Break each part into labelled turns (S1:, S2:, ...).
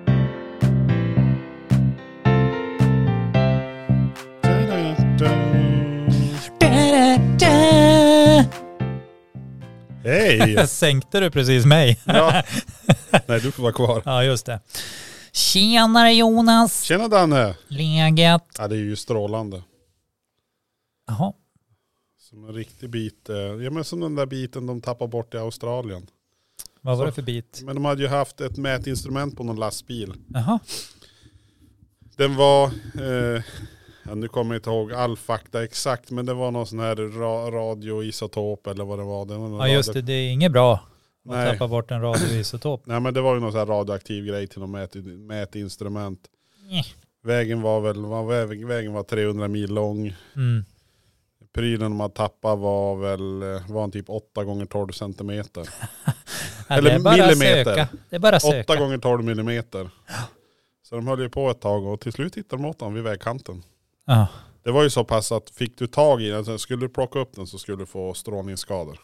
S1: Hej!
S2: Sänkte du precis mig?
S1: Ja. Nej, du får vara kvar.
S2: Ja, just det. Tjenare Jonas!
S1: Tjena Danne!
S2: Läget?
S1: Ja, det är ju strålande.
S2: Jaha.
S1: Som en riktig bit, eh, ja men som den där biten de tappar bort i Australien.
S2: Vad var det för bit?
S1: Men de hade ju haft ett mätinstrument på någon lastbil.
S2: Jaha.
S1: Den var, eh, ja, nu kommer jag inte ihåg all fakta exakt, men det var någon sån här ra radioisotop eller vad det var. Det var någon
S2: Ja, just
S1: radio-
S2: det. Det är inget bra att
S1: Nej.
S2: tappa bort en radioisotop.
S1: Nej men det var ju någon sån här radioaktiv grej till något mät, mätinstrument.
S2: Nej.
S1: Vägen var väl, var, vägen var 300 mil lång.
S2: Mm.
S1: Prylen man tappade var väl, eh, var en typ 8 gånger 12 centimeter.
S2: Ja,
S1: Eller
S2: det är bara att
S1: millimeter.
S2: söka. Det är bara att
S1: 8
S2: söka.
S1: gånger 12 millimeter. Så de höll ju på ett tag och till slut hittade de åt den vid vägkanten.
S2: Ja.
S1: Det var ju så pass att fick du tag i den, så skulle du plocka upp den så skulle du få strålningsskador.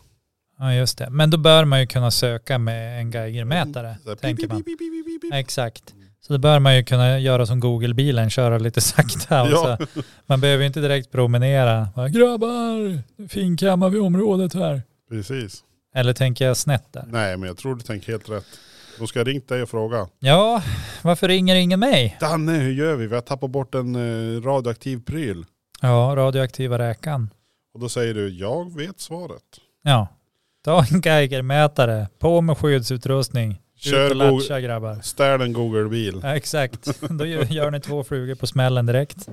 S2: ja, just det. Men då bör man ju kunna söka med en geigermätare,
S1: Mm. Så här,
S2: tänker
S1: pip,
S2: man.
S1: pip, pip, pip, pip, pip.
S2: Exakt. Så det bör man ju kunna göra som Google-bilen, köra lite sakta. Och
S1: Ja.
S2: så. Man behöver ju inte direkt promenera. Bara, Grabbar, finkammar vi området här.
S1: Precis.
S2: Eller tänker jag snett där?
S1: Nej men jag tror du tänker helt rätt. Då ska jag ringa dig och fråga.
S2: Ja, varför ringer ingen mig?
S1: Danne hur gör vi? Vi har tappat bort en eh, radioaktiv pryl.
S2: Ja, radioaktiva räkan.
S1: Och då säger du, jag vet svaret.
S2: Ja, ta en geigermätare, på med skyddsutrustning, ut
S1: Kör
S2: och
S1: Google,
S2: latcha grabbar.
S1: ställ en Google-bil.
S2: Ja, exakt, då gör, gör ni två flugor på smällen direkt.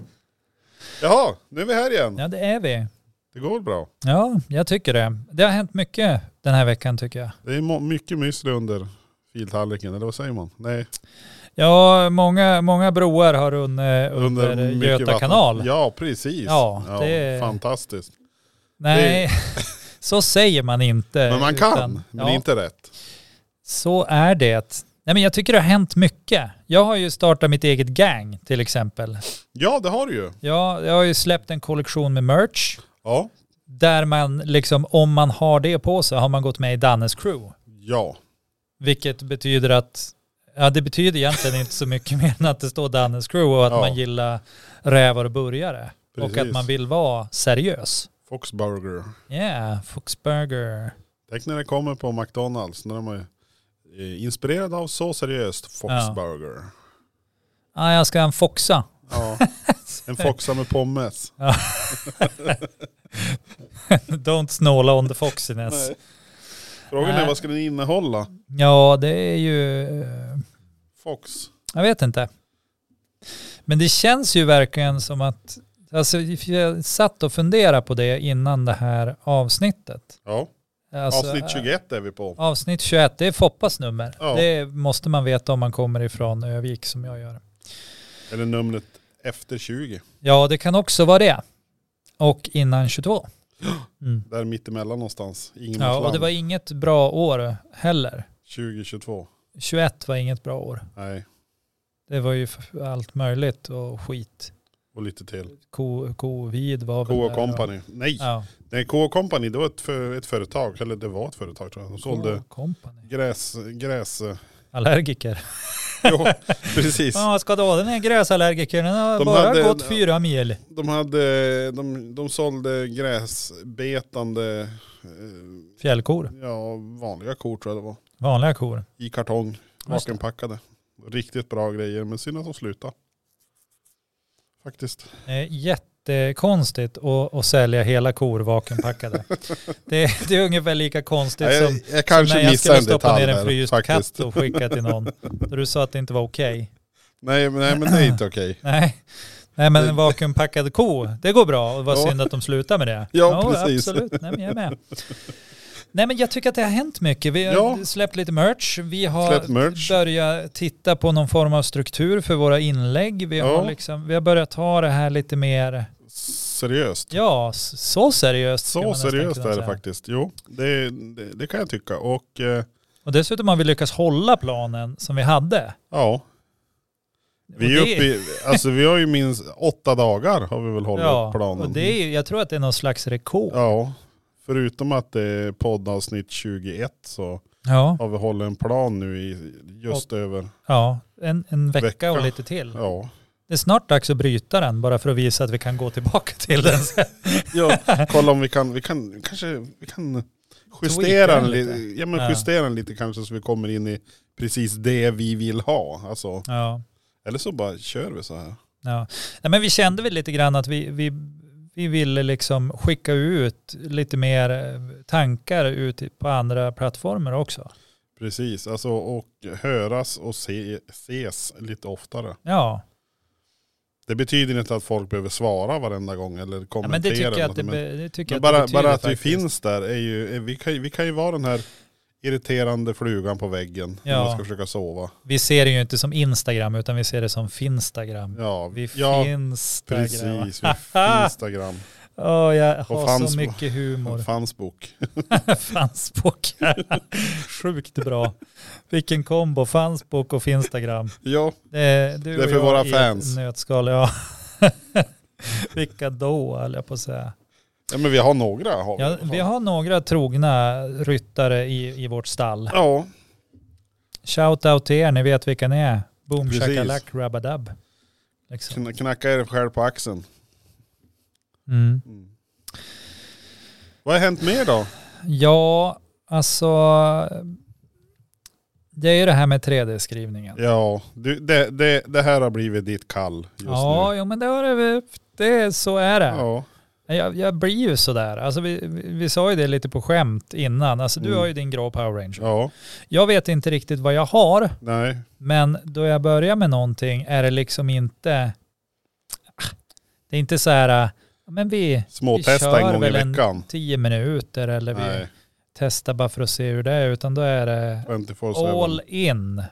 S1: Jaha, nu är vi här igen.
S2: Ja, det är vi.
S1: Det går bra.
S2: Ja, jag tycker det. Det har hänt mycket den här veckan tycker jag.
S1: Det är må- mycket müsli under filtallriken, eller vad säger man? Nej,
S2: Ja, många, många broar har runnit under,
S1: mycket
S2: Göta
S1: vatten.
S2: kanal.
S1: Ja, precis.
S2: Ja, det-
S1: Fantastiskt.
S2: Nej, så säger man inte.
S1: Men man kan,
S2: utan-
S1: men
S2: ja.
S1: inte rätt.
S2: Så är det. Nej, men jag tycker det har hänt mycket. Jag har ju startat mitt eget gang till exempel.
S1: Ja, det har du ju.
S2: Jag, jag har ju släppt en kollektion med merch.
S1: Ja.
S2: Där man liksom, om man har det på sig har man gått med i Dannes crew.
S1: Ja.
S2: Vilket betyder att, ja det betyder egentligen inte så mycket mer än att det står Dannes crew och att
S1: Ja.
S2: man gillar rävar och burgare.
S1: Precis.
S2: Och att man vill vara seriös.
S1: Foxburger.
S2: Yeah, Foxburger.
S1: Tänk när det kommer på McDonalds, när de är eh, inspirerade av så seriöst Foxburger.
S2: Ja, Ah, jag ska ha en foxa.
S1: Ja. En foxa med pommes.
S2: Don't snåla on the foxiness.
S1: Nej. Frågan är
S2: Nej.
S1: vad ska den innehålla?
S2: Ja, det är ju... eh,
S1: Fox.
S2: Jag vet inte. Men det känns ju verkligen som att... Alltså, jag satt och funderade på det innan det här avsnittet.
S1: Ja.
S2: Alltså,
S1: Avsnitt
S2: eh,
S1: 21 är vi på.
S2: Avsnitt 21, det är Foppas nummer.
S1: Ja.
S2: Det måste man veta om man kommer ifrån Övik som jag gör.
S1: Eller numret efter 20.
S2: Ja, det kan också vara det. Och innan 22. Mm.
S1: Där mittemellan någonstans.
S2: Ja, och
S1: Ingenmansland.
S2: det var inget bra år heller.
S1: 2022.
S2: 21 var inget bra år.
S1: Nej,
S2: Det var ju f- allt möjligt och skit.
S1: och lite till.
S2: Ko- Covid var väl
S1: K
S2: där,
S1: Company. Nej,
S2: Ja.
S1: nej K Company det var ett, för, ett företag. Eller det var ett företag tror jag. De sålde
S2: K- Company.
S1: gräs... gräs
S2: Allergiker.
S1: jo, precis.
S2: Ja, vad ska då den här gräsallergikern? Den har
S1: De
S2: bara
S1: hade-
S2: gått fyra mil.
S1: De, hade, de, de sålde gräsbetande, eh,
S2: Fjällkor.
S1: ja vanliga kor tror jag det var.
S2: Vanliga kor.
S1: I kartong,
S2: det.
S1: vakenpackade. Riktigt bra grejer, men synd att de slutade. Faktiskt.
S2: Eh, jättekonstigt att, att sälja hela kor vakenpackade. det, är- det är ungefär lika konstigt
S1: Nej,
S2: som
S1: jag, jag kanske
S2: när jag
S1: missade
S2: skulle
S1: en
S2: stoppa
S1: detalj
S2: ner en
S1: där,
S2: fryst
S1: faktiskt.
S2: katt och skicka till någon. Då du sa att det inte var okej.
S1: Nej, men- nej men det är inte okej.
S2: Nej. Nej men en vakuumpackad ko, det går bra. Och vad
S1: Ja.
S2: synd att de slutar med det.
S1: Ja, precis.
S2: Absolut, Nej, men jag är med. Nej men jag tycker att det har hänt mycket. Vi har
S1: Ja.
S2: släppt lite merch. Vi
S1: Släpp
S2: har
S1: merch.
S2: börjat titta på någon form av struktur för våra inlägg. Vi,
S1: Ja.
S2: har liksom, vi har börjat ta det här lite mer,
S1: Seriöst.
S2: ja, s- så seriöst. ska man
S1: Så
S2: nästan
S1: seriöst
S2: kunna
S1: är det
S2: säga.
S1: faktiskt. Jo, det, det, det kan jag tycka. Och eh,
S2: Och dessutom har vi lyckats hålla planen som vi hade.
S1: ja, vi är
S2: Och det-
S1: uppe i, alltså vi har ju minst åtta dagar har vi väl hållit
S2: ja,
S1: planen.
S2: Och det är, jag tror att det är någon slags rekord.
S1: Ja, förutom att det är poddavsnitt 21 så
S2: Ja,
S1: har vi hållit en plan nu i just över,
S2: ja. En, en vecka,
S1: Vecka.
S2: och lite till.
S1: ja,
S2: Det är snart dags att bryta den bara för att visa att vi kan gå tillbaka till den. sen.
S1: Ja, kolla om vi kan, vi kan kanske, vi kan
S2: Tweaka
S1: justera
S2: den
S1: den lite.
S2: lite.
S1: Ja, men
S2: Ja.
S1: justera den lite kanske så vi kommer in i precis det vi vill ha. Alltså,
S2: Ja.
S1: eller så bara kör vi så här.
S2: Ja. Nej, men vi kände väl lite grann att vi, vi, vi ville liksom skicka ut lite mer eh, tankar ut på andra plattformar också.
S1: Precis, alltså och höras och se, ses lite oftare.
S2: Ja,
S1: Det betyder inte att folk behöver svara varenda gång eller
S2: ja
S1: kommentera.
S2: men det tycker jag att det,
S1: något, men-
S2: be, det,
S1: Men
S2: tycker jag
S1: bara,
S2: att det betyder
S1: bara att vi
S2: faktiskt.
S1: finns där är ju, är- vi kan, ju- vi kan ju vara den här irriterande flugan på väggen
S2: Ja.
S1: när man ska försöka sova.
S2: Vi ser det ju inte som Instagram utan vi ser det som Finstagram.
S1: Ja,
S2: Vi
S1: ja
S2: finns där grabbar.
S1: precis. Vi Instagram,
S2: Åh, jag
S1: Och
S2: har
S1: fanns-
S2: så mycket humor.
S1: Fansbok.
S2: Fansbok. Sjukt bra. Vilken kombo. Fansbok och Finstagram.
S1: Ja,
S2: Det, du
S1: Det är
S2: och
S1: för
S2: jag
S1: våra
S2: i
S1: fans.
S2: ett Nötskal, ja. Vilka då, höll jag på att säga.
S1: ja, men vi har några. Har
S2: Ja,
S1: vi,
S2: vi har några trogna ryttare i, i vårt stall.
S1: Ja,
S2: Shout out till er, ni vet vilka ni är. Boom
S1: Precis.
S2: shakalak rabadab. Liksom.
S1: kn- knacka er själv på axeln.
S2: Mm.
S1: Mm. Vad har hänt mer då?
S2: Ja, alltså. Det är ju det här med 3D-skrivningen.
S1: Ja, du, det, det, det här har blivit ditt kall just
S2: Ja,
S1: nu.
S2: jo, men det har det, det, så är det.
S1: Ja,
S2: Jag, jag blir ju sådär. Alltså, vi, vi, vi sa ju det lite på skämt innan. Alltså, du
S1: Mm.
S2: har ju din grå Power Ranger.
S1: ja,
S2: Jag vet inte riktigt vad jag har,
S1: nej,
S2: men då jag börjar med någonting är det liksom inte... ah, Det är inte så här, "Ja, men vi
S1: småtesta
S2: kör
S1: en gång i
S2: väl en-
S1: veckan.
S2: tio minuter eller vi
S1: Nej,
S2: testar bara för att se hur det är, utan då är det
S1: 24-7.
S2: all in.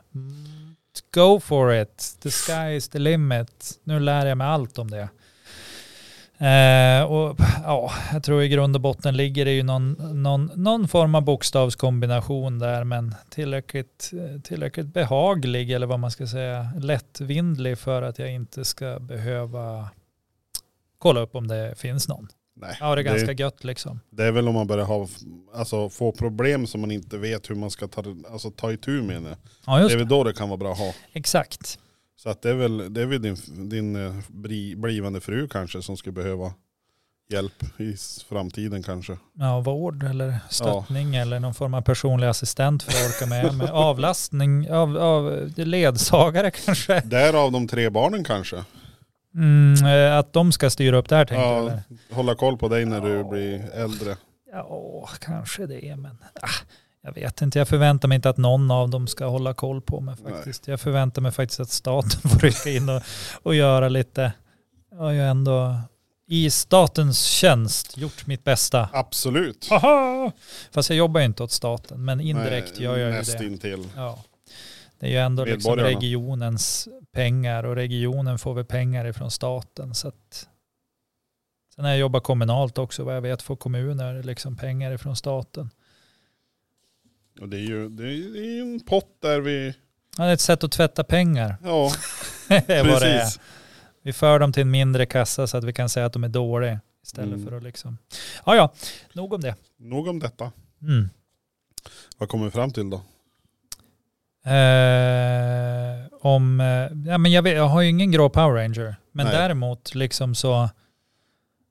S2: Go for it. The sky is the limit. Nu lär jag mig allt om det. Eh, och ja, jag tror i grund och botten ligger det ju någon, någon, någon form av bokstavskombination där men tillräckligt, eh, tillräckligt behaglig eller vad man ska säga lättvindlig för att jag inte ska behöva kolla upp om det finns någon.
S1: Nej,
S2: Ja, det är
S1: det-
S2: ganska gött liksom.
S1: Det är väl om man börjar ha, alltså, få problem som man inte vet hur man ska ta, alltså, ta itu med. Det.
S2: Ja,
S1: det
S2: just
S1: är väl då det kan vara bra att ha.
S2: Exakt.
S1: Så att det är väl, det är väl din, din eh, bri, blivande fru kanske som skulle behöva hjälp i s- framtiden kanske.
S2: Ja, vård eller stöttning eller någon form av personlig assistent för att orka med. med avlastning av, av ledsagare kanske.
S1: Därav de tre barnen kanske.
S2: Mm, eh, att de ska styra upp det här tänker du?
S1: Ja,
S2: eller?
S1: hålla koll på dig när du
S2: Ja.
S1: blir äldre.
S2: Ja, kanske det. Men ah, jag vet inte. Jag förväntar mig inte att någon av dem ska hålla koll på mig faktiskt. Jag förväntar mig faktiskt att staten får rycka in och, och göra lite. Jag har ju ändå i statens tjänst gjort mitt bästa.
S1: Absolut.
S2: Aha! Fast jag jobbar ju inte åt staten, men indirekt
S1: Nej,
S2: gör jag ju det.
S1: Nästintill.
S2: Ja. Det är ju ändå liksom
S1: Medborgarna.
S2: regionens pengar och regionen får väl pengar ifrån staten. Så att... Sen när jag jobbar kommunalt också, vad jag vet får kommuner liksom pengar ifrån staten.
S1: Och det är ju det är, det är ju en pott där vi,
S2: Ja, det är ett sätt att tvätta pengar.
S1: ja
S2: det är vad det är.
S1: precis.
S2: Vi för dem till en mindre kassa så att vi kan säga att de är dåliga istället
S1: Mm.
S2: för att liksom... Ja, ja, nog om det.
S1: Nog om detta.
S2: Mm.
S1: Vad kommer vi fram till då?
S2: Eh, om, eh, ja, men jag, vet, jag har ju ingen grå Power Ranger. Men
S1: Nej.
S2: däremot liksom så,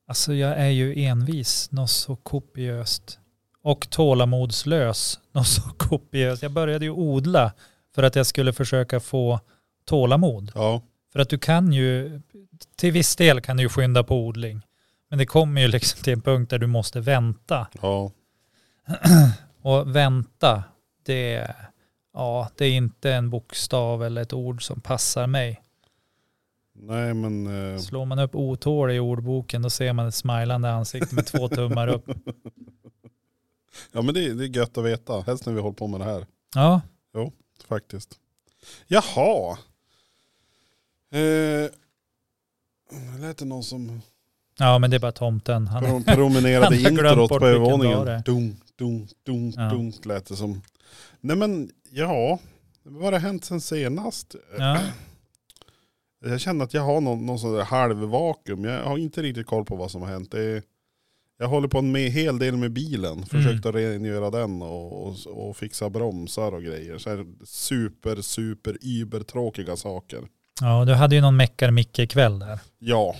S2: alltså jag är ju envis något så kopiöst. Och tålamodslös något så kopiöst. Jag började ju odla för att jag skulle försöka få tålamod.
S1: Ja,
S2: För att du kan ju, till viss del kan du ju skynda på odling. Men det kommer ju liksom till en punkt där du måste vänta.
S1: ja.
S2: Och vänta, det, ja, det är inte en bokstav eller ett ord som passar mig.
S1: Nej men. eh,
S2: Slår man upp otålig i ordboken då ser man ett smilande ansikte med två tummar upp.
S1: Ja men det, det är gött att veta, helst när vi håller på med det här
S2: Ja,
S1: faktiskt. Jaha. Eh, lät det någon som
S2: ja men det är bara tomten. Han
S1: pro- promenerade
S2: han har glömt
S1: introt
S2: bort
S1: på
S2: vilken dag det är.
S1: övervåningen? Dunk, dunk, dunk,
S2: Ja.
S1: dunk lät det som. Nej men ja, vad har hänt sen senast?
S2: ja.
S1: Jag känner att jag har någon, någon sån där halvvakuum. Jag har inte riktigt koll på vad som har hänt. Det är, jag håller på med en hel del med
S2: Mm.
S1: bilen. Försökt att rengöra den och, och, och fixa bromsar och grejer. Så här super, super, ybertråkiga saker.
S2: Ja, du hade ju någon meckar-Micke-kväll där.
S1: Ja,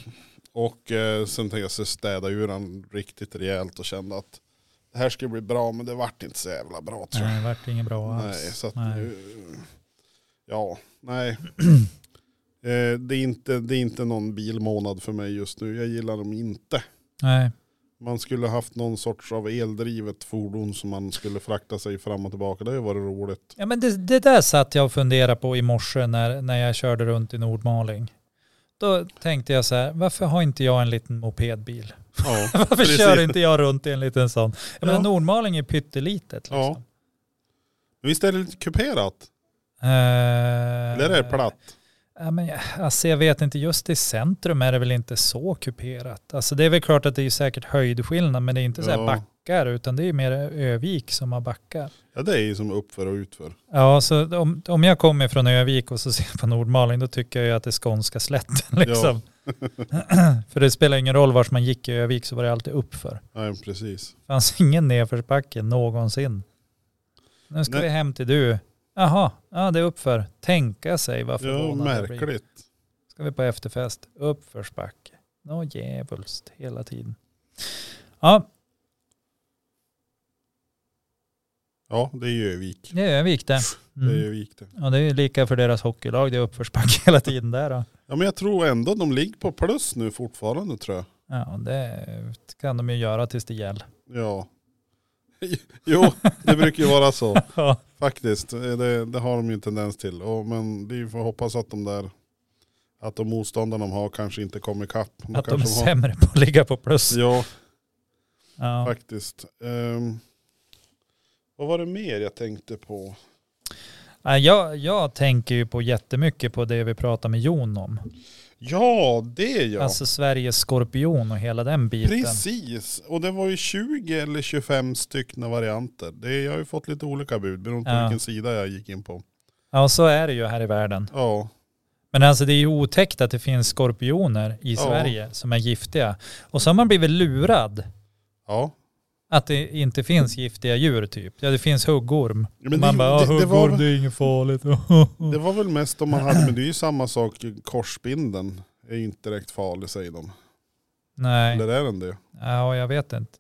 S1: och eh, sen tänkte jag så städa ur den riktigt rejält och kände att det här skulle bli bra men det vart inte så jävla bra tror jag.
S2: Nej, det vart inget bra
S1: Nej,
S2: alls.
S1: så att
S2: Nej.
S1: nu, ja, nej. eh, det, är inte, det är inte någon bilmånad för mig just nu. Jag gillar dem inte.
S2: Nej.
S1: Man skulle haft någon sorts av eldrivet fordon som man skulle frakta sig fram och tillbaka. Det hade ju varit roligt.
S2: Ja, men det, det där satt jag och funderade på i morse när, när jag körde runt i Nordmaling. Då tänkte jag så här, varför har inte jag en liten mopedbil?
S1: Ja,
S2: Varför
S1: precis.
S2: kör inte jag runt i en liten sån? Jag
S1: Ja.
S2: menar, Nordmaling är pyttelitet. Liksom.
S1: Ja. Visst är det lite kuperat?
S2: Eh,
S1: Eller är det platt?
S2: Ja, men, jag- alltså, jag vet inte, just i centrum är det väl inte så kuperat. Alltså, det är väl klart att det är säkert höjdskillnad, men det är inte så här
S1: Ja.
S2: backar, utan det är mer Övik som har backar.
S1: Ja det är ju som uppför och utför.
S2: Ja, så om, om jag kommer från Övik och så ser på Nordmaling, då tycker jag ju att det är skånska slätten. Liksom. för det spelar ingen roll vars man gick i Övik så var det alltid uppför.
S1: Nej precis.
S2: Det fanns ingen nedförsbacke någonsin. Nu ska
S1: Nej.
S2: vi hem till du. Jaha, ja, det är uppför. Tänka sig vad
S1: Ja,
S2: förvånad jag blir.
S1: märkligt.
S2: Ska vi på efterfest, uppförsbacke. Nå djävulskt hela tiden. Ja,
S1: Ja det är ju Övik.
S2: det är Övik det.
S1: Det är
S2: Mm.
S1: ju Övik det.
S2: Ja, det är ju lika för deras hockeylag, det är uppförsbacke hela tiden där. Då.
S1: Ja men jag tror ändå de ligger på plus nu fortfarande tror jag.
S2: Ja, det kan de ju göra tills det gäller.
S1: Ja. Jo, det brukar ju vara så
S2: Ja.
S1: faktiskt. Eh, Det, det har de ju en tendens till. Och, men vi får hoppas att de där, att de motståndarna de har kanske inte kommer ikapp.
S2: Att de är
S1: kanske har-
S2: sämre på att ligga på plus.
S1: Ja,
S2: Ja.
S1: faktiskt. Ehm, vad var det mer jag tänkte på?
S2: Nej, Jag, jag tänker ju på jättemycket på det vi pratade med Jon om.
S1: Ja, det ja.
S2: Alltså Sveriges skorpion och hela den biten.
S1: Precis, och det var ju 20 eller 25 styckna varianter. Det, jag har ju fått lite olika bud beroende på
S2: Ja.
S1: vilken sida jag gick in på.
S2: Ja, så är det ju här i världen.
S1: Ja,
S2: Men alltså det är ju otäckt att det finns skorpioner i
S1: Ja.
S2: Sverige som är giftiga. Och så har man blivit lurad
S1: ja.
S2: att det inte finns giftiga djur typ. Ja det finns huggorm.
S1: Men
S2: man
S1: det-
S2: bara,
S1: det-
S2: "Ja,
S1: det
S2: huggorm
S1: var väl-
S2: det är inget farligt.
S1: Det var väl mest om man hade, men det är ju samma sak, korsbinden är ju inte direkt farlig säger de.
S2: Nej,
S1: Eller är den det?
S2: ja jag vet inte.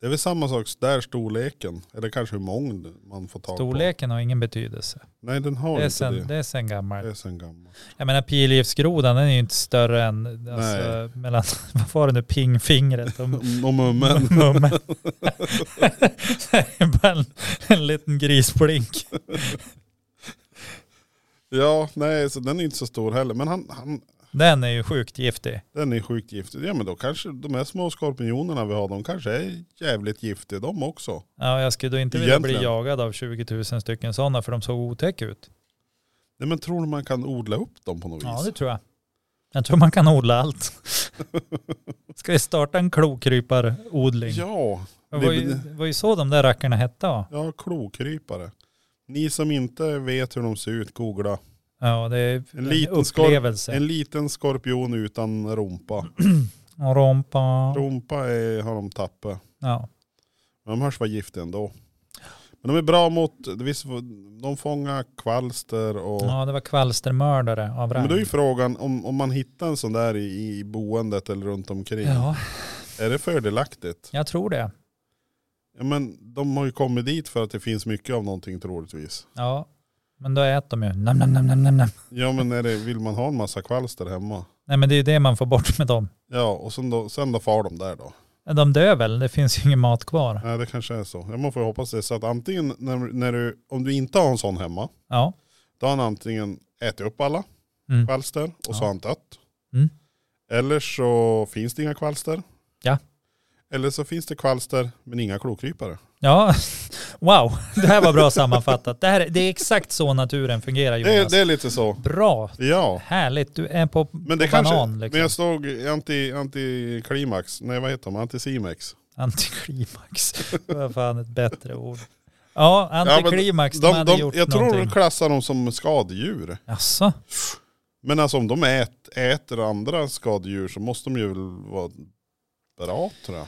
S1: Det är väl samma sak där storleken, eller kanske hur många man får tag på.
S2: Storleken har ingen betydelse.
S1: Nej den har
S2: Det är
S1: inte
S2: sen,
S1: det. Eh.
S2: det är sen
S1: Det
S2: gammalt.
S1: är sen gammalt.
S2: Jag menar pilgiftsgrodan den är ju inte större än, alltså,
S1: Nej.
S2: mellan, vad var det nu, pingfingret och
S1: Om mummen.
S2: mummen. Det är bara en, en liten grisblink.
S1: Ja, nej så den är inte så stor heller. Men han, han,
S2: Den är ju sjukt giftig.
S1: Den är sjukt giftig. Ja men då kanske de här små skorpionerna vi har, de kanske är jävligt giftiga de också.
S2: Ja, jag skulle då inte vilja bli
S1: Egentligen.
S2: jagad av 20 000 stycken sådana för de såg otäcka ut.
S1: Nej men tror du man kan odla upp dem på något vis?
S2: Ja, det tror jag. Jag tror man kan odla allt. Ska vi starta en klokryparodling?
S1: Ja,
S2: det, var ju, det var ju så de där rackarna hette va?
S1: ja klokrypare. Ni som inte vet hur de ser ut, googla.
S2: Ja, det är en,
S1: liten skorp-
S2: upplevelse.
S1: En liten skorpion utan rompa.
S2: Och rompa.
S1: Rompa är, har de tappat.
S2: Ja.
S1: Men de hörs vara giftiga ändå. Men de är bra mot, visst, de fångar kvalster och...
S2: ja, det var kvalstermördare av rang.
S1: Men då är ju frågan om, om man hittar en sån där i, i boendet eller runt omkring.
S2: Ja,
S1: Är det fördelaktigt?
S2: jag tror det.
S1: Ja, men de har ju kommit dit för att det finns mycket av någonting troligtvis.
S2: Ja, men då äter de ju. Nam, nam, nam, nam, nam, nam.
S1: Ja men är det, vill man ha en massa kvalster hemma?
S2: Nej, men det är ju det man får bort med dem.
S1: Ja och sen då, sen då far de där då.
S2: De dör väl? Det finns ju ingen mat kvar.
S1: Nej det kanske är så. Ja, man får ju hoppas det. Så att antingen när, när du, om du inte har en sån hemma,
S2: Ja.
S1: då har han antingen ätit upp alla
S2: Mm.
S1: kvalster och så har
S2: Ja.
S1: han dött.
S2: Mm.
S1: Eller så finns det inga kvalster.
S2: Ja.
S1: Eller så finns det kvalster men inga klokrypare.
S2: Ja, wow. Det här var bra sammanfattat. Det, här, det är exakt så naturen fungerar
S1: Det, är-
S2: Jonas.
S1: det är lite så.
S2: Bra,
S1: Ja.
S2: härligt. Du är på
S1: Men det
S2: på
S1: kanske,
S2: banan liksom.
S1: men jag såg anti, antiklimax, nej vad heter de, antisimex.
S2: Antiklimax. Det var fan ett bättre ord. Ja, antiklimax. de,
S1: De,
S2: hade
S1: de,
S2: gjort
S1: jag tror de
S2: någonting.
S1: klassar dem som skadedjur.
S2: Jaså?
S1: Men alltså om de ät, äter andra skadedjur så måste de ju väl vara bra tror jag.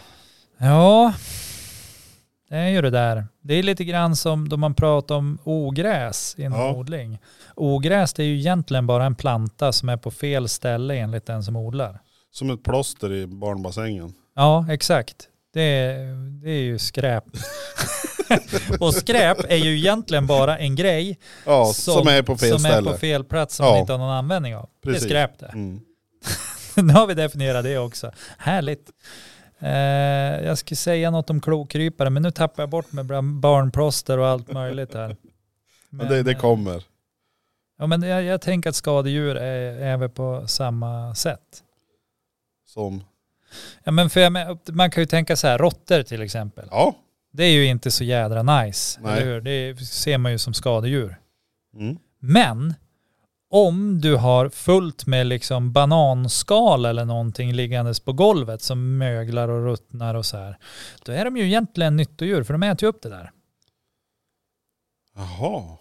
S2: Ja. Det är ju det där. Det är lite grann som då man pratar om ogräs inom
S1: Ja.
S2: odling. Ogräs det är ju egentligen bara en planta som är på fel ställe enligt den som odlar.
S1: Som ett plåster i barnbassängen.
S2: Ja, exakt. Det är, det är ju skräp. och skräp är ju egentligen bara en grej
S1: Ja, som, är på fel
S2: som
S1: ställe.
S2: är på fel plats som
S1: Ja.
S2: man inte har någon användning av. Det
S1: Precis.
S2: är skräp det.
S1: Mm.
S2: nu har vi definierat det också. Härligt. Eh, jag skulle säga något om klokrypare, men nu tappar jag bort med bland barnproster och allt möjligt här.
S1: Men det, det
S2: eh,
S1: kommer.
S2: Ja, men jag, jag tänker att skadedjur är, är väl på samma sätt.
S1: Som,
S2: Ja, men för jag, men- man kan ju tänka så här, råttor till exempel.
S1: ja.
S2: Det är ju inte så jädra nice,
S1: Nej.
S2: eller hur? Det ser man ju som skadedjur.
S1: Mm.
S2: Men om du har fullt med liksom bananskal eller någonting liggandes på golvet som möglar och ruttnar och så här, då är de ju egentligen nyttodjur för de äter ju upp det där.
S1: Jaha.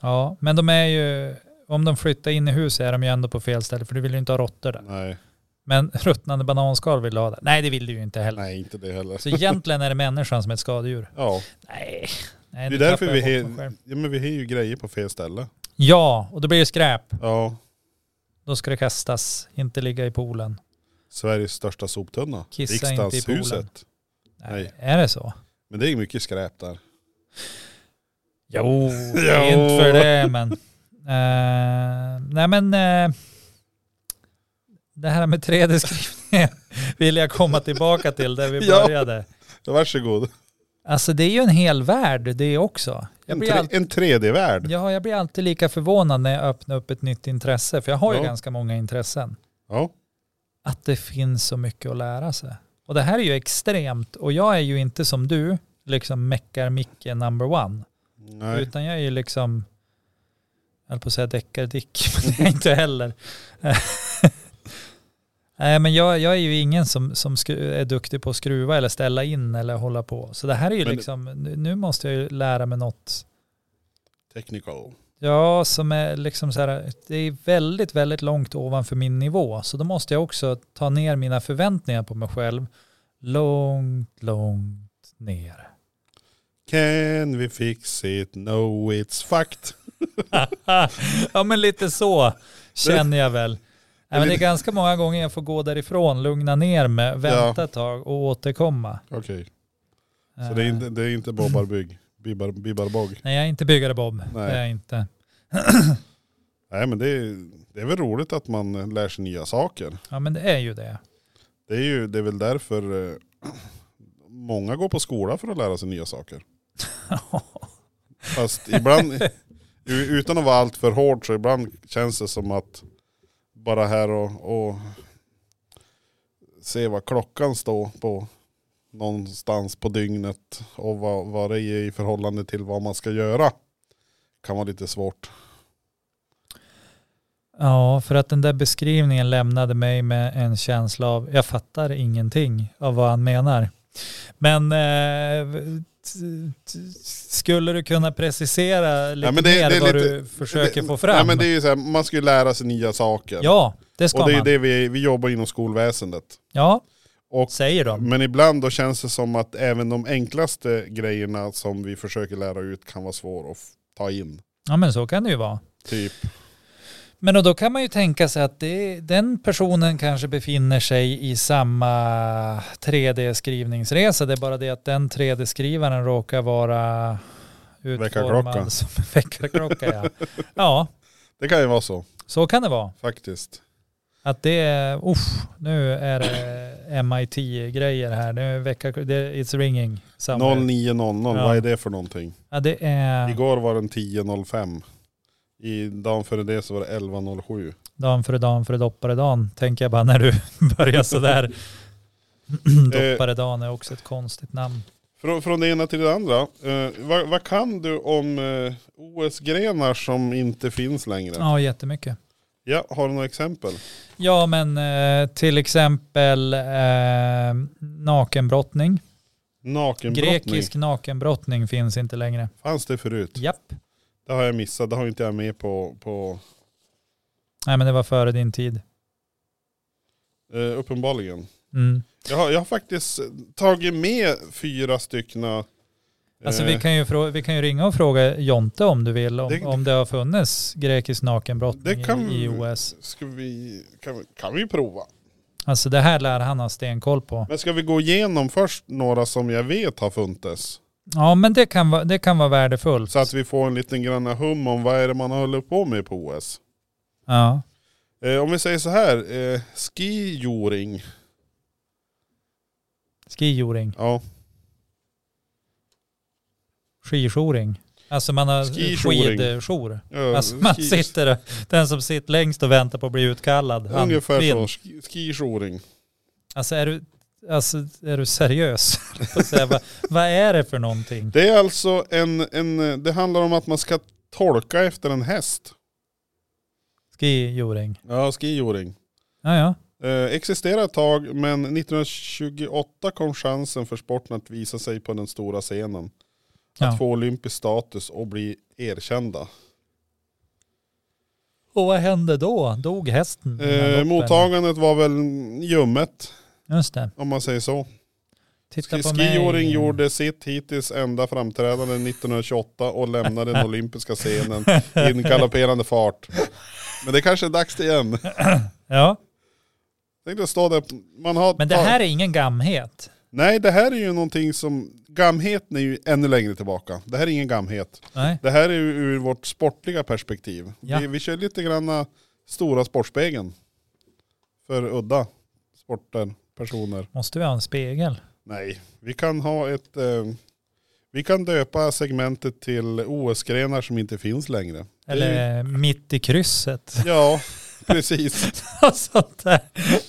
S2: Ja, men de är ju, om de flyttar in i hus är de ju ändå på fel ställe för du vill ju inte ha råttor där.
S1: Nej.
S2: Men ruttnande bananskal vill du ha där. Nej, det vill du ju inte heller.
S1: Nej, inte det heller.
S2: Så egentligen är det människan som är ett skadedjur.
S1: Ja,
S2: Nej. Nej
S1: det är
S2: nu
S1: därför
S2: tappar
S1: vi
S2: jag bort mig
S1: har
S2: själv.
S1: ja, men vi har ju grejer på fel ställe.
S2: Ja, och då blir det skräp.
S1: Ja,
S2: Då ska det kastas, inte ligga i poolen.
S1: Sveriges största soptunna.
S2: Kissa inte i poolen.
S1: Riksdagshuset. Nej.
S2: Nej. Är det så?
S1: Men det är mycket skräp där.
S2: Jo,
S1: Jo.
S2: inte för det men. Eh, nej men eh, det här med 3D-skrivningen vill jag komma tillbaka till där vi
S1: Ja.
S2: började.
S1: Ja, Varsågod.
S2: Alltså det är ju en hel värld det också. Jag
S1: En,
S2: blir,
S1: tre,
S2: all,
S1: en 3D-värld.
S2: ja, jag blir alltid lika förvånad när jag öppnar upp ett nytt intresse, för jag har ju
S1: Ja.
S2: ganska många intressen.
S1: Ja.
S2: Att det finns så mycket att lära sig. Och det här är ju extremt, och jag är ju inte som du, liksom meckar Micke number one.
S1: Nej.
S2: Utan jag är ju liksom, jag höll på att säga deckardick, men det är jag inte heller. Nej men jag, jag är ju ingen som, som skru, är duktig på att skruva eller ställa in eller hålla på. Så det här är ju
S1: Men-
S2: liksom, nu, nu måste jag ju lära mig något,
S1: Technical.
S2: ja som är liksom så här, det är väldigt, väldigt långt ovanför min nivå. Så då måste jag också ta ner mina förväntningar på mig själv långt, långt ner.
S1: Can we fix it? No it's fucked.
S2: ja men lite så känner jag väl. Nej, men det är ganska många gånger jag får gå därifrån, lugna ner mig, vänta ett tag och återkomma.
S1: Okej, så det är inte, det är inte Bobbar Bygg. Bibbar, bibbar Bogg.
S2: Eh, Nej jag är inte byggare Bob, det är jag inte.
S1: Nej men det är, det är väl roligt att man lär sig nya saker.
S2: Ja men det är ju det.
S1: Det är ju det är väl därför eh, många går på skola för att lära sig nya saker. Fast ibland, u- utan att vara alltför hård så ibland känns det som att bara här och, och se vad klockan står på någonstans på dygnet och vad, vad det är i förhållande till vad man ska göra kan vara lite svårt.
S2: Ja för att den där beskrivningen lämnade mig med en känsla av, jag fattar ingenting av vad han menar. Men eh, t- t- skulle du kunna precisera lite
S1: men det-
S2: mer
S1: det är
S2: vad
S1: lite-
S2: du försöker
S1: Det-
S2: få fram?
S1: Nej, men det är ju så här, man ska ju lära sig nya saker.
S2: ja, det ska
S1: och det är ju
S2: man.
S1: det vi, vi jobbar inom skolväsendet.
S2: Ja,
S1: Och-
S2: säger de.
S1: Men ibland då känns det som att även de enklaste grejerna som vi försöker lära ut kan vara svår att f- ta in.
S2: Ja men så kan det ju vara.
S1: Typ,
S2: Men och då kan man ju tänka sig att det, den personen kanske befinner sig i samma 3D-skrivningsresa. Det är bara det att den 3D-skrivaren råkar vara
S1: Väckarklocka.
S2: utformad som en väckarklocka. Ja. ja,
S1: det kan ju vara så
S2: så kan det vara.
S1: faktiskt.
S2: Att det är, usch, nu är det MIT-grejer här. Nu är väckar, det, it's ringing. somewhere.
S1: 09.00,
S2: Ja.
S1: vad är det för någonting?
S2: Ja, det är
S1: Igår var den 10.05. I dagen före det så var det 11.07.
S2: dan före dan före doppare dan. Tänker jag bara när du börjar sådär.
S1: Eh.
S2: doppare dan är också ett konstigt namn.
S1: Frå, från det ena till det andra. Eh, vad, vad kan du om eh, OS-grenar som inte finns längre? Ja.
S2: Ja, jättemycket.
S1: har du några exempel?
S2: Ja, men eh, till exempel eh, nakenbrottning.
S1: Nakenbrottning.
S2: Grekisk nakenbrottning finns inte längre.
S1: Fanns det förut?
S2: Japp.
S1: Det har jag missat. Det har inte jag med på, på
S2: Nej, men det var före din tid.
S1: eh, uppenbarligen.
S2: Mm.
S1: Jag har, jag har faktiskt tagit med fyra stycken
S2: Alltså
S1: Eh,
S2: vi kan, ju frå- vi kan ju ringa och fråga Jonte om du vill, om
S1: Det-
S2: det, om det har funnits grekisk nakenbrottning
S1: Det kan-
S2: i, i OS.
S1: Ska vi, kan, vi, kan vi prova?
S2: Alltså det här lär han ha stenkoll på.
S1: Men ska vi gå igenom först några som jag vet har funnits?
S2: Ja men det kan, vara- det kan vara värdefullt.
S1: Så att vi får en liten granna hum om vad är det man håller på med på OS.
S2: Ja.
S1: Eh, om vi säger så här, eh, skijoring.
S2: Skijoring,
S1: Ja,
S2: skijouring. Alltså man har
S1: Skijouring.
S2: skidjour.
S1: eh,
S2: Alltså man
S1: ski-
S2: sitter, och- den som sitter längst och väntar på att bli utkallad. han
S1: Ungefär
S2: vinner.
S1: så, Ski- skijoring.
S2: Alltså är du, alltså, är du seriös? Jag får säga, vad, vad är det för någonting?
S1: Det är alltså en, en, det handlar om att man ska tolka efter en häst.
S2: Skijoring.
S1: Ja, skijoring.
S2: Ja ja.
S1: Eh, existerar ett tag, men 1928 kom chansen för sporten att visa sig på den stora scenen. Att
S2: ja.
S1: få olympisk status och bli erkända.
S2: Och vad hände då? Dog hästen? innan
S1: Eh,
S2: loppen?
S1: mottagandet var väl ljummet,
S2: Just det.
S1: om man säger så.
S2: Titta
S1: Ski-
S2: på mig.
S1: Skijoring gjorde sitt hittills enda framträdande 1928 och lämnade den olympiska scenen i en galopperande fart. Men det kanske är dags igen.
S2: Ja,
S1: Tänk dig att stå där. Man har
S2: men det här är ingen gamhet.
S1: Nej, det här är ju någonting som... Gamheten är ju ännu längre tillbaka. Det här är ingen gamhet.
S2: Nej.
S1: Det här är ju ur vårt sportliga perspektiv.
S2: Ja.
S1: Vi, vi kör lite granna stora sportspegeln. För udda sporter, personer.
S2: Måste vi ha en spegel?
S1: Nej, vi kan ha ett... Eh, vi kan döpa segmentet till OS-grenar som inte finns längre. Det är ju-
S2: Eller mitt i krysset?
S1: Ja, precis.
S2: Sånt där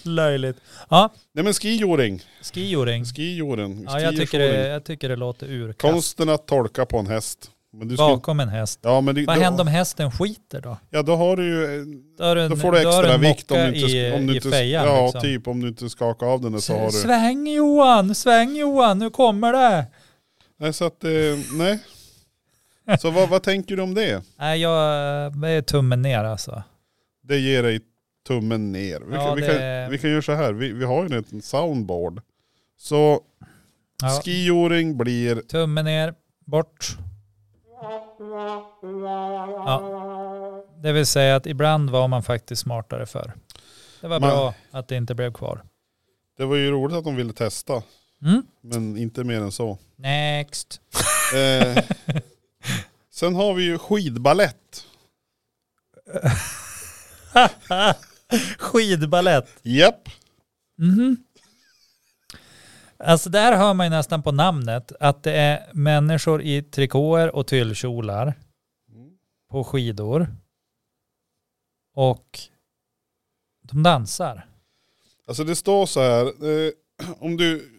S2: löjligt. Ja,
S1: Nej men skijoring.
S2: skijoring.
S1: Skijoren.
S2: Ja, jag tycker, det, jag tycker det låter urkast.
S1: Konsten att tolka på en häst. Men du ska,
S2: Bakom en häst.
S1: ja, men det,
S2: Vad
S1: då-
S2: händer om hästen skiter då?
S1: Ja då har du ju,
S2: Då, har du en,
S1: då får du
S2: har
S1: extra
S2: en
S1: vikt om
S2: mocka
S1: du inte,
S2: i,
S1: om du
S2: i
S1: inte
S2: fejan.
S1: Ja
S2: liksom.
S1: typ om du inte skakar av den så har
S2: S-
S1: du.
S2: Sväng Johan, sväng Johan, nu kommer det.
S1: Nej så att, eh, nej. Så vad, vad tänker du om det?
S2: Nej, jag det är tummen ner alltså.
S1: Det ger dig tummen ner. Vi,
S2: Ja,
S1: kan, vi,
S2: det-
S1: kan, vi kan göra så här, vi, vi har ju en liten soundboard. Så
S2: Ja,
S1: skioring blir,
S2: tummen ner, bort. Ja. Det vill säga att ibland var man faktiskt smartare för. Det var
S1: Man-
S2: bra att det inte blev kvar.
S1: det var ju roligt att de ville testa.
S2: Mm.
S1: Men inte mer än så.
S2: Next.
S1: Eh, sen har vi ju skidballett.
S2: Skidballett.
S1: Japp.
S2: Mhm. Alltså där hör man ju nästan på namnet att det är människor i trikåer och tyllkjolar på skidor. Och de dansar.
S1: Alltså det står så här, eh, om du,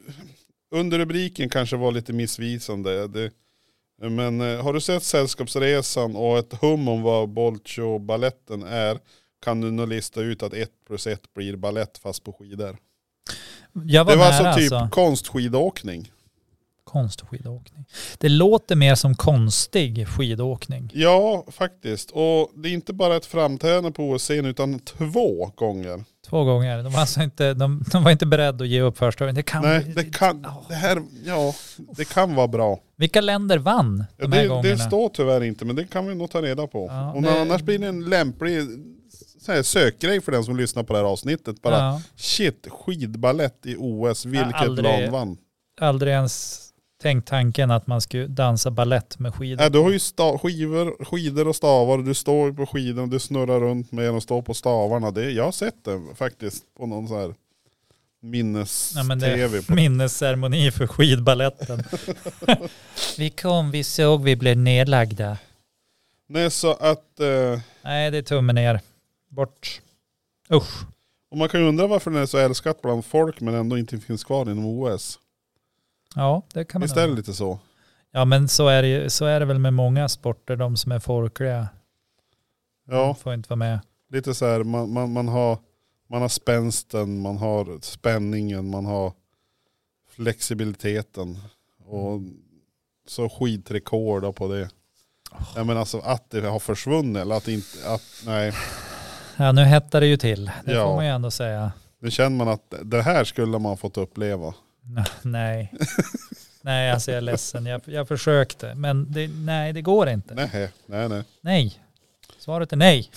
S1: under rubriken kanske var lite missvisande. Det, men eh, har du sett Sällskapsresan och ett hum om vad Bolcho-balletten är kan du nog lista ut att ett plus ett blir ballett fast på skidor.
S2: Jag var,
S1: Det var
S2: nära
S1: alltså typ
S2: alltså.
S1: konstskidåkning.
S2: Konstskidåkning. Det låter mer som konstig skidåkning.
S1: Ja, faktiskt. Och det är inte bara ett framträdande på OS-scen utan två gånger.
S2: Två gånger. De var, alltså inte, de, de var inte beredda att ge upp första gången. Det kan,
S1: Nej, det kan, det här, ja, det kan vara bra.
S2: Vilka länder vann
S1: Ja,
S2: de här
S1: det,
S2: gångerna?
S1: det står tyvärr inte, men det kan vi nog ta reda på.
S2: Ja,
S1: och
S2: det-
S1: Annars blir det en lämplig så här, sökgrej för den som lyssnar på det här avsnittet. Bara
S2: Ja.
S1: shit, skidballett i OS, vilket
S2: aldrig-
S1: land vann?
S2: aldrig ens tänkt tanken att man skulle dansa ballett med skidor.
S1: Äh, du har ju sta- skivor, skidor och stavar, du står ju på skidorna, du snurrar runt med den och står på stavarna. Det, jag har sett det faktiskt på någon så här
S2: Ja, men det-
S1: minnes-tv. på-
S2: Minnesceremoni för skidballetten. vi kom, vi såg, vi blev nedlagda.
S1: Nej, så att... Eh,
S2: Nej, det är tummen ner. Bort. Usch.
S1: och man kan ju undra varför den är så älskad bland folk men ändå inte finns kvar inom OS.
S2: Ja, det kan man
S1: Visst är det
S2: undra.
S1: lite så?
S2: Ja, men så är, det, ju- så är det väl med många sporter, de som är folkliga.
S1: Ja.
S2: De får inte vara med.
S1: lite så här, man, man, man, har, man har spänsten, man har spänningen, man har flexibiliteten. Och så skitrekord då på det. Nej men alltså att det har försvunnit eller att det inte, att, nej.
S2: Ja, nu hettar det ju till. Det
S1: Ja.
S2: får man ju ändå säga.
S1: Nu känner man att det här skulle man fått uppleva.
S2: Nej. Nej, alltså jag är ledsen. Jag, jag försökte. Men det, nej, det går inte.
S1: Nej, nej, nej.
S2: Nej. Svaret är nej.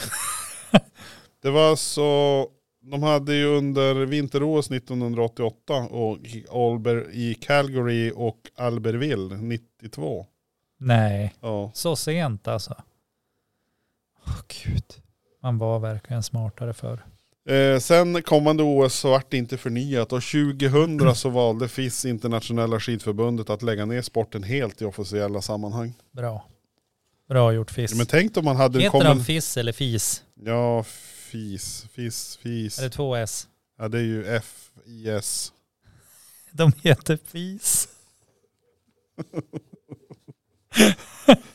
S1: Det var så, de hade ju under vinter-OS 1988 och i Alber, i Calgary och Albertville 92.
S2: Nej.
S1: Ja,
S2: Så sent alltså. Åh gud. Man var verkligen smartare förr.
S1: Eh, sen kommande OS så vart det inte förnyat och 2000 så valde FIS internationella skidförbundet att lägga ner sporten helt i officiella sammanhang.
S2: Bra. Bra gjort Fiss.
S1: Ja, men tänk om man hade en
S2: Heter de
S1: kommun...
S2: Fiss eller Fis?
S1: Ja, FIS, FIS, FIS.
S2: Är det två S?
S1: Ja det är ju FIS.
S2: De heter Fis.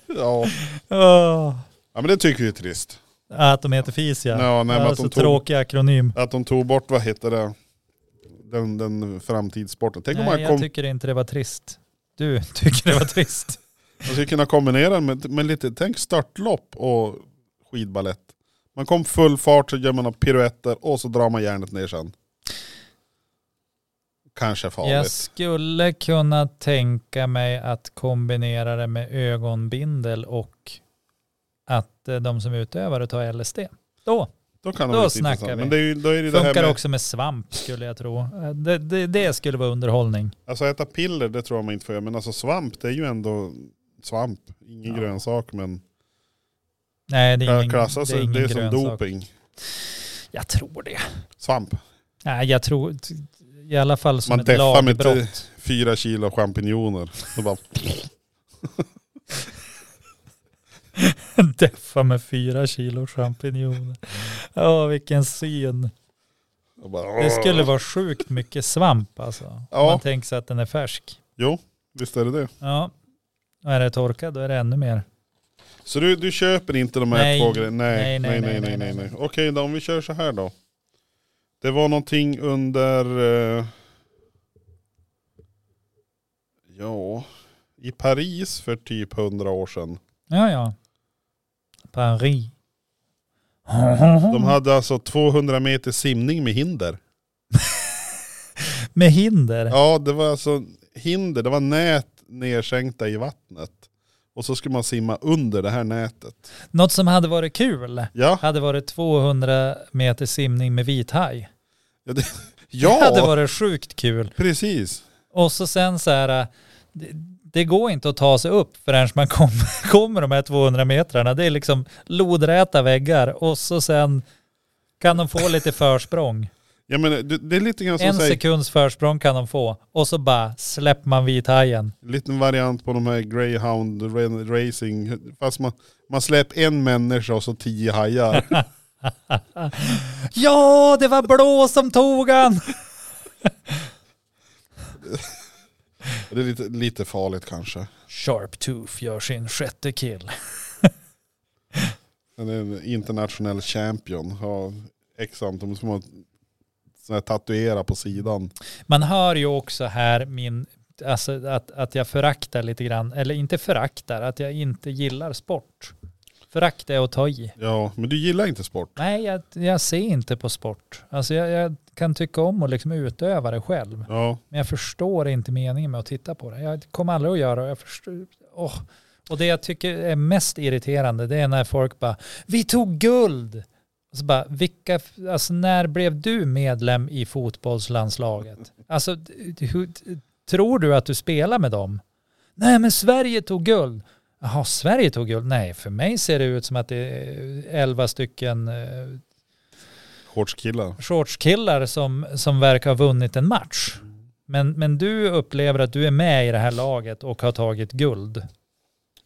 S1: Ja.
S2: Åh.
S1: ja men det tycker vi är trist.
S2: Att de heter Fis ja.
S1: Ja, nej, men att
S2: alltså,
S1: de tog-
S2: Tråkig akronym.
S1: Att de tog bort, vad heter det? Den, den framtidssporten. Tänk om
S2: Nej,
S1: man
S2: jag
S1: kom,
S2: tycker inte det var trist. Du tycker det var trist.
S1: man skulle kunna kombinera med, med lite, tänk störtlopp och skidballett. Man kom full fart så gör man några piruetter och så drar man järnet ner sen. Kanske farligt.
S2: Jag skulle kunna tänka mig att kombinera det med ögonbindel och att eh, de som utövar och tar LSD. Då
S1: Då kan det
S2: då
S1: vara lite
S2: snackar
S1: intressant.
S2: vi.
S1: Men det är, ju- då är det, det här
S2: funkar
S1: med,
S2: också med svamp skulle jag tro. Eh, Det, det, det skulle vara underhållning.
S1: alltså äta piller det tror jag man inte får göra. Men alltså svamp det är ju ändå svamp. Ingen
S2: Ja.
S1: grönsak men
S2: Nej det är ingen,
S1: klassas
S2: det är ingen
S1: som
S2: grönsak.
S1: doping.
S2: Jag tror det.
S1: Svamp.
S2: Nej jag tror t- i alla fall som
S1: Man
S2: ett
S1: deffar med
S2: lagbrott.
S1: Fyra kilo champinjoner. Så bara,
S2: Deffa med fyra kilo champinjoner. Ja vilken syn.
S1: och bara,
S2: Det skulle vara sjukt mycket svamp alltså.
S1: Ja.
S2: Om man tänker sig att den är färsk.
S1: Jo, visst är det det.
S2: Ja. Och är det torkad då är det ännu mer.
S1: Så du, du köper inte de här
S2: Nej.
S1: två grejerna? Nej, nej,
S2: Nej,
S1: nej, nej, nej, nej. Okej då, om vi kör så här då. Det var någonting under... Eh, ja, i Paris för typ hundra år sedan.
S2: Ja ja. Paris.
S1: De hade alltså 200 meter simning med hinder.
S2: Med hinder.
S1: Ja, det var alltså hinder, det var nät nedsänkta i vattnet. Och så skulle man simma under det här nätet.
S2: Något som hade varit kul
S1: Ja,
S2: hade varit 200 meter simning med vithaj.
S1: ja, det,
S2: Det hade
S1: ja
S2: varit sjukt kul.
S1: precis.
S2: Och så sen så här, äh, det, det går inte att ta sig upp förrän man kommer kommer de här 200 metrarna. Det är liksom lodräta väggar och så sen kan de få lite försprång.
S1: Ja, men det, det är lite grann som
S2: En
S1: säger,
S2: sekunds försprång kan de få och så bara släpper man vithajen.
S1: liten variant på de här greyhound ra- racing. Fast man, man släpper en människa och så tio hajar.
S2: Ja, det var blå som tog han!
S1: det är lite, lite farligt kanske.
S2: Sharptooth gör sin sjätte kill.
S1: Han är en internationell champion. Har x antal, som har sån här tatuera på sidan.
S2: Man hör ju också här min, alltså att, att jag föraktar lite grann, eller inte föraktar, att jag inte gillar sport. Förakt är att ta i.
S1: Ja, men du gillar inte sport.
S2: Nej, jag, jag ser inte på sport. Alltså jag, jag kan tycka om att liksom utöva det själv.
S1: Ja.
S2: Men jag förstår inte meningen med att titta på det. Jag kommer aldrig att göra och jag förstår. Åh. Och det jag tycker är mest irriterande det är när folk bara vi tog guld. Och så bara, vilka, alltså när blev du medlem i fotbollslandslaget? Alltså, d- d- hur, d- tror du att du spelar med dem? Nej, men Sverige tog guld. Jaha, Sverige tog guld? Nej, för mig ser det ut som att det är elva stycken eh,
S1: Shortskillar.
S2: shortskillar som, som verkar ha vunnit en match. Men, men du upplever att du är med i det här laget och har tagit guld.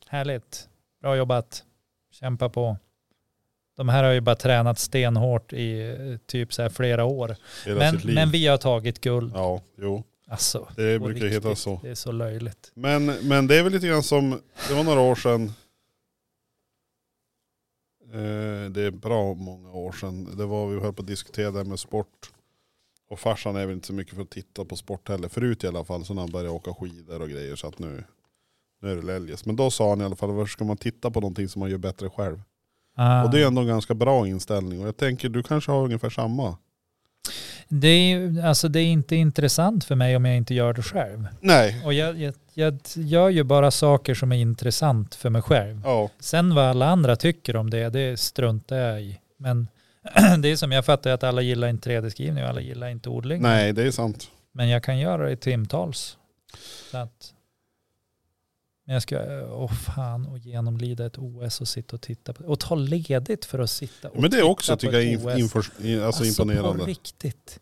S2: Härligt. Bra jobbat. Kämpa på. De här har ju bara tränat stenhårt i eh, typ så här flera år.
S1: Hela
S2: Men,
S1: sitt liv.
S2: men vi har tagit guld.
S1: Ja, jo.
S2: Alltså,
S1: Det
S2: på
S1: brukar heta
S2: riktigt.
S1: så.
S2: Det är så löjligt.
S1: Men, men det är väl lite grann som, det var några år sedan, eh, det är bra många år sedan, det var vi höll på att diskutera det här med sport. Och farsan är väl inte så mycket för att titta på sport heller, förut i alla fall, så när han började åka skidor och grejer. Så att nu, nu är det läljes. Men då sa han i alla fall, varför ska man titta på någonting som man gör bättre själv?
S2: Ah.
S1: Och det är ändå en ganska bra inställning. Och jag tänker, du kanske har ungefär samma.
S2: Det är, ju- alltså det är inte intressant för mig om jag inte gör det själv.
S1: Nej.
S2: Och jag, jag, jag gör ju bara saker som är intressant för mig själv.
S1: Ja.
S2: Sen vad alla andra tycker om det, det struntar jag i. Men det är som jag fattar att alla gillar inte 3D-skrivning och alla gillar inte odling.
S1: Nej, det är sant.
S2: Men jag kan göra det i timtals. Så att, men jag ska, åh fan, och genomlida ett OS och sitta och titta på Och ta ledigt för att sitta och
S1: Men det är också
S2: titta
S1: tycker
S2: på
S1: jag
S2: ett
S1: inf-
S2: OS.
S1: inför, i- alltså,
S2: på
S1: imponerande.
S2: riktigt.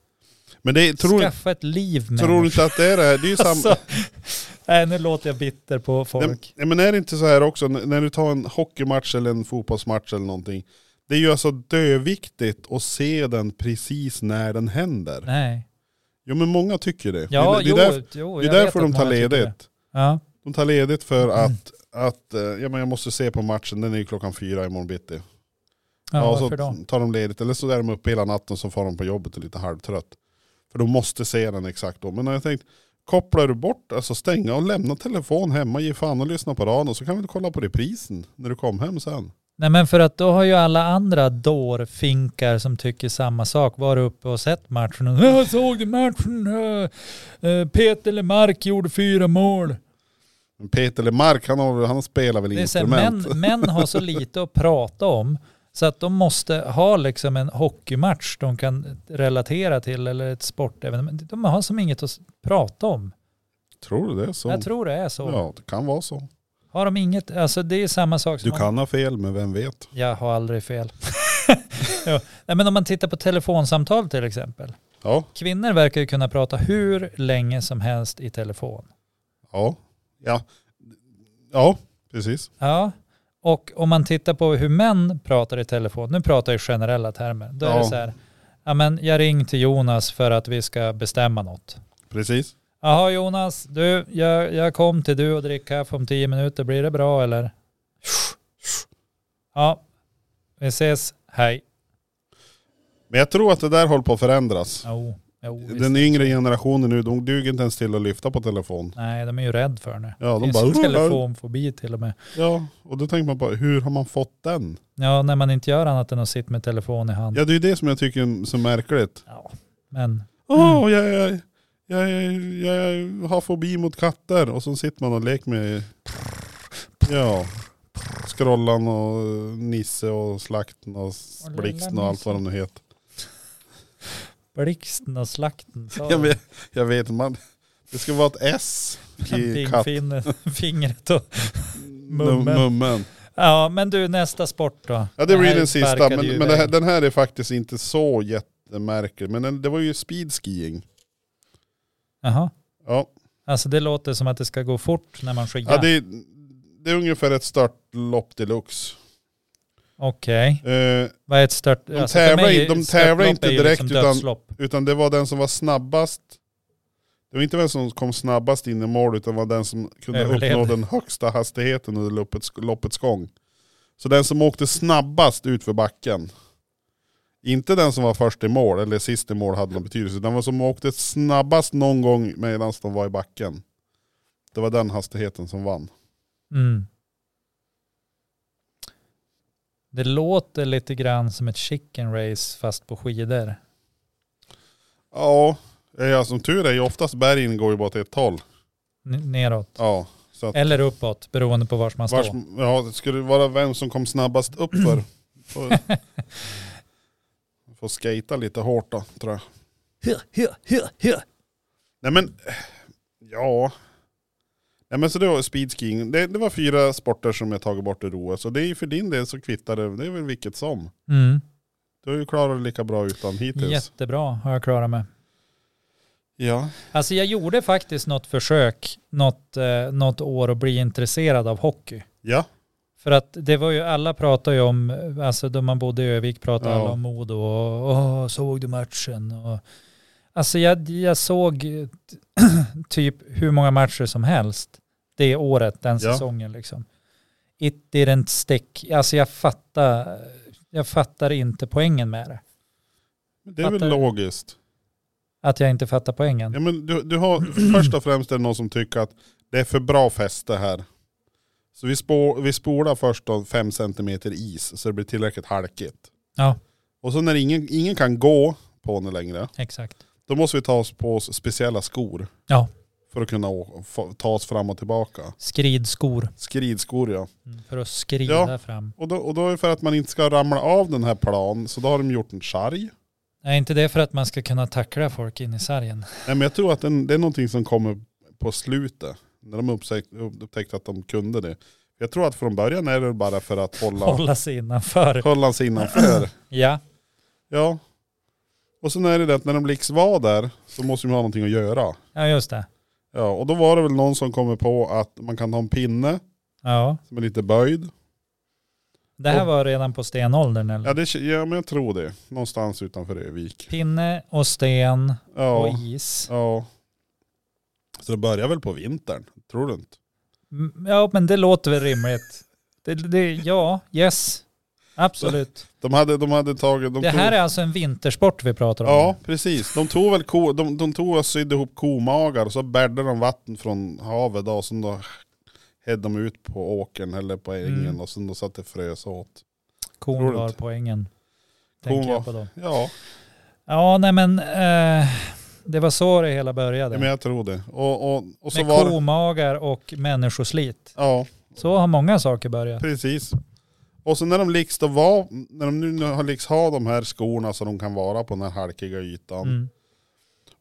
S1: Men det är, tror,
S2: Skaffa ett liv med
S1: tror du inte att det är det här? Det är ju samma.
S2: alltså, Nej, nu låter jag bitter på folk.
S1: Nej, men är det inte så här också, n- när du tar en hockeymatch eller en fotbollsmatch eller någonting. Det är ju alltså döviktigt att se den precis när den händer.
S2: Nej.
S1: Jo men många tycker det.
S2: Ja,
S1: det,
S2: jo,
S1: det är, därför,
S2: jo,
S1: det är
S2: jag vet
S1: därför
S2: att
S1: de tar
S2: många tycker det. Mm.
S1: ledigt.
S2: Ja.
S1: De tar ledigt för att, att eh, ja, men jag måste se på matchen, den är ju klockan fyra imorgon bitti.
S2: Ja,
S1: Ja, och
S2: varför då?
S1: så tar de ledigt, eller så är de uppe hela natten så får de på jobbet och är lite halvtrött. För de måste se den exakt då. Men jag tänkte, kopplar du bort, alltså stänga och lämna telefon hemma, ge fan och lyssna på radion så kan vi kolla på reprisen när du kom hem sen.
S2: Nej men för att då har ju alla andra dårfinkar som tycker samma sak varit uppe och sett matchen. Och, jag såg du matchen? Eh, eh, Peter Lemark gjorde fyra mål.
S1: Men Peter Lemark, han, har, han spelar väl
S2: Det är så här, män,
S1: instrument?
S2: män har så lite att prata om så att de måste ha liksom en hockeymatch de kan relatera till eller ett sportevenemang. De har som inget att s- prata om.
S1: Tror du det är så?
S2: Jag tror det är så.
S1: Ja, det kan vara så.
S2: Har de inget, alltså det är samma sak som
S1: Du
S2: om-
S1: kan ha fel, men vem vet?
S2: Jag har aldrig fel. ja. Nej, men om man tittar på telefonsamtal till exempel.
S1: Ja,
S2: Kvinnor verkar ju kunna prata hur länge som helst i telefon.
S1: ja, ja, ja, precis.
S2: Ja, och om man tittar på hur män pratar i telefon, nu pratar jag i generella termer, då är
S1: Ja.
S2: det så här, ja men jag ringde till Jonas för att vi ska bestämma något.
S1: Precis.
S2: Jaha Jonas, du, jag, jag kom till du och drick kaffe om tio minuter, blir det bra eller? Ja, vi ses, hej.
S1: Men jag tror att det där håller på att förändras.
S2: Jo, jo, visst.
S1: Den yngre generationen nu, de duger inte ens till att lyfta på telefon.
S2: Nej, de är ju rädda för nu.
S1: Ja,
S2: De
S1: de
S2: Finns ju
S1: bara...
S2: telefonfobi till och med.
S1: Ja, och då tänker man bara, hur har man fått den?
S2: Ja, när man inte gör annat än att sitta med telefon i hand.
S1: Ja, det är ju det som jag tycker är så märkligt.
S2: Ja, men
S1: Åh, jag, jag, jag, jag, jag har fobi mot katter. Och så sitter man och leker med... Ja. Skrollan och Nisse och Slakten och Blixten och allt vad de nu heter.
S2: blixten och slakten sa
S1: Jag
S2: de.
S1: vet, jag vet man, det ska vara ett S i katt...
S2: Dingfingret- fingret och...
S1: Mummen. mummen.
S2: Ja, men du nästa sport då.
S1: Ja det blir
S2: här
S1: den sista,
S2: sparkade ju
S1: men, men det här,
S2: iväg.
S1: den här är faktiskt inte så jättemärklig. Men den, det var ju speedskiing.
S2: Jaha,
S1: Ja.
S2: alltså det låter som att det ska gå fort när man
S1: Ja.
S2: skidar.
S1: det, är- det är ungefär ett störtlopp deluxe.
S2: Okej,
S1: Eh,
S2: vad är ett stört... alltså,
S1: De tävlar
S2: för mig
S1: in- de
S2: är
S1: tävlar
S2: störtlopp
S1: inte
S2: är ju liksom
S1: direkt, utan-
S2: dödslopp.
S1: utan det var den som var snabbast. Det var inte vem som kom snabbast in i mål utan var den som kunde
S2: Överlevde.
S1: uppnå den högsta hastigheten under loppets, loppets gång. Så den som åkte snabbast ut för backen. Inte den som var först i mål eller sist i mål hade någon betydelse. Den var som åkte snabbast någon gång medan de var i backen. Det var den hastigheten som vann.
S2: Mm. Det låter lite grann som ett chicken race fast på skidor.
S1: Ja, eh, ja som tur är ju oftast bergen går ju bara till ett håll.
S2: N- neråt.
S1: Ja, så att
S2: Eller uppåt, beroende på vars man står.
S1: Vars, ja, det skulle vara vem som kom snabbast uppför. Får, får skata lite hårt då, tror jag. Nej men, ja. Nej men så det var speedskiing. Det, det var fyra sporter som jag tagit bort ur OS. Och det är ju för din del så kvittar det, det är väl vilket som.
S2: Mm.
S1: Du har ju klarat det lika bra utan hittills.
S2: Jättebra har jag klarat mig.
S1: Ja.
S2: Alltså jag gjorde faktiskt något försök något, eh, något år att bli intresserad av hockey.
S1: Ja,
S2: För att det var ju, alla pratade ju om, eh, alltså då man bodde i Övik pratade
S1: Ja.
S2: alla om Modo och åh, såg du matchen? Och, alltså jag, jag såg eh, typ hur många matcher som helst det året, den
S1: Ja.
S2: säsongen liksom. It didn't stick. Alltså jag fattar, jag fattar inte poängen med det.
S1: men det är väl
S2: Fattar.
S1: logiskt.
S2: Att jag inte fattar poängen.
S1: Ja, men du, du har, först och främst är det någon som tycker att det är för bra fäste här. Så vi, spå, vi spolar först då 5 cm is så det blir tillräckligt halkigt.
S2: Ja.
S1: Och så när ingen, ingen kan gå pony längre.
S2: Exakt.
S1: Då måste vi ta oss på oss speciella skor.
S2: Ja.
S1: För att kunna å- få- ta oss fram och tillbaka.
S2: Skridskor
S1: Skridskor ja.
S2: mm, för att skrida fram.
S1: Och då, och då är det för att man inte ska ramla av den här plan, så då har de gjort en sarg.
S2: Är inte det för att man ska kunna tackla folk in i sargen?
S1: Nej men jag tror att den, det är någonting som kommer på slutet. När de upptäckte, upptäckte att de kunde det. Jag tror att från början är det bara för att hålla,
S2: Hålla sig innanför.
S1: hålla sig innanför.
S2: Ja,
S1: Ja. Och sen är det det att när de liksom var där så måste de ha någonting att göra.
S2: ja just det.
S1: Ja, och då var det väl någon som kommer på att man kan ha en pinne
S2: Ja.
S1: som är lite böjd.
S2: Det här
S1: Och-
S2: var redan på stenåldern eller?
S1: Ja, det, ja men jag tror det. Någonstans utanför Övik.
S2: Pinne och sten
S1: Ja.
S2: och is.
S1: Ja. Så det börjar väl på vintern, tror du inte?
S2: Mm, Ja men det låter väl rimligt. Det, det, ja, yes. Absolut.
S1: De hade, de hade tagit... De
S2: Det här
S1: tog,
S2: är alltså en vintersport vi pratar om.
S1: Ja, precis. De tog väl ko, de, de tog och sydde ihop komagar och så bäddade de vatten från havet då, och sen då hädde de ut på åkern eller på ängen
S2: Mm.
S1: och sen då satt det frös åt.
S2: Kon
S1: Roligt.
S2: var poängen.
S1: Kon
S2: Tänker
S1: var-
S2: jag på då.
S1: Ja,
S2: Ja nej men eh, det var så det hela började.
S1: ja, men jag tror det. Och, och, och så
S2: Med
S1: var
S2: komagar och människoslit.
S1: Ja,
S2: Så har många saker börjat.
S1: precis. Och så när de liks då var, när de nu har liks ha de här skorna så de kan vara på den här halkiga ytan.
S2: Mm.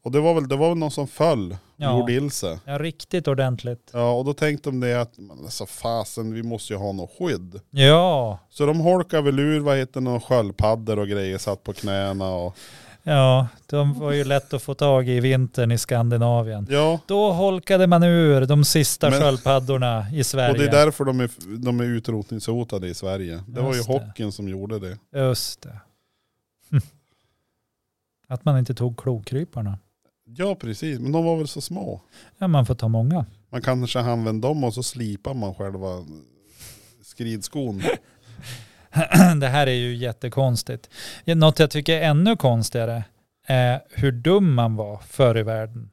S1: Och det var väl, det var väl någon som föll och
S2: Ja.
S1: gjorde illa sig.
S2: Ja, riktigt ordentligt.
S1: Ja, och då tänkte de det att, men alltså fasen, vi måste ju ha något skydd.
S2: Ja,
S1: Så de holkade väl ur, vad heter det, några sköldpaddor och grejer, satt på knäna och...
S2: ja, de var ju lätt att få tag i i vintern i Skandinavien.
S1: Ja,
S2: Då holkade man ur de sista
S1: Men-
S2: sköldpaddorna i Sverige.
S1: och det är därför de är, de är utrotningshotade i Sverige. Det var ju
S2: Just det.
S1: hockeyn som gjorde det.
S2: Just det. Hm. Att man inte tog klokryparna.
S1: Ja, precis. Men de var väl så små.
S2: Ja, man får ta många.
S1: Man kanske använder dem och så slipar man själva skridskon.
S2: det här är ju jättekonstigt. Något jag tycker är ännu konstigare är hur dum man var förr i världen.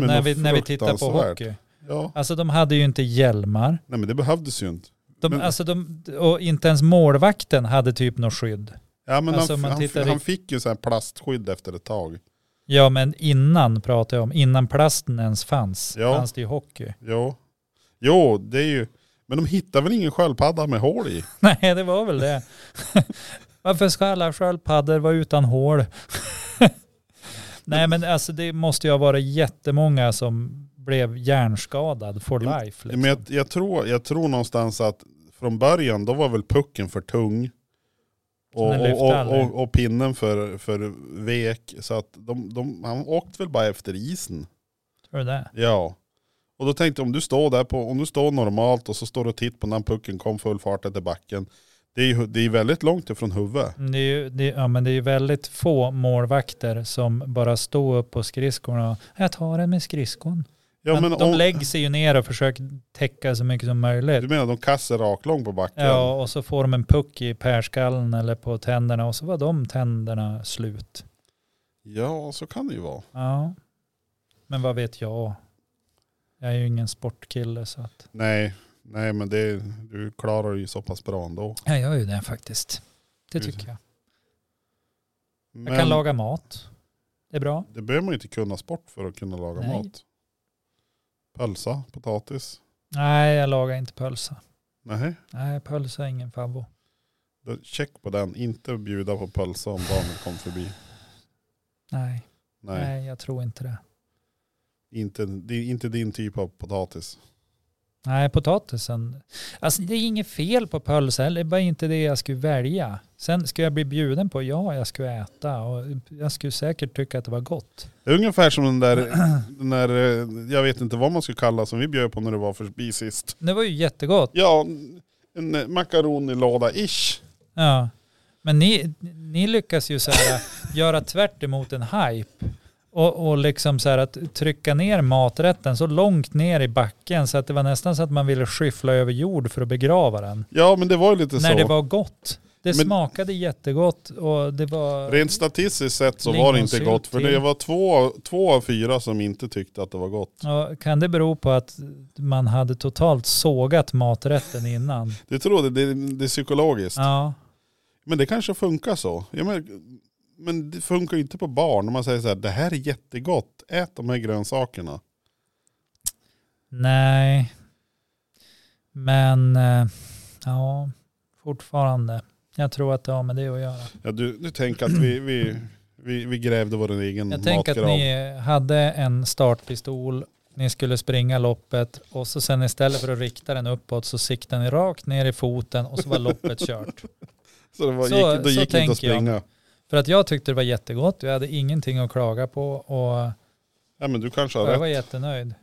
S1: Ja, men
S2: när
S1: något
S2: vi, när vi tittar på
S1: fruktansvärt.
S2: hockey.
S1: Ja,
S2: Alltså de hade ju inte hjälmar.
S1: nej men det behövdes ju inte.
S2: De,
S1: Men-
S2: alltså de, och inte ens målvakten hade typ något skydd.
S1: Ja men
S2: Alltså,
S1: han,
S2: man
S1: han,
S2: tittar i-
S1: han fick ju så här plastskydd efter ett tag.
S2: Ja men innan pratar jag om, innan plasten ens fanns,
S1: Ja.
S2: fanns det ju hockey.
S1: Jo. Jo, det är ju... Men de hittar väl ingen sköldpadda med hål i?
S2: Nej det var väl det. Varför ska alla sköldpaddor vara utan hål? Nej men alltså det måste ju ha varit jättemånga som blev hjärnskadad for
S1: Ja,
S2: life. Liksom.
S1: Men jag, jag, tror, jag tror någonstans att från början då var väl pucken för tung.
S2: Så
S1: Och,
S2: den lyfte
S1: och, och,
S2: aldrig.
S1: och, och pinnen för, för vek. Så att de, de, han åkte väl bara efter isen.
S2: Tror du det?
S1: Ja. Och då tänkte jag om du står där på, om du står normalt och så står du och tittar på när pucken kom full fart efter backen. Det är ju det är väldigt långt ifrån huvudet.
S2: Mm, Det är ju, det, ja, men det är ju väldigt få målvakter som bara står upp på skridskorna och jag tar den med skridskon.
S1: Ja,
S2: men
S1: men
S2: de
S1: om,
S2: lägger sig ju ner och försöker täcka så mycket som möjligt.
S1: du menar de kastar raklång på backen?
S2: Ja, och så får de en puck i pärskallen eller på tänderna och så var de tänderna slut.
S1: ja, så kan det ju vara.
S2: Ja. Men vad vet jag? Jag är ju ingen sportkille så att...
S1: Nej, nej men det, du klarar ju så pass bra ändå.
S2: Ja, jag är ju det faktiskt. Det
S1: Just
S2: tycker jag.
S1: Men,
S2: Jag kan laga mat. Det är bra.
S1: Det behöver man ju inte kunna sport för att kunna laga
S2: Nej.
S1: mat. Pölsa, potatis.
S2: Nej, jag lagar inte pölsa.
S1: Nej,
S2: Nej, pölsa är ingen favvo.
S1: då check på den. Inte bjuda på pölsa om barnen kom förbi.
S2: Nej,
S1: Nej,
S2: nej. jag tror inte det.
S1: Inte, det är inte din typ av potatis.
S2: Nej, potatisen. Alltså det är inget fel på pölsa heller, det är bara inte det jag skulle välja. Sen skulle jag bli bjuden på, ja jag skulle äta och jag skulle säkert tycka att det var gott.
S1: Det är ungefär som den där, den där, eh, jag vet inte vad man ska kalla som vi bjöd på när du var förbi sist.
S2: Det var ju jättegott.
S1: Ja, en eh, makaronilåda-ish.
S2: Ja. Men ni, ni lyckas ju så här göra tvärt emot en hype. Och, och liksom så här att trycka ner maträtten så långt ner i backen så att det var nästan så att man ville skyffla över jord för att begrava den.
S1: Ja men det var ju lite
S2: När
S1: så.
S2: det var gott. Det
S1: Men-
S2: smakade jättegott och det var...
S1: Rent statistiskt sett så var det inte
S2: Lingonsylt
S1: gott. För det
S2: till.
S1: var två, två av fyra som inte tyckte att det var gott.
S2: Ja, kan det bero på att man hade totalt sågat maträtten innan?
S1: Det tror jag, det, det är psykologiskt.
S2: Ja,
S1: Men det kanske funkar så. Jag men, men det funkar ju inte på barn. Om man säger så här, det här är jättegott, ät de här grönsakerna.
S2: Nej. Men eh, ja, fortfarande. Jag tror att det har med det att göra.
S1: Ja, du, du tänker att vi, vi, vi, vi grävde vår egen
S2: Jag tänker att
S1: matgrav.
S2: ni hade en startpistol, ni skulle springa loppet och så sen istället för att rikta den uppåt så siktade ni rakt ner i foten och så var loppet kört.
S1: Så det var,
S2: Så-
S1: gick, då
S2: så
S1: gick det inte att
S2: tänker jag.
S1: springa.
S2: För att jag tyckte det var jättegott, jag hade ingenting att klaga på och
S1: Ja, men du kanske har
S2: jag
S1: rätt.
S2: var jättenöjd.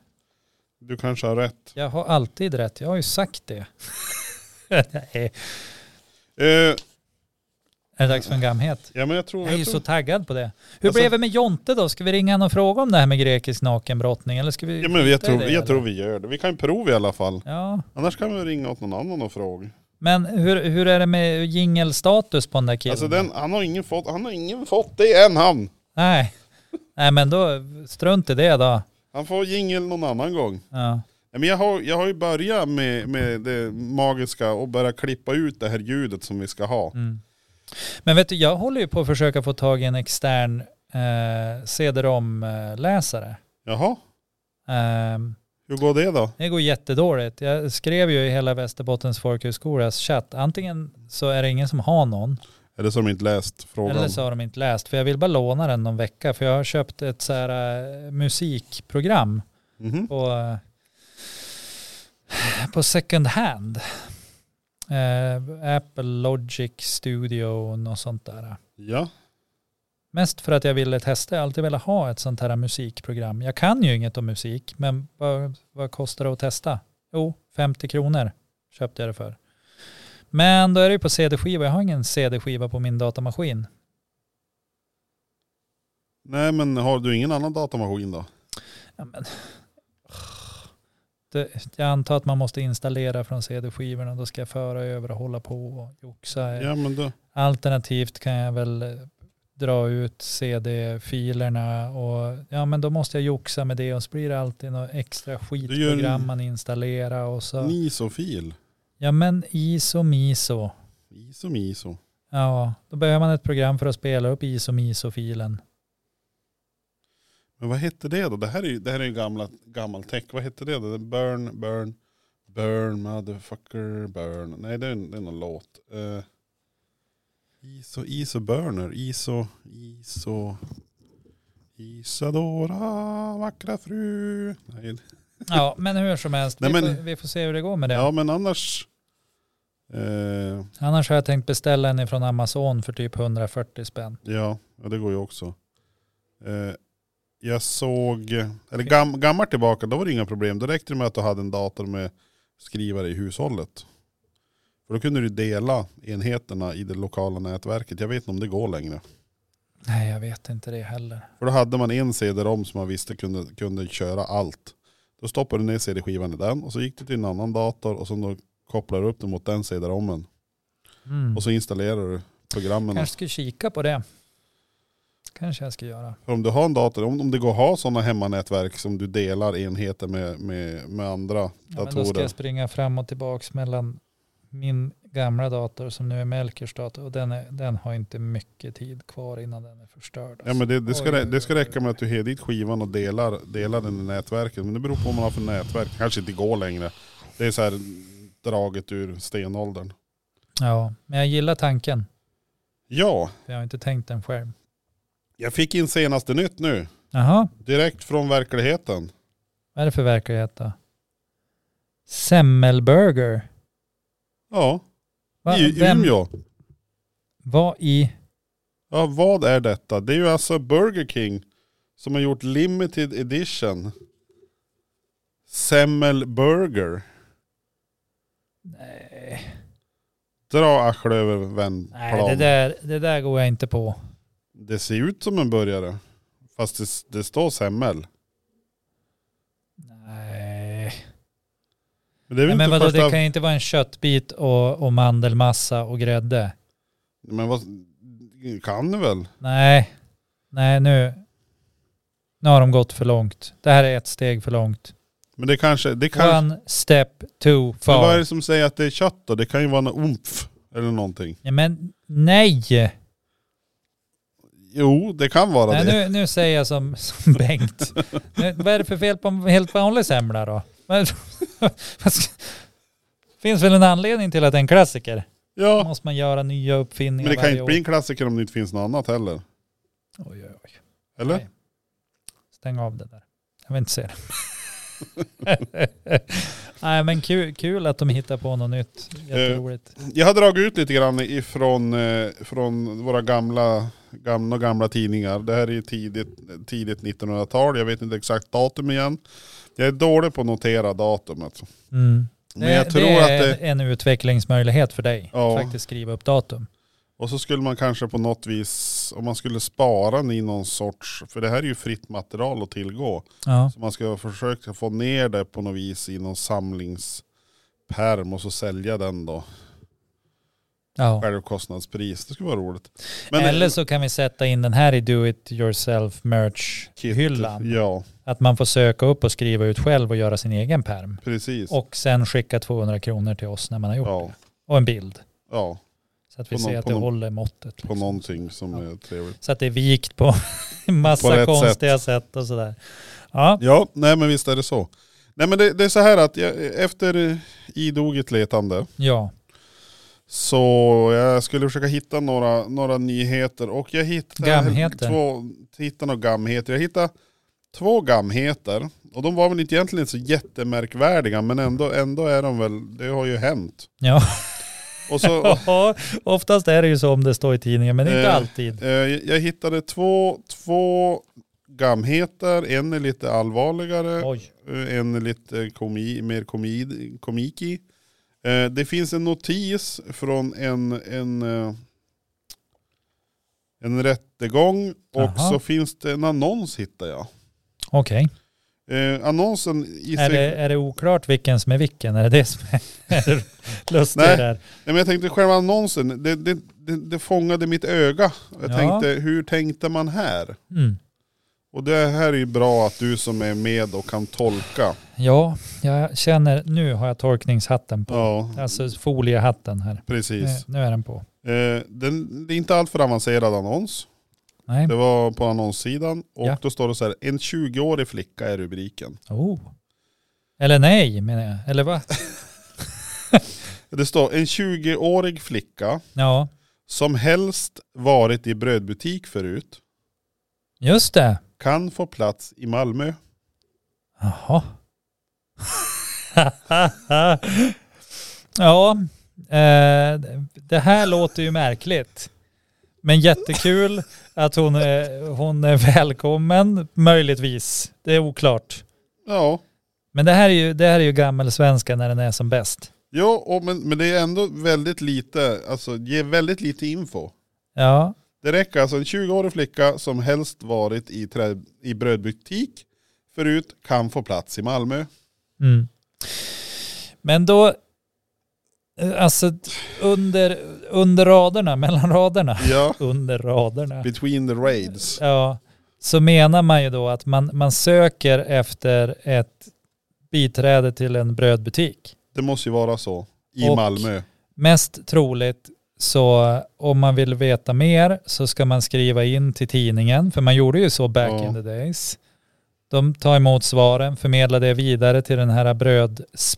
S1: Du kanske har rätt.
S2: Jag har alltid rätt, jag har ju sagt det. Nej,
S1: Eh,
S2: är det dags för en gamhet?
S1: ja, men jag tror...
S2: Jag är ju
S1: Jag
S2: så
S1: tror
S2: taggad på det. Hur
S1: Alltså-
S2: blev det med Jonte då? Ska vi ringa honom och fråga om det här med grekisk nakenbrottning? Eller ska vi...
S1: ja, men jag, tror,
S2: det,
S1: jag
S2: eller?
S1: tror vi gör det. Vi kan ju prova i alla fall.
S2: Ja.
S1: Annars kan vi ringa åt någon annan och fråga.
S2: Men hur, hur är det med jingelstatus på den där killen?
S1: Alltså den, han, har ingen fått, han har ingen fått det än han.
S2: Nej. Nej men då strunt i det då.
S1: Han får jingel någon annan gång.
S2: Ja.
S1: Nej, Men jag, har, jag har ju börjat med, med det magiska och börja klippa ut det här ljudet som vi ska ha.
S2: Mm. Men vet du, jag håller ju på att försöka få tag i en extern eh, cd-rom-läsare.
S1: Jaha,
S2: Ehm,
S1: hur går det då?
S2: det går jättedåligt. Jag skrev ju i hela Västerbottens folkhögskolas chatt. Antingen så är det ingen som har någon,
S1: Eller så har de inte läst frågan.
S2: eller så har de inte läst. För jag vill bara låna den någon vecka. För jag har köpt ett så här eh, musikprogram
S1: Mhm.
S2: på, eh, på second hand. Eh, Apple Logic Studio och något sånt där.
S1: Ja,
S2: Mest för att jag ville testa, jag har alltid velat ha ett sånt här musikprogram. Jag kan ju inget om musik, men vad, vad kostar det att testa? Jo, 50 kronor köpte jag det för. Men då är det ju på CD-skiva, jag har ingen CD-skiva på min datamaskin.
S1: nej men har du ingen annan datamaskin då?
S2: Ja, men. Det, jag antar att man måste installera från CD-skivorna, då ska jag föra över och hålla på och joxa.
S1: Ja men då,
S2: Alternativt kan jag väl eh, dra ut CD-filerna och ja men då måste jag joxa med det och så blir det alltid något extra skitprogram man installerar och så.
S1: nisofil.
S2: Ja men ISO MISO.
S1: Iso miso.
S2: Ja, då behöver man ett program för att spela upp ISO MISO-filen.
S1: Men vad hette det då? Det här är ju, det här är ju gamla, gammal tech. Vad hette det då? Det är Burn, burn, burn, motherfucker, burn. Nej det är, en- det är någon låt. Eh, iso, iso burner, iso, iso. Isadora, vackra fru. Nej,
S2: Ja men hur som helst,
S1: Nej,
S2: vi,
S1: men-
S2: får, vi får se hur det går med det.
S1: ja men annars. Eh,
S2: Annars har jag tänkt beställa en från Amazon för typ 140 spänn.
S1: Ja, ja det går ju också. Eh, jag såg, eller gam, gammalt tillbaka, då var det inga problem. Då räckte det med att du hade en dator med skrivare i hushållet. För då kunde du dela enheterna i det lokala nätverket. Jag vet inte om det går längre.
S2: Nej jag vet inte det heller.
S1: För då hade man en CD-ROM som man visste kunde, kunde köra allt. Då stoppade du ner CD-skivan i den och så gick du till en annan dator och så då kopplar du upp den mot den CD-ROMen.
S2: Mm.
S1: Och så installerar du programmen.
S2: Kanske ska kika på det. Kanske jag ska göra.
S1: För om du har en dator, om, om det går att ha sådana hemmanätverk som du delar enheter med, med, med andra
S2: Ja, men då ska
S1: datorer.
S2: jag springa fram och tillbaks mellan min gamla dator som nu är Melkers dator och den, är, den har inte mycket tid kvar innan den är förstörd. alltså.
S1: Ja, men det, det, ska,
S2: Oj,
S1: rä-
S2: oj,
S1: det ska
S2: oj.
S1: räcka med att du har dit skivan och delar, delar den i nätverket. Men det beror på vad man har för nätverk. Kanske inte går längre. Det är så här draget ur stenåldern.
S2: ja, men jag gillar tanken.
S1: Ja,
S2: för Jag har inte tänkt den själv.
S1: jag fick in senaste nytt nu.
S2: Jaha,
S1: Direkt från verkligheten.
S2: vad är det för verklighet då? Semmelburger.
S1: Ja,
S2: Va,
S1: i
S2: vem-
S1: Umeå.
S2: Vad i?
S1: Ja, vad är detta? Det är ju alltså Burger King som har gjort limited edition. Semmelburger.
S2: Nej,
S1: Dra arslet över vändplan.
S2: Nej det, där, det där går jag inte på.
S1: Det ser ut som en burgare. Fast det, det står semmel.
S2: Nej.
S1: Men det är väl
S2: Nej, men
S1: inte
S2: vadå,
S1: första...
S2: det kan ju inte vara en köttbit och, och mandelmassa och grädde.
S1: Men vad... Kan det väl?
S2: Nej, nej nu. Nu har de gått för långt. Det här är ett steg för långt.
S1: Men det kanske... Det kan... Men
S2: One step too far.
S1: vad är det som säger att det är kött då? Det kan ju vara en umf eller någonting.
S2: ja, men nej!
S1: Jo, det kan vara
S2: Nej,
S1: det.
S2: nu, nu säger jag som, som Bengt. nu, vad är det för fel på en helt vanlig semla då? Men- vad ska- finns väl en anledning till att det är en klassiker? Då
S1: Ja,
S2: måste man göra nya
S1: men
S2: uppfinningar
S1: det kan
S2: varje
S1: inte
S2: år.
S1: bli en klassiker om det inte finns något annat heller.
S2: Oj, oj, oj.
S1: Eller?
S2: Nej. Stäng av det där. Jag vill inte se det. Nej men kul, kul att de hittar på något nytt.
S1: Eh.
S2: Jätteroligt.
S1: Jag har dragit ut lite grann ifrån eh, från våra gamla, gamla, gamla tidningar. Det här är ju tidigt, tidigt 1900-tal. Jag vet inte exakt datum igen. Jag är dålig på att notera datum. Alltså.
S2: Mm.
S1: Men jag
S2: det,
S1: tror
S2: det
S1: att
S2: är
S1: det...
S2: en utvecklingsmöjlighet för dig.
S1: Ja.
S2: Faktiskt skriva upp datum.
S1: Och så skulle man kanske på något vis, om man skulle spara den i någon sorts, för det här är ju fritt material att tillgå.
S2: Ja.
S1: Så man ska försöka få ner det på något vis i någon samlingspärm och så sälja den då.
S2: ja.
S1: Självkostnadspris, det skulle vara roligt.
S2: Eller så kan vi sätta in den här i do it yourself
S1: Kit-
S2: merch-hyllan.
S1: Ja,
S2: Att man får söka upp och skriva ut själv och göra sin egen perm.
S1: precis.
S2: Och sen skicka 200 kronor till oss när man har gjort
S1: Ja,
S2: Och en bild.
S1: ja,
S2: Så att vi
S1: På
S2: ser
S1: någon-
S2: att
S1: på
S2: det
S1: någon-
S2: håller måttet.
S1: på
S2: liksom.
S1: någonting som
S2: Ja.
S1: är trevligt.
S2: Så att det är vikt på massa
S1: På rätt
S2: konstiga sätt. och sådär. Ja,
S1: Ja, nej men visst är det så. Nej men det, det är så här att jag, efter idoget letande
S2: ja.
S1: Så jag skulle försöka hitta några, några nyheter och jag hittade
S2: Gamheter.
S1: två hittade några gamheter. Jag hittade två gamheter och de var väl inte egentligen så jättemärkvärdiga men ändå, ändå är de väl, det har ju hänt.
S2: ja.
S1: Och så,
S2: Oftast är det ju så om det står i tidningen, men inte
S1: Eh,
S2: alltid.
S1: eh, jag hittade två, två gamheter, en är lite allvarligare
S2: Oj.
S1: Eh, en är lite komi, mer komid, komik i. Eh, det finns en notis från en, en, eh, en rättegång och
S2: Jaha.
S1: så finns det en annons hittar jag.
S2: Okej.
S1: Eh, annonsen i
S2: Är,
S1: sig...
S2: det, är det oklart vilken som är vilken? Är det det som är är lustigt
S1: Nej.
S2: där?
S1: Nej, men jag tänkte själva annonsen, det, det, det, det fångade mitt öga. Jag
S2: Ja.
S1: tänkte, hur tänkte man här?
S2: Mm.
S1: Och det här är ju bra att du som är med och kan tolka.
S2: Ja, jag känner, nu har jag torkningshatten på.
S1: Ja,
S2: Alltså foliehatten här.
S1: precis.
S2: Nu, nu är den på.
S1: Eh, den, det är inte alltför avancerad annons.
S2: Nej.
S1: Det var på annonssidan och
S2: Ja.
S1: då står det så här, en 20-årig flicka är rubriken.
S2: Oh. Eller nej menar jag. Eller va?
S1: Det står en 20-årig flicka
S2: Ja,
S1: som helst varit i brödbutik förut
S2: just det.
S1: kan få plats i Malmö.
S2: Jaha. ja, eh, det här låter ju märkligt. Men jättekul att hon är, hon är välkommen, möjligtvis. Det är oklart.
S1: Ja,
S2: Men det här är ju, det här är ju gammelsvenska när den är som bäst.
S1: ja och men, men det är ändå väldigt lite, alltså ger väldigt lite info.
S2: Ja,
S1: Det räcker alltså en 20-årig flicka som helst varit i, trä, i brödbutik förut kan få plats i Malmö.
S2: Mm. Men då, eh, alltså under, under raderna, mellan raderna,
S1: Ja,
S2: under raderna,
S1: between the raids.
S2: ja, så menar man ju då att man, man söker efter ett biträde till en brödbutik.
S1: Det måste ju vara så. I
S2: Och-
S1: Malmö.
S2: Mest troligt så om man vill veta mer så ska man skriva in till tidningen, för man gjorde ju så back
S1: Ja.
S2: in the days. De tar emot svaren, förmedlar det vidare till den här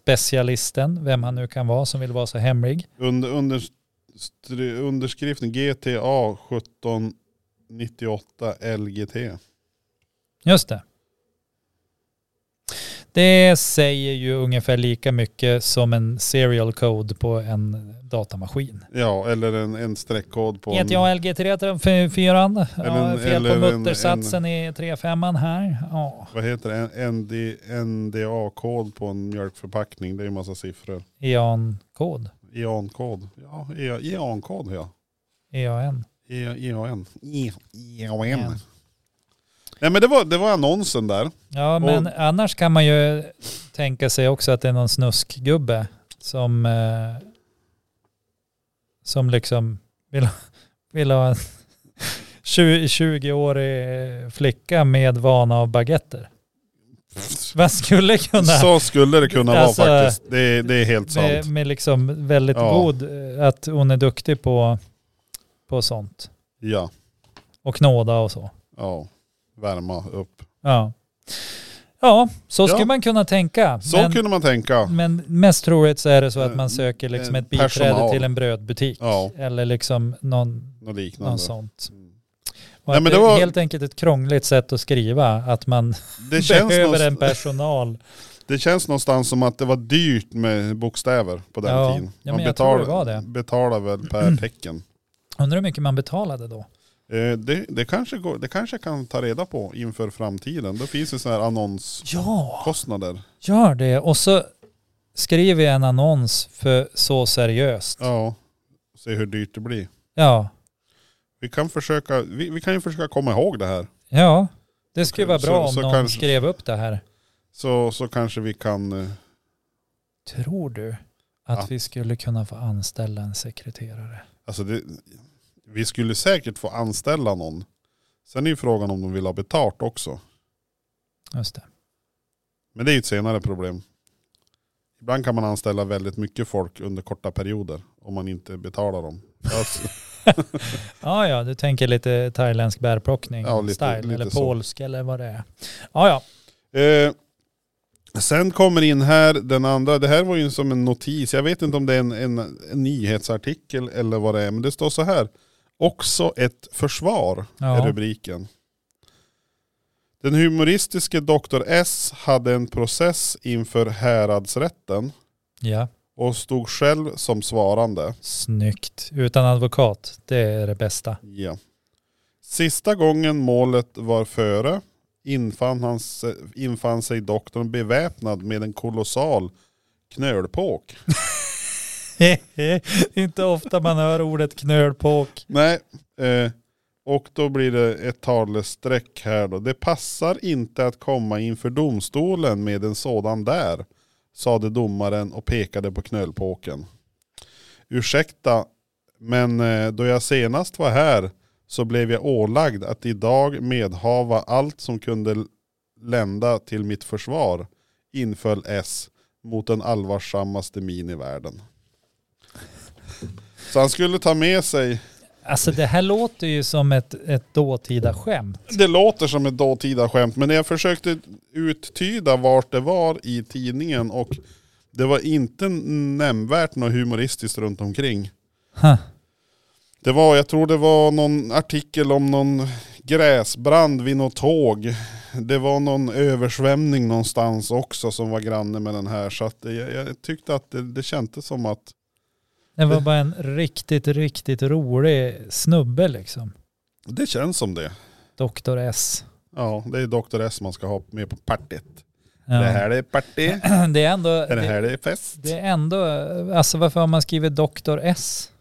S2: brödspecialisten, vem han nu kan vara som vill vara så hemlig.
S1: Under, under, stri- underskriften GTA 1798 LGT.
S2: Just det. Det säger ju ungefär lika mycket som en serial code på en datamaskin.
S1: Ja, eller en, en streckkod på en...
S2: GTA LG 334,
S1: Eller
S2: ja,
S1: en-
S2: fel på
S1: eller en-
S2: muttersatsen i 35 här. Ja.
S1: Vad heter det? En ND, NDA-kod på en mjölkförpackning. Det är ju massa siffror.
S2: EAN-kod.
S1: EAN-kod. Ja, E- EAN-kod ja.
S2: EAN.
S1: E- EAN. E- EAN.
S2: EAN.
S1: Nej men det var, det var annonsen där.
S2: Ja, men annars kan man ju tänka sig också att det är någon snuskgubbe som, eh, som liksom vill, vill ha en 20 20-årig flicka med vana av baguetter. Vad skulle kunna...
S1: Så skulle det kunna vara
S2: Alltså,
S1: faktiskt. Det, är- det är helt sant.
S2: med, med liksom väldigt
S1: Ja.
S2: god, eh, att hon är duktig på, på sånt.
S1: Ja.
S2: Och knåda och så.
S1: Ja, värma upp.
S2: Ja, ja så skulle
S1: Ja.
S2: man kunna tänka.
S1: Så
S2: men,
S1: kunde man tänka.
S2: men mest troligt så är det så att man
S1: Eh,
S2: söker liksom
S1: en
S2: ett biträde
S1: personal.
S2: till en brödbutik.
S1: Ja.
S2: Eller liksom någon,
S1: Något liknande.
S2: någon sånt.
S1: Mm.
S2: Och
S1: Nej,
S2: att
S1: men
S2: det
S1: det
S2: är
S1: var-
S2: helt enkelt ett krångligt sätt att skriva att man
S1: Det, känns
S2: behöver en
S1: någonstans,
S2: personal.
S1: det känns någonstans som att det var dyrt med bokstäver på den
S2: Ja.
S1: tiden.
S2: Ja, men jag tror det var det. Mm.
S1: betalade väl per tecken.
S2: Undrar hur mycket man betalade då?
S1: Eh, det, det, kanske går, det kanske jag kan ta reda på inför framtiden. Då finns det sådana här annonskostnader.
S2: Ja, gör det. Och så skriver jag en annons för så seriöst.
S1: Ja, se hur dyrt det blir.
S2: Ja,
S1: Vi kan, försöka, vi, vi kan ju försöka komma ihåg det här.
S2: ja. det skulle vara
S1: Så-
S2: bra om
S1: så
S2: någon
S1: kanske-
S2: skrev upp det här.
S1: Så, så kanske vi kan... eh,
S2: Tror du att
S1: Ja.
S2: vi skulle kunna få anställa en sekreterare?
S1: Alltså det, vi skulle säkert få anställa någon. Sen är ju frågan om de vill ha betalt också.
S2: Just det.
S1: Men det är ju ett senare problem. Ibland kan man anställa väldigt mycket folk under korta perioder om man inte betalar dem. Alltså,
S2: Ja, ja, du tänker lite thailändsk bärplockning
S1: Ja, lite-
S2: style,
S1: lite
S2: eller
S1: så.
S2: polsk eller vad det är. Ja, ja.
S1: eh, sen kommer in här den andra, det här var ju som en notis, jag vet inte om det är en, en, en nyhetsartikel eller vad det är, men det står så här. Också ett försvar. är
S2: ja.
S1: rubriken. Den humoristiske Dr. S hade en process inför häradsrätten
S2: ja.
S1: och stod själv som svarande.
S2: Snyggt. Utan advokat, det är det bästa.
S1: Ja. Sista gången målet var före infann, han, se- infann sig doktorn beväpnad med en kolossal knölpåk.
S2: Inte ofta man hör ordet knölpåk.
S1: Nej, eh, och då blir det ett talestreck här då. Det passar inte att komma inför domstolen med en sådan där, sade domaren och pekade på knölpåken. Ursäkta, men eh, då jag senast var här så blev jag ålagd att idag medhava allt som kunde l- lända till mitt försvar, inföll S mot den allvarsammaste min i världen. Så han skulle ta med sig
S2: Alltså det här låter ju som ett, ett dåtida skämt.
S1: Det låter som ett dåtida skämt, men jag försökte uttyda vart det var i tidningen och det var inte nämnvärt något humoristiskt runt omkring.
S2: Huh.
S1: Det var, jag tror det var någon artikel om någon gräsbrand vid något tåg. Det var någon översvämning någonstans också som var granne med den här. Så att det- jag, jag tyckte att det, det kändes som att
S2: Det var bara en riktigt, riktigt rolig snubbe liksom.
S1: det känns som det.
S2: Doktor S.
S1: Ja, det är Dr. S man ska ha med på partiet.
S2: Ja.
S1: Det här är party,
S2: det är ändå...
S1: det
S2: Det,
S1: här är fest.
S2: det är ändå... Alltså varför har man skrivit Doktor S?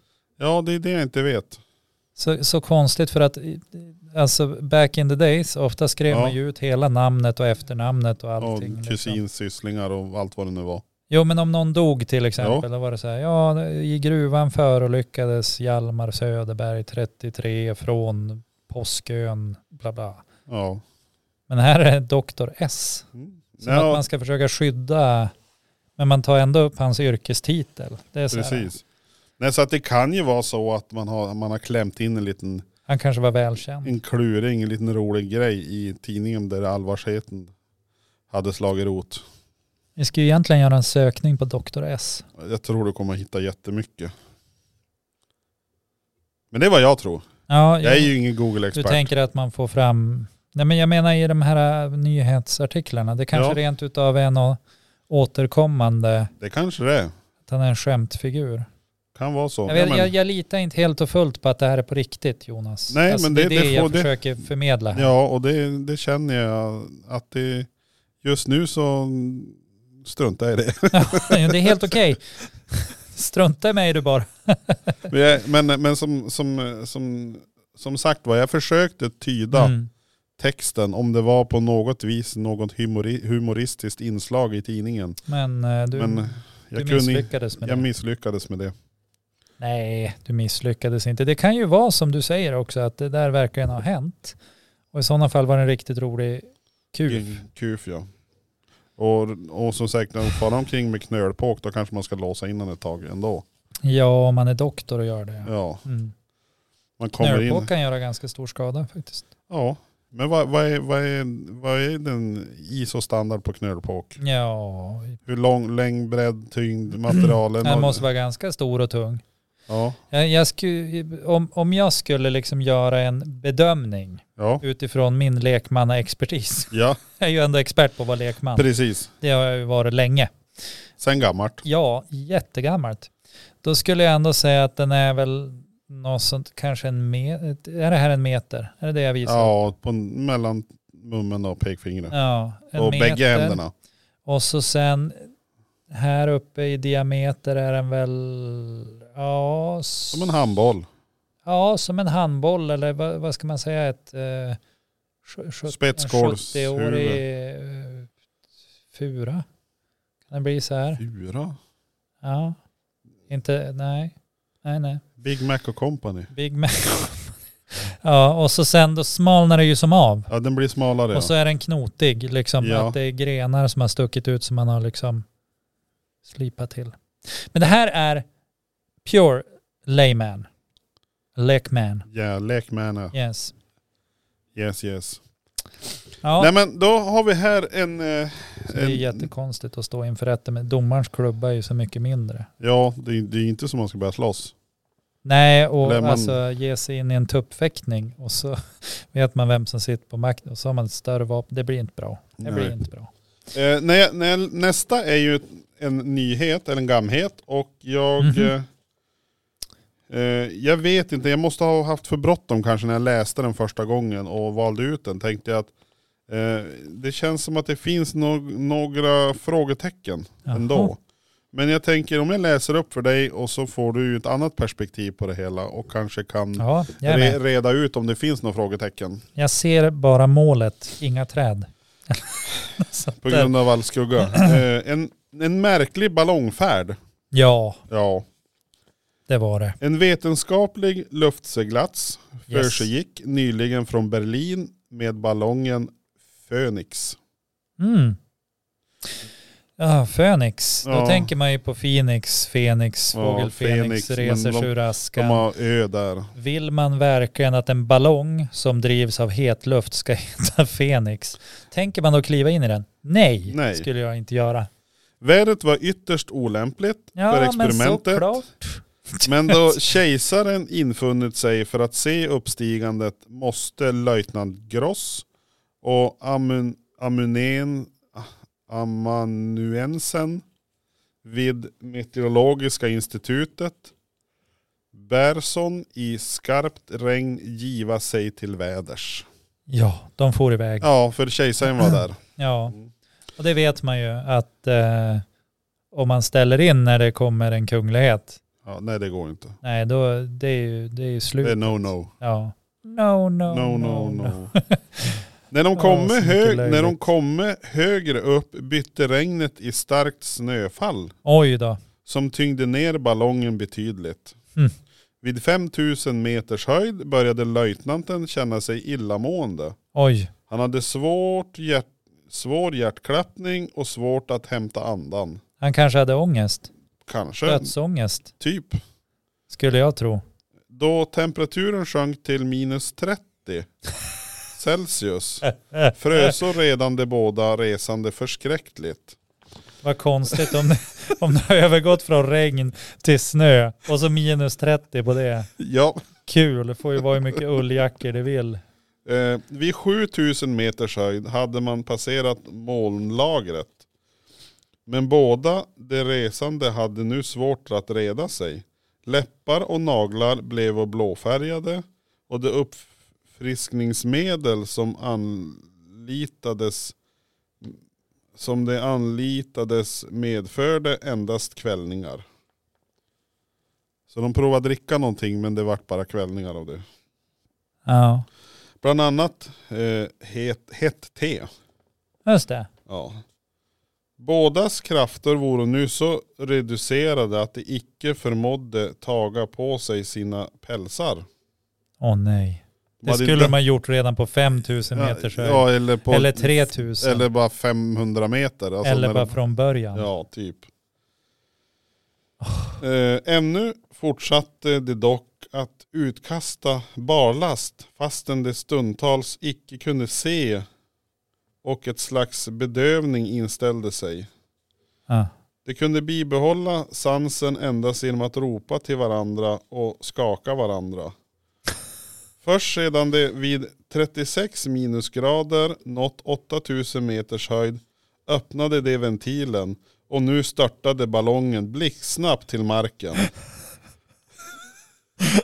S1: Ja, det är det jag inte vet.
S2: Så, så konstigt för att i- alltså back in the days, ofta skrev
S1: Ja.
S2: man ju ut hela namnet och efternamnet och
S1: Ja,
S2: allting. liksom.
S1: kusinsysslingar och allt vad det nu var.
S2: Jo men om någon dog till exempel, då var det så här, ja i gruvan förolyckades Hjalmar Söderberg 33 från Påskön, bla bla.
S1: Ja.
S2: Men här är Doktor S. Som att
S1: Mm. Ja,
S2: man ska försöka skydda, men man tar ändå upp hans yrkestitel. Det är så här,
S1: precis. Nej, så att det kan ju vara så att man har, man har klämt in en liten
S2: han kanske var välkänd.
S1: en kluring, en liten rolig grej i tidningen där allvarsheten hade slagit rot.
S2: Vi ska ju egentligen göra en sökning på Doktor S.
S1: Jag tror du kommer hitta jättemycket. Men det är vad jag tror.
S2: Ja,
S1: Jag är
S2: jo,
S1: ju ingen
S2: du
S1: Google-expert.
S2: tänker att man får fram, nej men jag menar i de här äh, nyhetsartiklarna, det kanske
S1: Ja.
S2: rent utav är något återkommande,
S1: Det kanske det är.
S2: att han är en skämtfigur.
S1: Kan vara så.
S2: Jag, vet,
S1: ja, men,
S2: jag, jag litar inte helt och fullt på att det här är på riktigt Jonas. Alltså,
S1: Nej, men
S2: det är
S1: det-
S2: det,
S1: det
S2: jag
S1: får- det-
S2: försöker förmedla här.
S1: ja och det, det känner jag att det just nu så struntar jag i det.
S2: Ja. det är helt okej. Strunta i mig du bara.
S1: Men, jag, men, men som, som, som, som sagt var, jag försökte tyda
S2: Mm.
S1: texten om det var på något vis något humori, humoristiskt inslag i tidningen.
S2: Men eh, du,
S1: Men
S2: du
S1: jag, kunde,
S2: misslyckades med
S1: jag
S2: det.
S1: misslyckades med det.
S2: Nej, du misslyckades inte. Det kan ju vara som du säger också att det där verkligen har hänt. Och i sådana fall var det en riktigt rolig kuf.
S1: Kuf ja. Och, och som sagt, när de far omkring med knölpåk då kanske man ska låsa in den ett tag ändå.
S2: Ja, om man är doktor och gör det.
S1: Ja.
S2: Mm.
S1: Man kommer
S2: Nölpå
S1: in.
S2: kan göra ganska stor skada faktiskt.
S1: Ja. Men vad, vad, är, vad, är, vad är den ISO-standard på knölpåk?
S2: Ja,
S1: Hur lång, längd, bredd, tyngd, materialen?
S2: den
S1: och-
S2: måste vara ganska stor och tung.
S1: Ja,
S2: Jag, jag sku, om, om jag skulle liksom göra en bedömning
S1: ja,
S2: utifrån min lekmannaexpertis.
S1: ja,
S2: Jag är ju ändå expert på att vara lekman.
S1: precis.
S2: Det har jag ju varit länge.
S1: Sen gammalt.
S2: Ja, jättegammalt. Då skulle jag ändå säga att den är väl något sånt, kanske en meter. Är det här en meter? Är det det jag visar?
S1: Ja, på, mellan mummen och pekfingret.
S2: ja en
S1: och
S2: meter.
S1: bägge händerna.
S2: Och så sen här uppe i diameter är den väl, ja, s-
S1: Som en handboll.
S2: ja, som en handboll eller vad, vad ska man säga, ett eh, sj- sjut- en
S1: Spetskålshuvud.
S2: 70-årig eh, fura. Kan det bli så här?
S1: Fyra.
S2: Ja, inte, nej, nej, nej.
S1: Big Mac och Company.
S2: Big Mac. ja, och så sen då smalnar det ju som av.
S1: Ja, den blir smalare.
S2: Och så
S1: ja.
S2: är den knotig, liksom
S1: Ja.
S2: att det är grenar som har stuckit ut som man har liksom slipat till. Men det här är pure layman. Lekman.
S1: Ja, lekmänna.
S2: Yes.
S1: Yes, yes.
S2: Ja,
S1: Nej men då har vi här en... eh,
S2: så det är
S1: en-
S2: jättekonstigt att stå inför rätten, men domarens klubba är ju så mycket mindre.
S1: Ja, det, är- det är inte som man ska börja slåss.
S2: Nej, och
S1: Eller man-
S2: alltså ge sig in i en tuppfäktning och så vet man vem som sitter på makten och så har man ett större vapen. Det blir inte bra. Det blir
S1: Nej.
S2: inte bra.
S1: Eh, nej, nej, nästa är ju en nyhet, eller en gamhet. Och jag...
S2: Mhm.
S1: eh, Eh, jag vet inte, jag måste ha haft för bråttom kanske när jag läste den första gången och valde ut den. Tänkte jag att eh, det känns som att det finns nog- några frågetecken
S2: Jaha.
S1: ändå. Men jag tänker om jag läser upp för dig och så får du ju ett annat perspektiv på det hela och kanske kan
S2: Ja, jag är
S1: re-
S2: med.
S1: reda ut om det finns några frågetecken.
S2: Jag ser bara målet, inga träd. Så att,
S1: På grund av all skugga. Eh, en, en märklig ballongfärd.
S2: Ja,
S1: Ja.
S2: det var det.
S1: En vetenskaplig luftseglats
S2: Yes.
S1: försiggick nyligen från Berlin med ballongen Phoenix.
S2: Mm. Ja, Phoenix. Då
S1: Ja.
S2: tänker man ju på Phoenix, Fenix,
S1: Ja,
S2: fågel Fenix,
S1: Fenix, men
S2: reser sig
S1: de-
S2: ur
S1: De
S2: askan.
S1: har ö där.
S2: Vill man verkligen att en ballong som drivs av hetluft ska heta Fenix? Tänker man då kliva in i den? Nej,
S1: Nej.
S2: skulle jag inte göra.
S1: Vädret var ytterst olämpligt för
S2: Ja, men
S1: experimentet.
S2: såklart.
S1: Men då kejsaren infunnit sig för att se uppstigandet måste löjtnant Gross och Amun, Amunen, Amanuensen vid Meteorologiska institutet Berson i skarpt regn giva sig till väders.
S2: Ja, de får iväg. Ja.
S1: Ja, för kejsaren var där. Mm.
S2: Och det vet man ju att eh, om man ställer in när det kommer en kunglighet,
S1: Ja, nej det går inte.
S2: nej då det är ju, det är ju slut.
S1: Det är no-no.
S2: Ja. No, no,
S1: No, no, no. när, de
S2: Ja,
S1: kommer
S2: så mycket
S1: hög, när de
S2: löjligt.
S1: kommer högre upp bytte regnet i starkt snöfall
S2: Oj då.
S1: som tyngde ner ballongen betydligt.
S2: Mm.
S1: Vid 5000 meters höjd började löjtnanten känna sig illamående.
S2: Oj.
S1: Han hade svårt hjärt, svår hjärtklappning och svårt att hämta andan.
S2: Han kanske hade ångest.
S1: Kanske,
S2: Dödsångest,
S1: typ.
S2: skulle jag tro.
S1: Då temperaturen sjönk till minus 30 Celsius frösor redan de båda resande förskräckligt.
S2: Vad konstigt om det, om det har övergått från regn till snö och så minus 30 på det.
S1: Ja,
S2: Kul, det får ju vara hur mycket ulljackor det vill.
S1: eh, vid 7000 meters höjd hade man passerat molnlagret. Men båda de resande hade nu svårt att reda sig. Läppar och naglar blev blåfärgade och det uppfriskningsmedel som anlitades som det anlitades medförde endast kvällningar. Så de provade att dricka någonting men det vart bara kvällningar av det.
S2: Ja,
S1: Bland annat eh, het, hett te.
S2: just det.
S1: Ja. Bådas krafter vore nu så reducerade att de icke förmådde taga på sig sina pälsar.
S2: Åh nej. Det
S1: Hade
S2: skulle
S1: inte-
S2: de ha gjort redan på 5000 meters höjd.
S1: Ja, eller, på,
S2: eller 3000. Eller,
S1: Eller bara 500 meter. Alltså när
S2: bara
S1: de-
S2: från början.
S1: Ja, typ. Eh, ännu fortsatte det dock att utkasta barlast fastän de stundtals icke kunde se och ett slags bedövning inställde sig.
S2: Ja.
S1: De kunde bibehålla sansen endast genom att ropa till varandra och skaka varandra. Först sedan de vid 36 minusgrader nått 8000 meters höjd öppnade de ventilen och nu störtade ballongen blixtsnabbt till marken.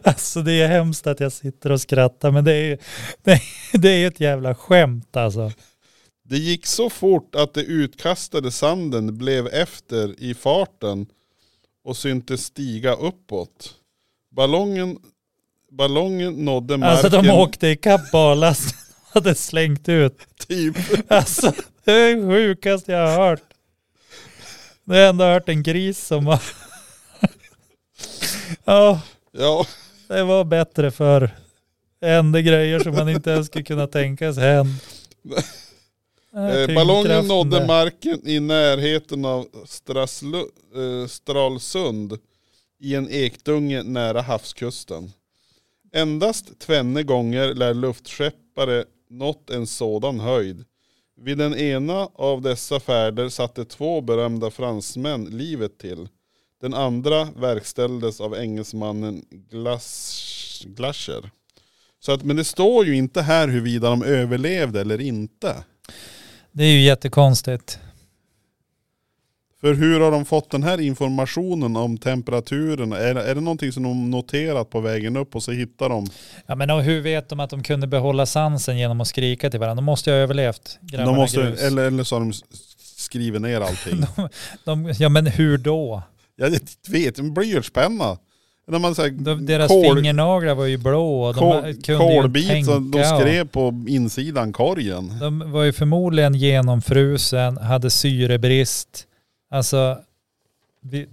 S2: Alltså det är hemskt att jag sitter och skrattar men det är ju det är, det är ju ett jävla skämt alltså.
S1: Det gick så fort att det utkastade sanden blev efter i farten och syntes stiga uppåt. Ballongen, ballongen nådde marken.
S2: Alltså de åkte ikapp barlasten och hade slängt ut.
S1: typ.
S2: Alltså det är det sjukaste jag har hört. Jag har ändå hört en gris som har... Ja,
S1: Ja,
S2: det var bättre förr. Det hände grejer som man inte ens skulle kunna tänka sig hända.
S1: eh, ballongen nådde marken i närheten av Straslu, eh, Stralsund i en ekdunge nära havskusten. Endast tvenne gånger lär luftskeppare nått en sådan höjd. Vid den ena av dessa färder satte två berömda fransmän livet till. Den andra verkställdes av engelsmannen Glass, Glasher. Så att, men det står ju inte här huruvida de överlevde eller inte.
S2: Det är ju jättekonstigt.
S1: För hur har de fått den här informationen om temperaturen? Är, är det någonting som de noterat på vägen upp och så hittar de?
S2: Ja men och hur vet de att de kunde behålla sansen genom att skrika till varandra? De måste ju ha överlevt. grabbarna
S1: de måste,
S2: grus.
S1: eller, eller så har de s- skrivit ner allting.
S2: de, ja men hur då?
S1: Jag vet, en blyertspenna. När man säger
S2: De, deras fingernaglar var ju blå och de
S1: kol,
S2: kunde ju
S1: kolbit
S2: tänka.
S1: som de
S2: och-
S1: skrev på insidan korgen.
S2: De var ju förmodligen genomfrusen, hade syrebrist. Alltså, vi,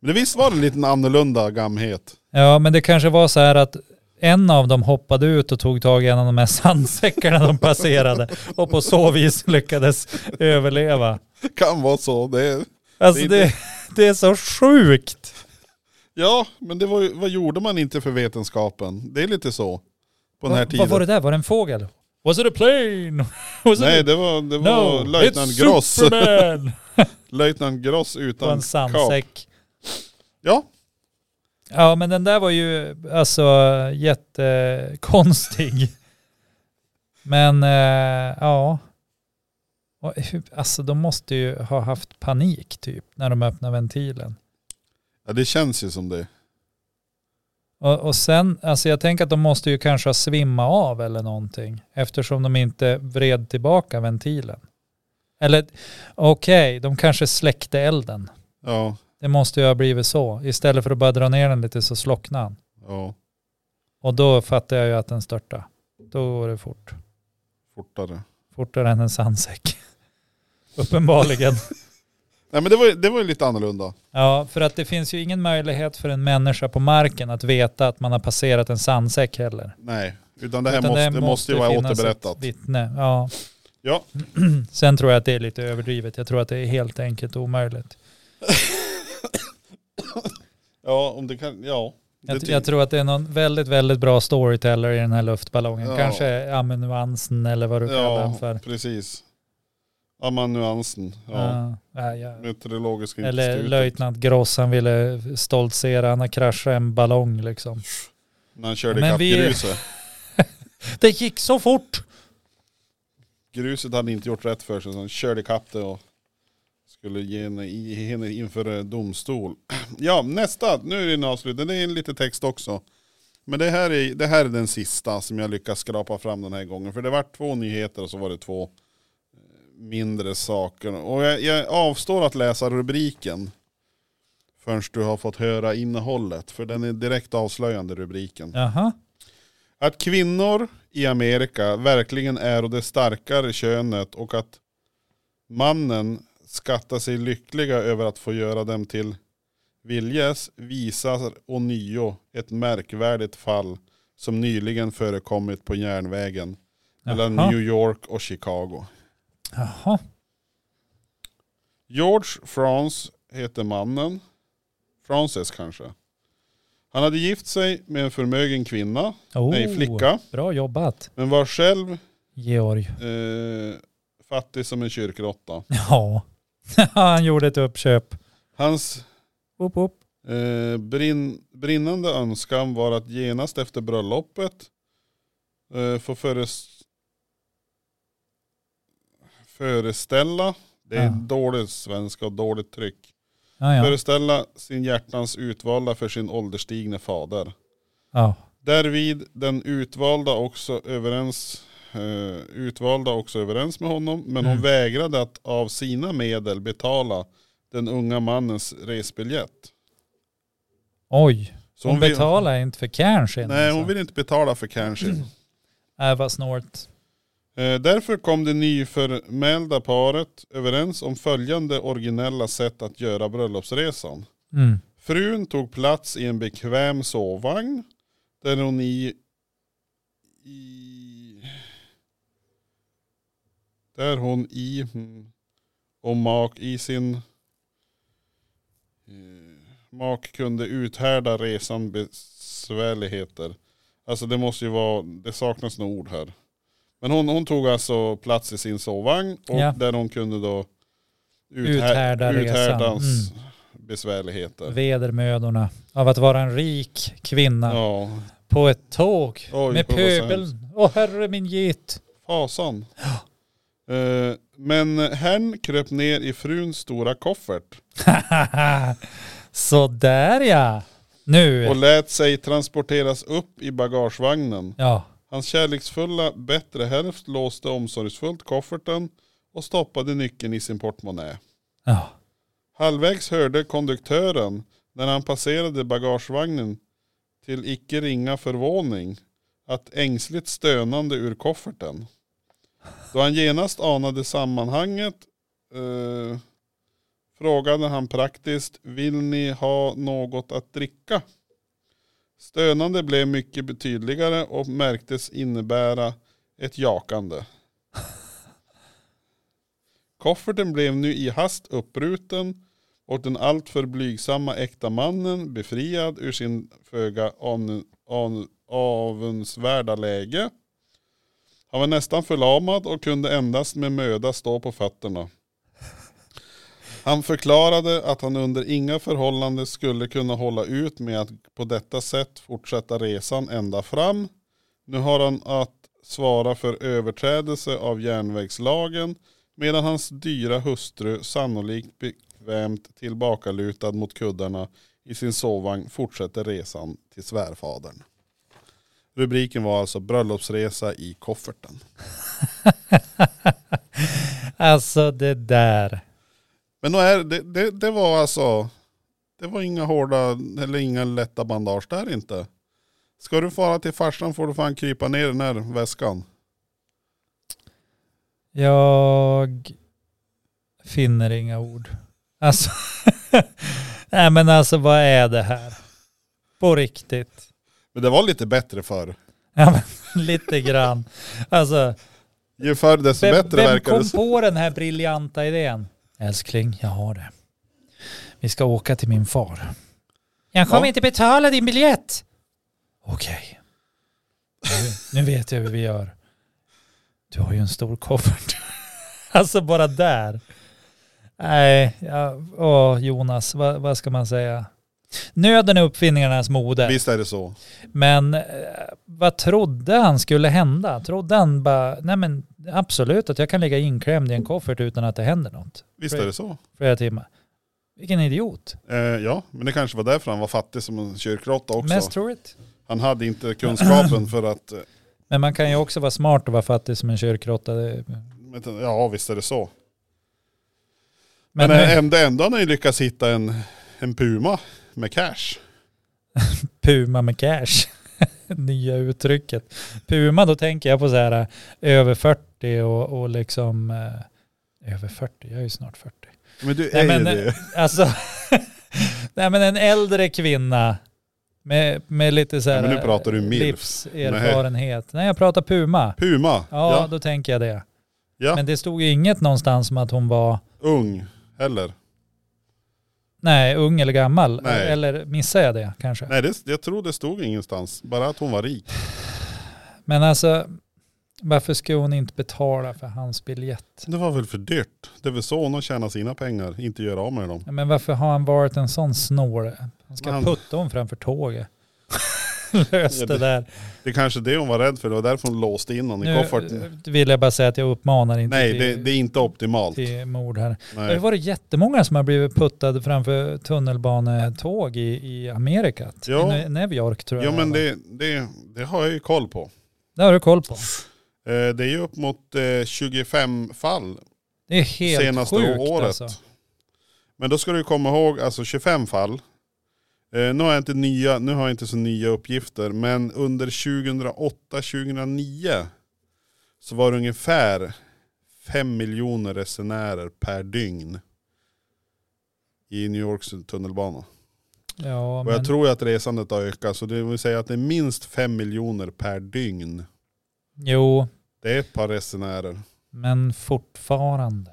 S1: Men visst var det en liten annorlunda gamhet?
S2: ja men det kanske var så här att en av dem hoppade ut och tog tag i en av de här sandsäckarna de passerade och på så vis lyckades överleva.
S1: Kan vara så. Det är,
S2: Alltså
S1: Det är
S2: det, det är så sjukt.
S1: ja, men det var, ju- vad gjorde man inte för vetenskapen? Det är lite så. På den här
S2: Va- Vad
S1: tiden.
S2: var det där? Var det en fågel? Was it a plane? Was
S1: Nej,
S2: it...
S1: det var, det var
S2: No,
S1: löjtnant
S2: it's
S1: Gross.
S2: Superman!
S1: Löjtnant Gross
S2: På en
S1: utan kap.
S2: sandsäck.
S1: Ja,
S2: Ja men den där var ju alltså jättekonstig. Men eh, ja. Och hur- Alltså de måste ju ha haft panik typ när de öppnar ventilen.
S1: ja, det känns ju som det.
S2: Och, och sen, alltså jag tänker att de måste ju kanske ha svimmat av eller någonting eftersom de inte vred tillbaka ventilen. Eller okej, de kanske släckte elden.
S1: Ja,
S2: Det måste ju ha blivit så. Istället för att bara dra ner den lite så slocknade han.
S1: ja,
S2: Och då fattar jag ju att den störtade. Då går det fort.
S1: fortare.
S2: Fortare än en sandsäck. Uppenbarligen.
S1: Nej men det var, det var ju lite annorlunda.
S2: Ja, för att det finns ju ingen möjlighet för en människa på marken att veta att man har passerat en sandsäck heller.
S1: Nej, utan det här
S2: Utan
S1: måste, det måste ju vara
S2: finnas
S1: återberättat.
S2: ett Vittne. Ja.
S1: Ja.
S2: Sen tror jag att det är lite överdrivet. Jag tror att det är helt enkelt omöjligt.
S1: Ja, om det kan, ja. Det
S2: Jag,
S1: ty-
S2: jag tror att det är någon väldigt, väldigt bra storyteller i den här luftballongen.
S1: Ja.
S2: Kanske amanuansen eller vad du kallar den
S1: ja,
S2: för.
S1: precis. Amanuansen, ja.
S2: Ja. Ja, ja.
S1: Meteorologiska
S2: Eller
S1: institutet.
S2: löjtnant Gross, han ville stoltsera, han har kraschat en ballong liksom.
S1: När han körde
S2: Men
S1: ikapp
S2: vi-
S1: gruset.
S2: Det gick så fort!
S1: Gruset hade inte gjort rätt för sig så han körde ikapp det och skulle ge henne, i- henne inför eh, domstol. Ja, nästa. Nu är det en avslutning. Det är en liten text också. Men det här, är, det här är den sista som jag lyckas skrapa fram den här gången. För det var två nyheter och så var det två eh, mindre saker. Och jag, jag avstår att läsa rubriken förrän du har fått höra innehållet. För den är direkt avslöjande rubriken.
S2: Jaha.
S1: Att kvinnor i Amerika verkligen är det starkare könet och att mannen skattar sig lyckliga över att få göra dem till viljes visar ånyo ett märkvärdigt fall som nyligen förekommit på järnvägen mellan
S2: Jaha.
S1: New York och Chicago.
S2: Jaha.
S1: George Frans heter mannen. Frances kanske. Han hade gift sig med en förmögen kvinna,
S2: Oh,
S1: nej flicka,
S2: Bra jobbat
S1: men var själv
S2: Georg.
S1: eh, fattig som en kyrkråtta.
S2: Ja, han gjorde ett uppköp.
S1: Hans
S2: Upp, upp.
S1: eh, brinn, brinnande önskan var att genast efter bröllopet eh, få föres, föreställa, det är
S2: Ja.
S1: dålig svenska och dåligt tryck.
S2: Ja, ja.
S1: Föreställa sin hjärtans utvalda för sin ålderstigne fader.
S2: ja.
S1: Därvid den utvalda också överens, eh, utvalda också överens med honom, men hon
S2: Mm.
S1: vägrade att av sina medel betala den unga mannens resbiljett.
S2: Oj,
S1: Så
S2: hon
S1: vill-
S2: betalar inte för cashen.
S1: Nej, hon
S2: alltså.
S1: vill inte betala för Canchin.
S2: Äh, vad snålt.
S1: Eh, därför kom det nyförmälda paret överens om följande originella sätt att göra bröllopsresan.
S2: Mm.
S1: Frun tog plats i en bekväm sovvagn där hon i, i där hon i mm, och mak i sin eh, mak kunde uthärda resan besvärligheter. Alltså det måste ju vara, det saknas några ord här. Men hon, hon tog alltså plats i sin sovvagn och
S2: Ja.
S1: där hon kunde då
S2: Uthärda resan. Mm.
S1: uthärdans besvärligheter.
S2: Vedermödorna av att vara en rik kvinna
S1: Ja,
S2: på ett tåg
S1: Oj,
S2: med
S1: vad hemskt.
S2: pöbeln. Åh herre min get.
S1: fasan. Eh, men herrn kröp ner i fruns stora koffert
S2: Sådär ja. Nu.
S1: och lät sig transporteras upp i bagagevagnen.
S2: Ja.
S1: Hans kärleksfulla bättre hälft låste omsorgsfullt kofferten och stoppade nyckeln i sin portmonnä.
S2: ja.
S1: Halvvägs hörde konduktören när han passerade bagagevagnen till icke ringa förvåning att ängsligt stönande ur kofferten. Då han genast anade sammanhanget eh, frågade han praktiskt vill ni ha något att dricka? Stönande blev mycket betydligare och märktes innebära ett jakande. Kofferten blev nu i hast uppruten och den alltför blygsamma äkta mannen befriad ur sin föga an, an, avundsvärda läge. Han var nästan förlamad och kunde endast med möda stå på fötterna. Han förklarade att han under inga förhållanden skulle kunna hålla ut med att på detta sätt fortsätta resan ända fram. Nu har han att svara för överträdelse av järnvägslagen medan hans dyra hustru sannolikt bekvämt tillbakalutad mot kuddarna i sin sovvagn fortsätter resan till svärfadern. Rubriken var alltså bröllopsresa i kofferten.
S2: Alltså det där.
S1: Men då är, det, det, det var alltså, det var inga hårda eller inga lätta bandage där inte. Ska du fara till farsan får du fan krypa ner i den här väskan.
S2: Jag finner inga ord. Alltså, nej men alltså vad är det här? På riktigt.
S1: Men det var lite bättre förr.
S2: Ja, men, lite grann. Alltså,
S1: Ju förr desto
S2: vem,
S1: bättre
S2: vem
S1: verkar det.
S2: kom
S1: som.
S2: på den här briljanta idén? Älskling, jag har det. Vi ska åka till min far. Jag kommer
S1: Ja.
S2: inte betala din biljett. Okej. Nu, nu vet jag hur vi gör. Du har ju en stor koffert. Alltså bara där. Nej, ja, åh, Jonas, vad, vad ska man säga? Nöden är uppfinningarnas moder.
S1: Visst är det så.
S2: Men eh, vad trodde han skulle hända? Trodde han bara, nej men absolut att jag kan ligga inklämd i en koffert utan att det händer något.
S1: Visst är det så.
S2: Flera timmar. Vilken idiot.
S1: Eh, ja, men det kanske var därför han var fattig som en kyrkråtta också.
S2: Mest troligt.
S1: Han hade inte kunskapen för att, eh,
S2: Men man kan ju också vara smart och vara fattig som en kyrkråtta. Det-
S1: men- ja visst är det så. Men,
S2: Men,
S1: eh,
S2: men
S1: ändå, ändå har han ju lyckats hitta en, en puma med cash.
S2: Puma med cash. Nya uttrycket. Puma, då tänker jag på så här eh, över 40 och, och liksom... eh, Över 40, jag är ju snart 40.
S1: Men du
S2: Nej,
S1: är
S2: men,
S1: ju det.
S2: Alltså, nej men en äldre kvinna med, med lite så här
S1: Ja, men nu pratar du milf.
S2: livserfarenhet. Nej. jag pratar Puma.
S1: Puma,
S2: Ja,
S1: ja,
S2: då tänker jag det.
S1: Ja.
S2: Men det stod ju inget någonstans om att hon var,
S1: ung heller.
S2: Nej, ung eller gammal.
S1: Nej.
S2: Eller missar jag det kanske?
S1: Nej, det, jag tror det stod ingenstans. Bara att hon var rik.
S2: Men alltså, varför ska hon inte betala för hans biljett?
S1: Det var väl för dyrt. Det är väl så hon har tjänat sina pengar, inte göra av med dem.
S2: Ja, Men varför har han varit en sån snål? Han ska
S1: Han-
S2: putta hon framför tåget. Lös
S1: Ja,
S2: det
S1: det-
S2: där.
S1: Det är kanske det hon var rädd för, det var därför hon låste in honom i
S2: Nu
S1: kofferten.
S2: vill jag bara säga att jag uppmanar inte
S1: Nej,
S2: till,
S1: det, det är inte optimalt.
S2: till mord här. Det har
S1: Nej.
S2: varit jättemånga som har blivit puttade framför tunnelbanetåg i, i Amerika.
S1: Ja.
S2: I New York tror jag.
S1: Ja men det, det, det har jag ju koll på.
S2: det har du koll på.
S1: Eh, Det är ju upp mot eh, 25 fall
S2: Det är helt
S1: senaste
S2: sjukt
S1: året.
S2: alltså.
S1: Men då ska du komma ihåg, alltså 25 fall. Eh, nu, har jag inte nya, nu har jag inte så nya uppgifter, men under 2008-2009 så var det ungefär 5 miljoner resenärer per dygn i New Yorks tunnelbana.
S2: Ja,
S1: Och
S2: men,
S1: jag tror ju att resandet har ökat, så det vill säga att det är minst 5 miljoner per dygn.
S2: Jo,
S1: Det är ett par resenärer.
S2: men fortfarande.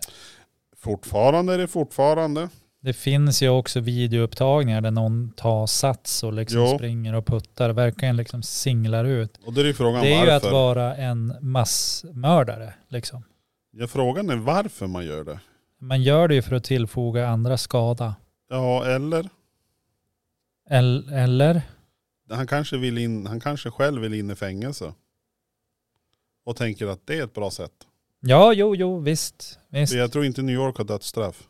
S1: Fortfarande är det fortfarande.
S2: Det finns ju också videoupptagningar där någon tar sats och liksom
S1: Jo.
S2: springer och puttar. Verkligen liksom singlar ut.
S1: Och då är det frågan
S2: Det är ju att
S1: varför.
S2: vara en massmördare liksom.
S1: Ja, frågan är varför man gör det.
S2: Man gör det ju för att tillfoga andra skada.
S1: Ja, eller?
S2: El- Eller?
S1: Han kanske, vill in, han kanske själv vill in i fängelse. Och tänker att det är ett bra sätt.
S2: Ja, jo, jo, visst. visst.
S1: För jag tror inte New York har dödsstraff.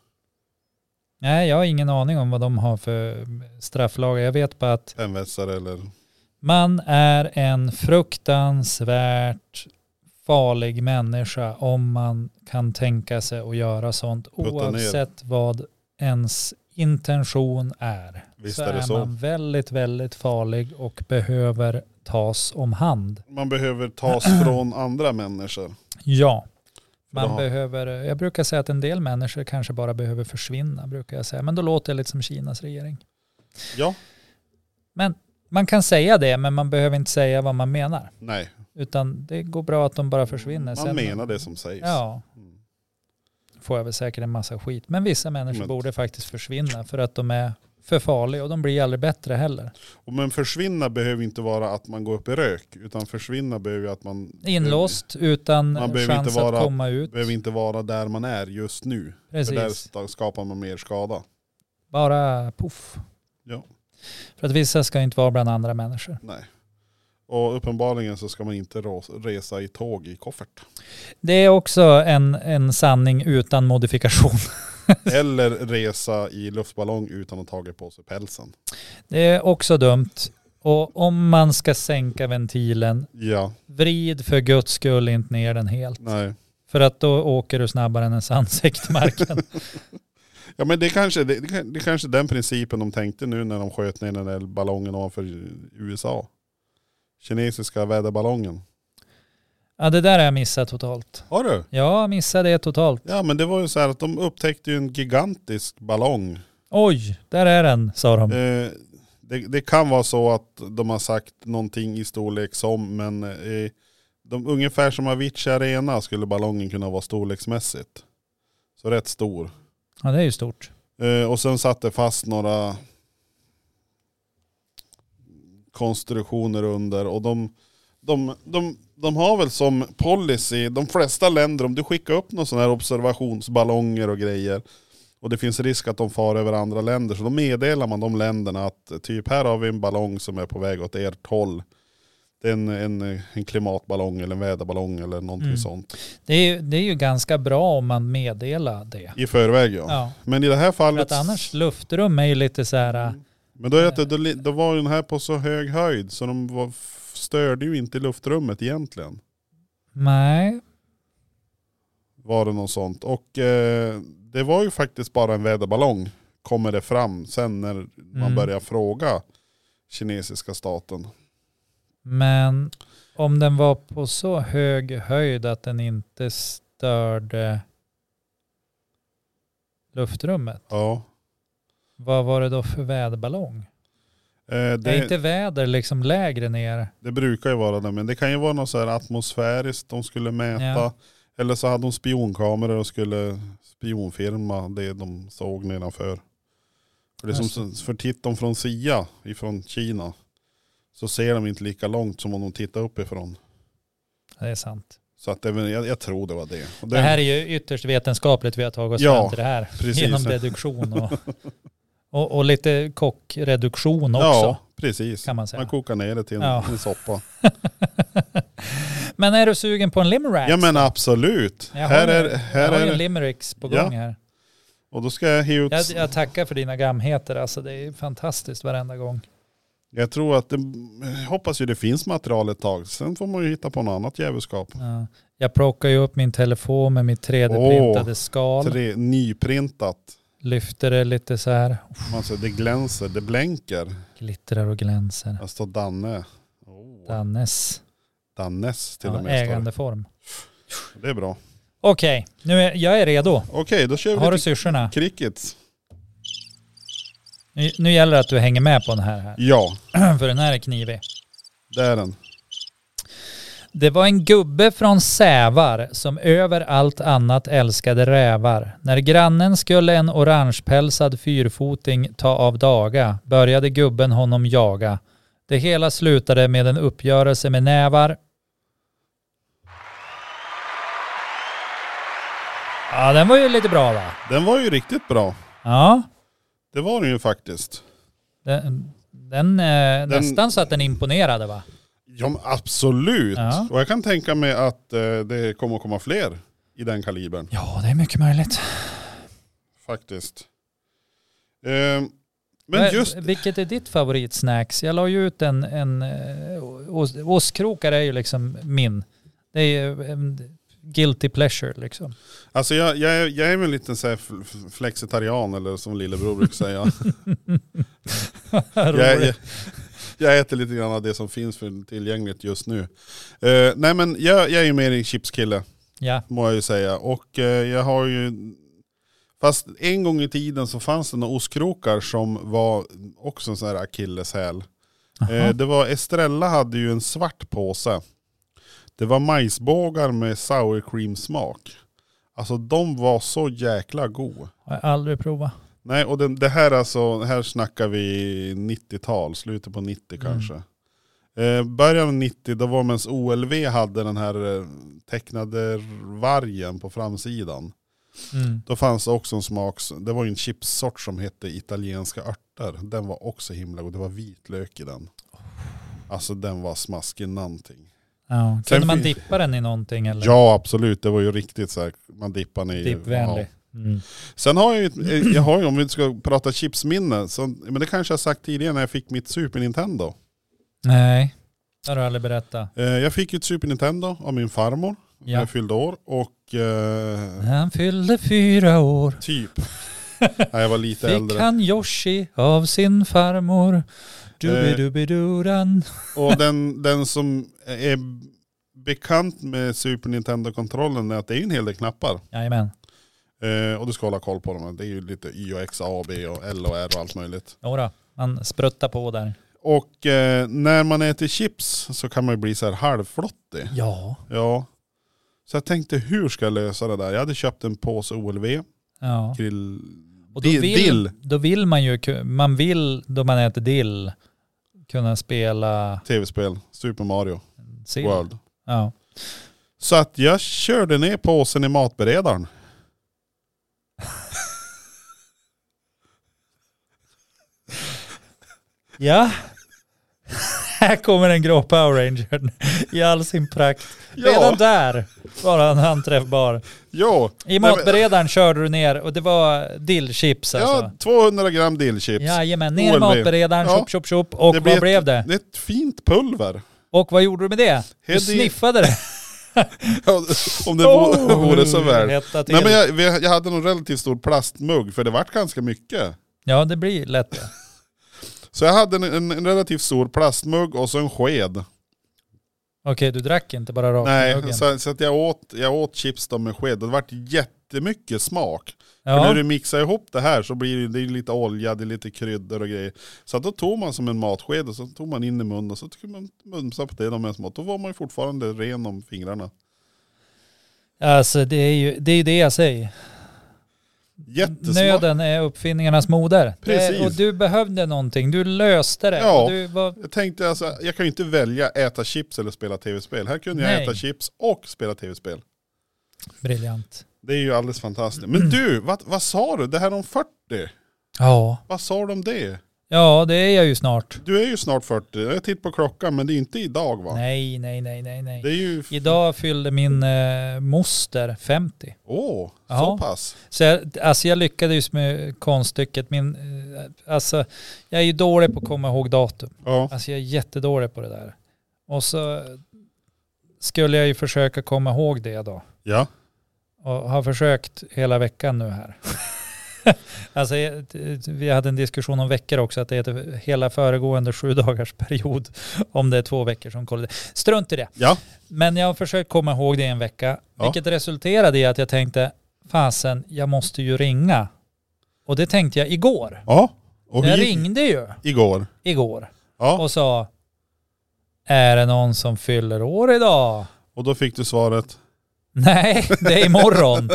S2: Nej, jag har ingen aning om vad de har för strafflagar. Jag vet bara att
S1: Hemvässare eller...
S2: man är en fruktansvärt farlig människa om man kan tänka sig att göra sånt
S1: ner.
S2: oavsett vad ens intention är.
S1: Visst
S2: så
S1: är det
S2: är
S1: så.
S2: man väldigt, väldigt farlig och behöver tas om hand.
S1: Man behöver tas från andra människor.
S2: Ja. Man
S1: Bra.
S2: behöver, jag brukar säga att en del människor kanske bara behöver försvinna, brukar jag säga. Men då låter jag lite som Kinas regering.
S1: Ja,
S2: Man kan säga det, men man behöver inte säga vad man menar.
S1: nej.
S2: Utan det går bra att de bara försvinner.
S1: Man
S2: Sen-
S1: menar det som sägs.
S2: Ja,
S1: Mm.
S2: får jag väl säkert en massa skit. Men vissa människor
S1: Men-
S2: borde faktiskt försvinna för att de är för farliga och de blir aldrig bättre heller.
S1: Och men försvinna behöver inte vara att man går upp i rök. Utan försvinna behöver ju att man...
S2: Inlåst utan
S1: Man behöver
S2: chans
S1: inte vara-
S2: att komma ut.
S1: Behöver inte vara där man är just nu. För där
S2: Precis.
S1: sta- skapar man mer skada.
S2: Bara poff.
S1: Ja.
S2: För att vissa ska inte vara bland andra människor.
S1: Nej. Och uppenbarligen så ska man inte ro- resa i tåg i koffert.
S2: Det är också en, en sanning utan modifikation.
S1: Eller resa i luftballong utan att ha tagit på sig pälsen.
S2: Det är också dumt. Och om man ska sänka ventilen,
S1: Ja,
S2: vrid för guds skull inte ner den helt.
S1: nej.
S2: För att då åker du snabbare än ens ansikte i marken.
S1: Ja men det är kanske det, det, kan- det är kanske den principen de tänkte nu när de sköt ner den där ballongen ovanför USA. Kinesiska väderballongen.
S2: ja, det där har jag missat totalt.
S1: Har du?
S2: Ja, jag missade det totalt.
S1: Ja men det var ju så här att de upptäckte ju en gigantisk ballong
S2: Oj, där är den, sa de.
S1: Eh, det, det kan vara så att de har sagt någonting i storlek som, men eh, de, ungefär som Avicii Arena skulle ballongen kunna vara storleksmässigt. Så rätt stor.
S2: Ja, det är ju stort.
S1: Eh, och sen satt det fast några konstruktioner under och de, de, de, de har väl som policy, de flesta länder, om du skickar upp någon sån här observationsballonger och grejer och det finns risk att de far över andra länder så då meddelar man de länderna att eh, typ här har vi en ballong som är på väg åt ert håll. Det är en, en, eh, en klimatballong eller en väderballong eller någonting
S2: Mm.
S1: sånt.
S2: Det är, ju- det är ju ganska bra om man meddelar det.
S1: I förväg ja.
S2: Ja,
S1: Men i det här
S2: för
S1: fallet...
S2: att annars luftrum är ju lite så här,
S1: Mm.
S2: äh,
S1: Men då, är det, att det- då, li- då var ju den här på så hög höjd så de var, f- störde ju inte luftrummet egentligen.
S2: nej,
S1: Var det något sånt. Och eh, det var ju faktiskt bara en väderballong. Kommer det fram sen när man
S2: Mm.
S1: börjar fråga kinesiska staten.
S2: men om den var på så hög höjd att den inte störde luftrummet,
S1: Ja.
S2: vad var det då för väderballong?
S1: Eh,
S2: Det är
S1: det,
S2: inte väder liksom lägre ner?
S1: det brukar ju vara det, men det kan ju vara något så här atmosfäriskt de skulle mäta.
S2: Ja.
S1: Eller så hade de spionkameror och skulle spionfilma det de såg nedanför. För, det är som, för tittar de från Sia, ifrån Kina, så ser de inte lika långt som om de tittar uppifrån.
S2: Det är sant.
S1: Så att det, är väl- jag, jag tror det var det. Och
S2: Det här är ju ytterst vetenskapligt vi har tagit oss
S1: Ja,
S2: fram till det här.
S1: precis.
S2: Genom deduktion och, och, och lite kockreduktion också
S1: Ja, precis.
S2: kan man säga.
S1: Man kokar ner det till en,
S2: Ja.
S1: en soppa.
S2: Men är du sugen på en limerack?
S1: Ja men absolut.
S2: Jag har
S1: här
S2: ju-
S1: är,
S2: jag
S1: här
S2: har ju
S1: är
S2: en
S1: det.
S2: limericks på
S1: Ja.
S2: gång här.
S1: Och då ska jag ge ut.
S2: Jag,
S1: Jag,
S2: jag tackar för dina gamheter, alltså det är fantastiskt varenda gång.
S1: tror att det, jag hoppas ju det finns material ett tag. Sen får man ju hitta på något annat djävulskap.
S2: Ja. Jag plockar ju upp min telefon med mitt 3D-printade skal,
S1: Tre, nyprintat.
S2: lyfter det lite så här,
S1: Man ser, det glänser, det blänker.
S2: glittrar och glänser.
S1: Här står Danne. Oh,
S2: Dannes
S1: Dannes till och
S2: ja,
S1: med. står det.
S2: ägandeform.
S1: Det är bra.
S2: Okej, nu är, jag är redo.
S1: Okej, då kör vi
S2: Har du
S1: lite
S2: syrsorna?
S1: crickets.
S2: Nu, nu gäller det att du hänger med på den här, här.
S1: Ja,
S2: för den här är knivig.
S1: det är den.
S2: Det var en gubbe från Sävar som över allt annat älskade rävar. När grannen skulle en orangepälsad fyrfoting ta av daga började gubben honom jaga. Det hela slutade med en uppgörelse med nävar. Ja, den var ju lite bra va?
S1: Den var ju riktigt bra.
S2: Ja,
S1: Det var den ju faktiskt.
S2: den, den, eh, nästan så att den imponerade va?
S1: Ja men absolut.
S2: Ja.
S1: Och jag kan tänka mig att eh, det kommer att komma fler i den kalibern.
S2: Ja, det är mycket möjligt.
S1: Faktiskt. Ehm, men
S2: Vad-
S1: just,
S2: Vilket är ditt favoritsnacks? Jag la ju ut en, en eh, ost, ostkrokar är ju liksom min. Det är ju en guilty pleasure liksom.
S1: alltså jag, jag, är- jag är väl en liten så här fl- fl- flexitarian eller som lillebror brukar säga. jag, jag,
S2: Roligt.
S1: jag äter lite grann av det som finns för tillgängligt just nu. Eh, nej men jag, jag är ju mer en chipskille
S2: ja,
S1: må jag ju säga. Och eh, jag har ju, fast en gång i tiden så fanns det några ostkrokar som var också en sån här akilleshäl. Eh, det var Estrella hade ju en svart påse. Det var majsbågar med sour cream smak. Alltså de var så jäkla god.
S2: har jag aldrig provat.
S1: Nej och den, det här alltså, här snackar vi 90-tal, slutet på 90
S2: Mm.
S1: kanske. Eh, början av 90 då var mens OLV hade den här eh, tecknade vargen på framsidan.
S2: Mm.
S1: Då fanns det också en smak, det var ju en chipssort som hette italienska örter. Den var också himla god, det var vitlök i den. Alltså den var smaskig någonting.
S2: Ja.
S1: Sen
S2: Kunde
S1: fin-
S2: man dippa den i någonting eller?
S1: Ja absolut, det var ju riktigt så här, man dippar ner. i-
S2: Dippvänlig. Mm.
S1: Sen har jag ju, ett- eh, jag har ju om vi ska prata chipsminne, så, men det kanske jag sagt tidigare när jag fick mitt Super Nintendo.
S2: Nej, det har du aldrig berättat.
S1: Eh, Jag fick ju ett Super Nintendo av min farmor när
S2: Ja.
S1: jag fyllde år och eh,
S2: Han fyllde fyra år.
S1: typ, nej jag var lite
S2: Fick
S1: äldre.
S2: han Yoshi av sin farmor. Dubidubiduran.
S1: Och den, den som är bekant med Super Nintendo-kontrollen är att det är en hel del knappar.
S2: Jajamän.
S1: Eh, och du ska hålla koll på dem. Det är ju lite Y och X, A och B och L och R och allt möjligt.
S2: Jodå, man spruttar på där.
S1: Och eh, när man äter chips så kan man ju bli så här halvflottig.
S2: Ja.
S1: Ja. Så jag tänkte hur ska jag lösa det där? Jag hade köpt en påse OLV,
S2: ja.
S1: grill,
S2: Och då
S1: dill,
S2: vill,
S1: dill,
S2: då vill man ju, ku- man vill då man äter dill kunna spela
S1: tv-spel, Super Mario
S2: sill.
S1: World.
S2: Ja.
S1: Så att jag körde ner påsen i matberedaren.
S2: ja. Här kommer en grå Power Ranger i all sin prakt. Redan där var han anträffbar.
S1: ja.
S2: I
S1: men-
S2: matberedaren körde du ner och det var dillchips
S1: Ja,
S2: alltså.
S1: 200 gram dillchips.
S2: Jajamän, ner i
S1: OLV.
S2: matberedaren,
S1: Ja.
S2: tjopp tjopp tjopp. Och
S1: Det
S2: vad
S1: blev-
S2: blev det?
S1: Det är ett fint pulver.
S2: Och vad gjorde du med det? Du
S1: Hedde-
S2: sniffade det. Oh,
S1: Om det vore, vore så väl.
S2: Hetta till.
S1: Nej men jag, vi- jag hade någon relativt stor plastmugg för det vart ganska mycket.
S2: Ja, det blir lätt det.
S1: Så jag hade en, en, en relativt stor plastmugg och så en sked.
S2: Okej, du drack inte bara rakt i
S1: Nej,
S2: muggen.
S1: så, så att jag, åt, jag åt chips då med sked. Det vart jättemycket smak. För
S2: ja.
S1: när du mixar ihop det här så blir det, det är lite olja, det är lite kryddor och grejer. Så att då tog man som en matsked och så tog man in i munnen och så kunde man mumsa på det de är smått. Då var man ju fortfarande ren om fingrarna.
S2: Alltså det är ju det, är ju det jag säger.
S1: Jättesmart.
S2: Nöden är uppfinningarnas moder.
S1: Precis.
S2: Det, och du behövde någonting, du löste det.
S1: Ja.
S2: Och Du var,
S1: Jag tänkte alltså, jag kan ju inte välja äta chips eller spela tv-spel. Här kunde jag
S2: Nej.
S1: äta chips och spela tv-spel.
S2: briljant.
S1: Det är ju alldeles fantastiskt. Men du, vad, vad sa du? Det här om 40?
S2: Ja.
S1: Vad sa du om det?
S2: ja, det är jag ju snart.
S1: Du är ju snart 40. Jag tittar på klockan men det är inte idag va?
S2: Nej, nej, nej, nej, nej.
S1: Det är ju... f-
S2: Idag fyllde min eh, moster 50.
S1: Åh, så
S2: Ja.
S1: pass.
S2: Så jag, alltså jag lyckades med konststycket. Min, eh, alltså, jag är ju dålig på att komma ihåg datum.
S1: Ja.
S2: Alltså jag är jättedålig på det där. Och så skulle jag ju försöka komma ihåg det då.
S1: Ja.
S2: Och har försökt hela veckan nu här. alltså, jag- t- t- vi hade en diskussion om veckor också, att det heter hela föregående sju dagars period. Om det är två veckor som kollar. Strunt i det.
S1: Ja.
S2: Men jag har försökt komma ihåg det i en vecka.
S1: Ja.
S2: Vilket resulterade i att jag tänkte, fasen, jag måste ju ringa. Och det tänkte jag igår.
S1: Ja. Och hur
S2: jag
S1: gick-
S2: ringde ju
S1: Igår.
S2: igår
S1: Ja.
S2: och sa, är det någon som fyller år idag?
S1: Och då fick du svaret.
S2: Nej, det är imorgon.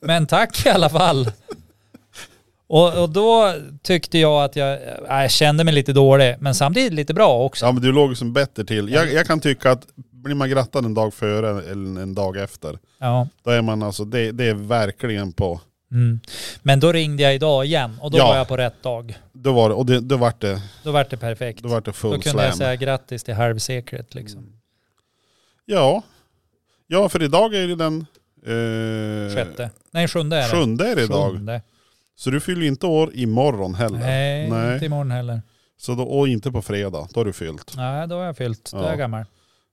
S2: Men tack i alla fall. Och, och då tyckte jag att jag, äh, jag kände mig lite dålig, men samtidigt lite bra också.
S1: Ja men du låg ju som bättre till. Jag, jag kan tycka att blir man grattad en dag före eller en dag efter.
S2: Ja.
S1: Då är man alltså, det, det är verkligen på.
S2: Mm. Men då ringde jag idag igen och då
S1: Ja.
S2: var jag på rätt dag.
S1: Då var det, och det, då vart det,
S2: Då var det perfekt.
S1: då vart det
S2: Då
S1: full
S2: kunde
S1: slam.
S2: jag säga grattis till halvsekret liksom.
S1: Ja. Ja för idag är det den... Eh,
S2: Sjätte. Nej, sjunde är det.
S1: Sjunde är det idag.
S2: Sjunde.
S1: Så du fyller ju inte år imorgon heller.
S2: Nej,
S1: Nej.
S2: inte imorgon heller.
S1: Så då, och inte på fredag, då har du fyllt.
S2: Nej, då har jag fyllt. Då
S1: Ja.
S2: är jag gammal.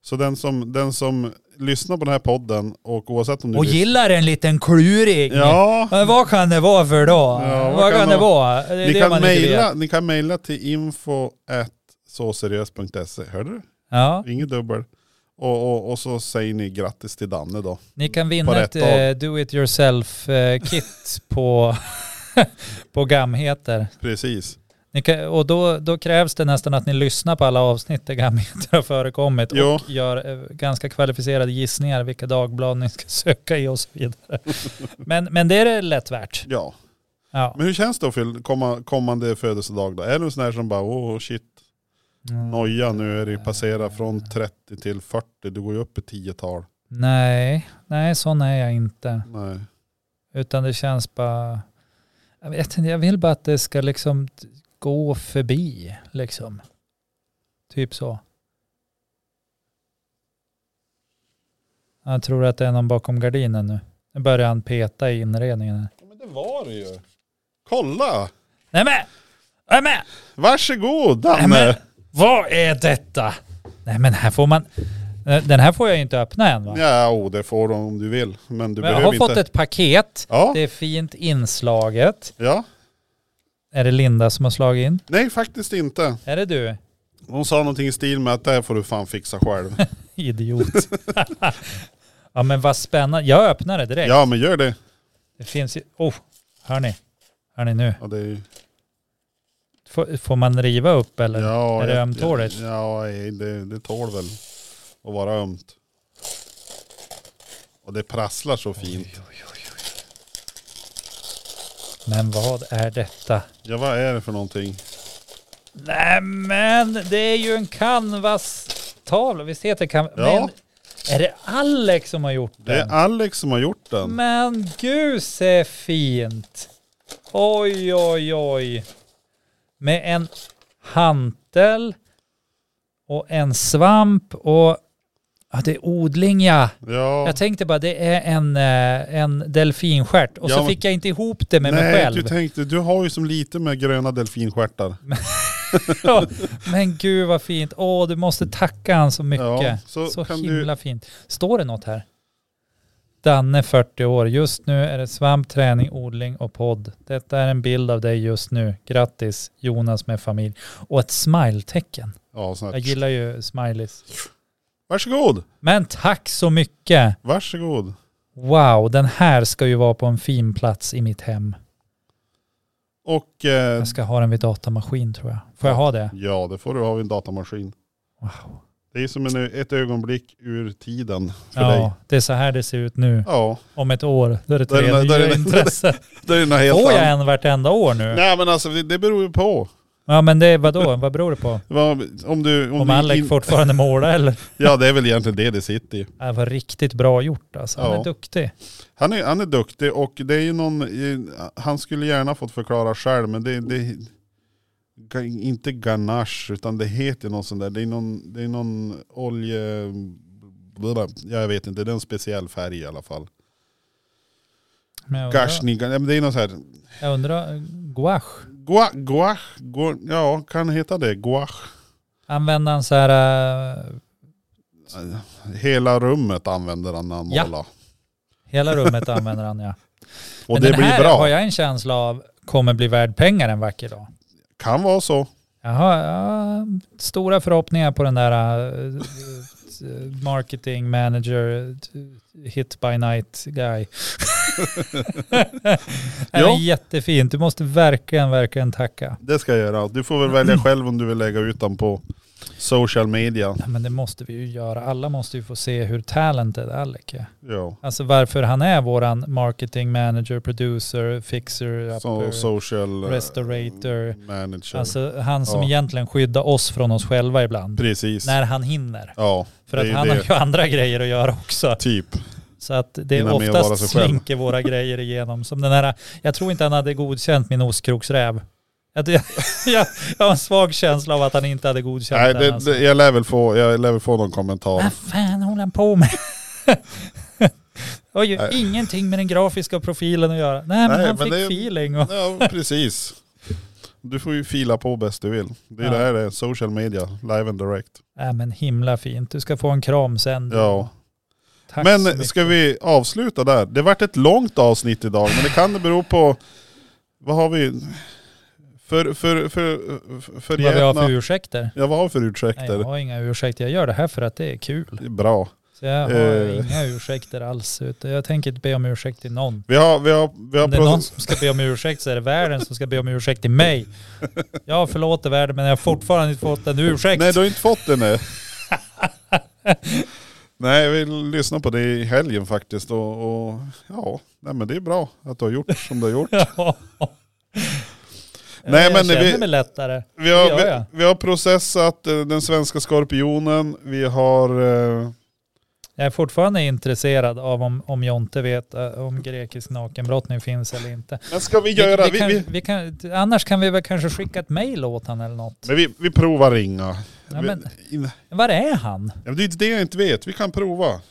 S1: Så den som, den som lyssnar på den här podden och oavsett om du...
S2: Och
S1: lys-
S2: gillar en liten kluring.
S1: Ja,
S2: Men vad kan det vara för då?
S1: Ja,
S2: vad, kan, det vara? Det är
S1: ni
S2: det
S1: kan,
S2: man inte vet.
S1: mejla, ni kan mejla till info at såseriöst.se. Hörde du?
S2: Ja,
S1: Inget dubbel. Och, och, och så säger ni grattis till Danne då.
S2: ni kan
S1: På
S2: vinna
S1: rätt
S2: ett eh, do it yourself eh, kit på, på Gamheter.
S1: Precis.
S2: Ni kan, och då, då krävs det nästan att ni lyssnar på alla avsnitt där Gamheter har förekommit och
S1: Jo.
S2: gör eh, ganska kvalificerade gissningar vilka dagblad ni ska söka i och så vidare. men, men det är det lätt värt.
S1: Ja.
S2: Ja.
S1: Men hur känns det att fylla- komma, kommande födelsedag då? Är du en sån här som bara, åh oh, shit, noja nu är det ju passera från 30 till 40, du går ju upp i tiotal.
S2: Nej, nej sån är jag inte.
S1: Nej.
S2: Utan det känns bara... Jag vet inte, jag vill bara att det ska liksom t- gå förbi. Liksom. Typ så. Jag tror att det är någon bakom gardinen nu. Nu börjar han peta i inredningen här.
S1: Ja, men det var det ju. Kolla!
S2: Nämen! Nämen!
S1: Varsågod Danne!
S2: Nämen! Vad är detta? Nej men här får man... Den här får jag ju inte öppna än va?
S1: Ja, oh, det får du om du vill. Men du
S2: Men jag
S1: behöver
S2: har
S1: inte.
S2: fått ett paket.
S1: Ja,
S2: Det är fint inslaget.
S1: ja.
S2: Är det Linda som har slagit in?
S1: Nej, faktiskt inte.
S2: Är det du?
S1: Hon sa någonting i stil med att det här får du fan fixa själv.
S2: Idiot. ja men vad spännande. Jag öppnar det direkt.
S1: ja, men gör det.
S2: Det finns ju... Oh, hör ni? Hör ni nu?
S1: Ja, det är, ju-
S2: Får, får man riva upp eller?
S1: ja,
S2: är det
S1: jag-
S2: ömtåligt?
S1: Ja, nej, det, det tål väl att vara ömt. Och det prasslar så fint.
S2: Men vad är detta?
S1: Ja, vad är det för någonting?
S2: Nej men det är ju en canvas-tavla. Visst heter det canvas?
S1: Ja.
S2: Men är det Alex som har gjort
S1: Det är
S2: den?
S1: Alex som har gjort den.
S2: Men gud så fint! Oj oj oj. Med en hantel och en svamp och ja, det är odling ja.
S1: Ja.
S2: Jag tänkte bara det är en, eh, en delfinstjärt och
S1: Ja,
S2: så
S1: men-
S2: fick jag inte ihop det med
S1: Nej,
S2: mig
S1: du
S2: själv.
S1: tänkte, du har ju som lite med gröna delfinstjärtar.
S2: Ja, Men gud vad fint. Åh, du måste tacka han så mycket.
S1: Ja, så
S2: så
S1: kan du-
S2: himla fint. Står det något här? Danne 40 år. Just nu är det svamp, träning, odling och podd. Detta är en bild av dig just nu. Grattis Jonas med familj. Och ett smile-tecken.
S1: Ja, sån
S2: Jag
S1: här.
S2: gillar ju smileys.
S1: Varsågod,
S2: Men tack så mycket.
S1: varsågod.
S2: Wow, den här ska ju vara på en fin plats i mitt hem.
S1: Och eh,
S2: Jag ska ha den vid datamaskin tror jag. Får jag ha det?
S1: ja, det får du ha vid en datamaskin.
S2: Wow.
S1: Det är som en, ö- ett ögonblick ur tiden för dig.
S2: Ja, det är så här det ser ut nu.
S1: Ja,
S2: Om ett år, då är det
S1: Där är
S2: tre
S1: den- där är
S2: nya
S1: den-
S2: intressen.
S1: det är något helt
S2: Får jag
S1: annat.
S2: en vartenda år nu?
S1: Nej men alltså det, det beror ju på.
S2: Ja men det, vadå? Vad beror det på?
S1: Vad- Om du...
S2: Om
S1: du
S2: Alec
S1: in-
S2: fortfarande målar eller?
S1: Ja det är väl egentligen det det sitter i.
S2: Det var riktigt bra gjort alltså. Han
S1: Ja.
S2: är duktig.
S1: Han är, han är duktig och det är ju någon, eh, han skulle gärna fått förklara själv men det, det ga- inte ganache utan det heter någon sån där, det är någon, det är någon olje, jag vet inte, det är en speciell färg i alla fall.
S2: Men jag undrar,
S1: Gashni, ga- ja, men det är någon sån här,
S2: jag undrar gouache.
S1: gua, guach, gua, ja kan heta det, guach.
S2: Använder han så här eh,
S1: Hela rummet använder han när han
S2: Ja.
S1: målar.
S2: Hela rummet använder han ja.
S1: Och
S2: Men
S1: det
S2: den
S1: blir
S2: här
S1: bra.
S2: har jag en känsla av kommer bli värd pengar en vacker dag.
S1: Kan vara så.
S2: Jag har ja, stora förhoppningar på den där eh, eh, marketing manager eh, hit by night guy. det
S1: Ja.
S2: är jättefint. Du måste verkligen, verkligen tacka.
S1: Det ska jag göra. Du får väl välja själv om du vill lägga ut den på social media.
S2: Ja, Men det måste vi ju göra. Alla måste ju få se hur talented Alec är.
S1: Ja.
S2: Alltså varför han är våran marketing manager, producer, fixer,
S1: So,
S2: upper.
S1: social eh,
S2: Restaurator.
S1: manager.
S2: Alltså han som
S1: Ja.
S2: egentligen skyddar oss från oss själva ibland.
S1: Precis.
S2: När han hinner.
S1: Ja,
S2: För
S1: Det
S2: att
S1: är ju
S2: han har
S1: det.
S2: ju andra grejer att göra också.
S1: typ.
S2: Så att det
S1: Hinna
S2: är
S1: med att vara sig
S2: oftast
S1: själv.
S2: slinker våra grejer igenom. Som den här, jag tror inte han hade godkänt min ostkroksräv. Jag, jag, jag, jag har en svag känsla av att han inte hade godkänt
S1: Nej,
S2: den.
S1: det,
S2: alltså.
S1: det, jag, lär väl få, jag lär väl få någon kommentar.
S2: Vad fan håller han på med? Det har ju
S1: Nej.
S2: ingenting med den grafiska profilen att göra. Nej, men
S1: Nej,
S2: han
S1: men
S2: fick
S1: det-
S2: feeling. Och,
S1: Ja, precis. Du får ju fila på bäst du vill. Det är
S2: Ja.
S1: det här det är, social media, live and direct.
S2: nej, men himla fint. Du ska få en kram sen. du.
S1: Ja.
S2: Tack så
S1: Men
S2: mycket.
S1: ska vi avsluta där? Det vart ett långt avsnitt idag, men det kan det bero på, vad har vi? För, för, för, för, för
S2: Vad vi har för ursäkter?
S1: Ja vad har vi för
S2: Nej,
S1: ursäkter?
S2: jag har inga ursäkter. Jag gör det här för att det är kul.
S1: Det är Bra.
S2: Så jag har
S1: Eh.
S2: inga ursäkter alls. Utan jag tänker inte be om ursäkt till någon.
S1: Vi har, vi har, vi har
S2: Om det är
S1: pratat-
S2: någon som ska be om ursäkt så är det världen som ska be om ursäkt till mig. Jag förlåter världen men jag har fortfarande inte fått en ursäkt.
S1: Nej, du har inte fått den än. nej, vi lyssnade på det i helgen faktiskt och, och ja, nej, men det är bra att du har gjort som du har gjort.
S2: Ja.
S1: Nej,
S2: jag
S1: men
S2: känner
S1: vi-
S2: mig lättare.
S1: Vi har,
S2: Det gör jag.
S1: vi, vi har processat eh, den svenska skorpionen, vi har... Eh,
S2: Jag är fortfarande intresserad av om, om Jonte vet eh, om grekisk nakenbrottning finns eller inte.
S1: men ska vi göra...
S2: vi,
S1: Vi,
S2: vi
S1: vi,
S2: kan, vi kan, annars kan vi väl kanske skicka ett mejl åt han eller något.
S1: men vi, vi provar ringa.
S2: Ja,
S1: Vi-
S2: men-
S1: in-
S2: Var är han?
S1: Ja, men det är inte det jag inte vet, vi kan prova.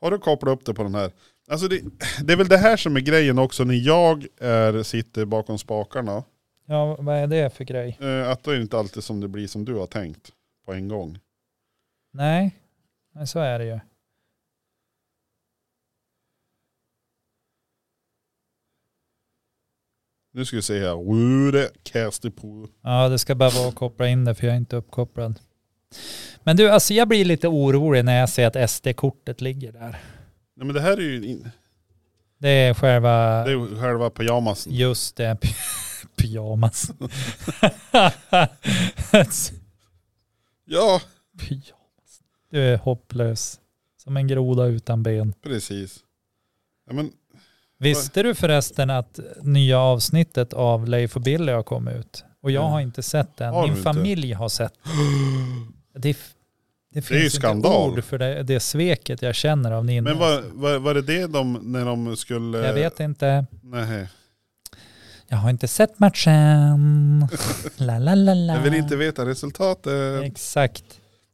S1: Har du kopplat upp det på den här? Alltså det, det är väl det här som är grejen också när jag är, sitter bakom spakarna.
S2: Ja, vad är det för grej?
S1: Eh, att det är inte alltid som det blir som du har tänkt på en gång.
S2: Nej, men så är det ju.
S1: Nu ska vi se här. Wude, cast it på.
S2: Ja, det ska bara vara att koppla in det för jag är inte uppkopplad. Men du, alltså jag blir lite orolig när jag ser att SD-kortet ligger där.
S1: Nej men det här är ju in,
S2: Det är själva,
S1: det är ju själva pyjamasen.
S2: just det, py- pyjamas.
S1: Ja,
S2: pyjamas. Du är hopplös. Som en groda utan ben.
S1: precis. Ja, men,
S2: Visste du förresten att nya avsnittet av Leif och Billy har kommit ut? Och jag
S1: Mm.
S2: har inte sett den.
S1: Har du
S2: Min
S1: inte?
S2: familj har sett den. Det, f- det
S1: är ju
S2: finns inte
S1: skandal.
S2: ord för det, det sveket jag känner av Ninni.
S1: men var, var, var det det de, när de skulle...
S2: Jag vet inte.
S1: Nej,
S2: Jag har inte sett matchen. la, la, la, la.
S1: jag vill inte veta resultatet.
S2: Exakt.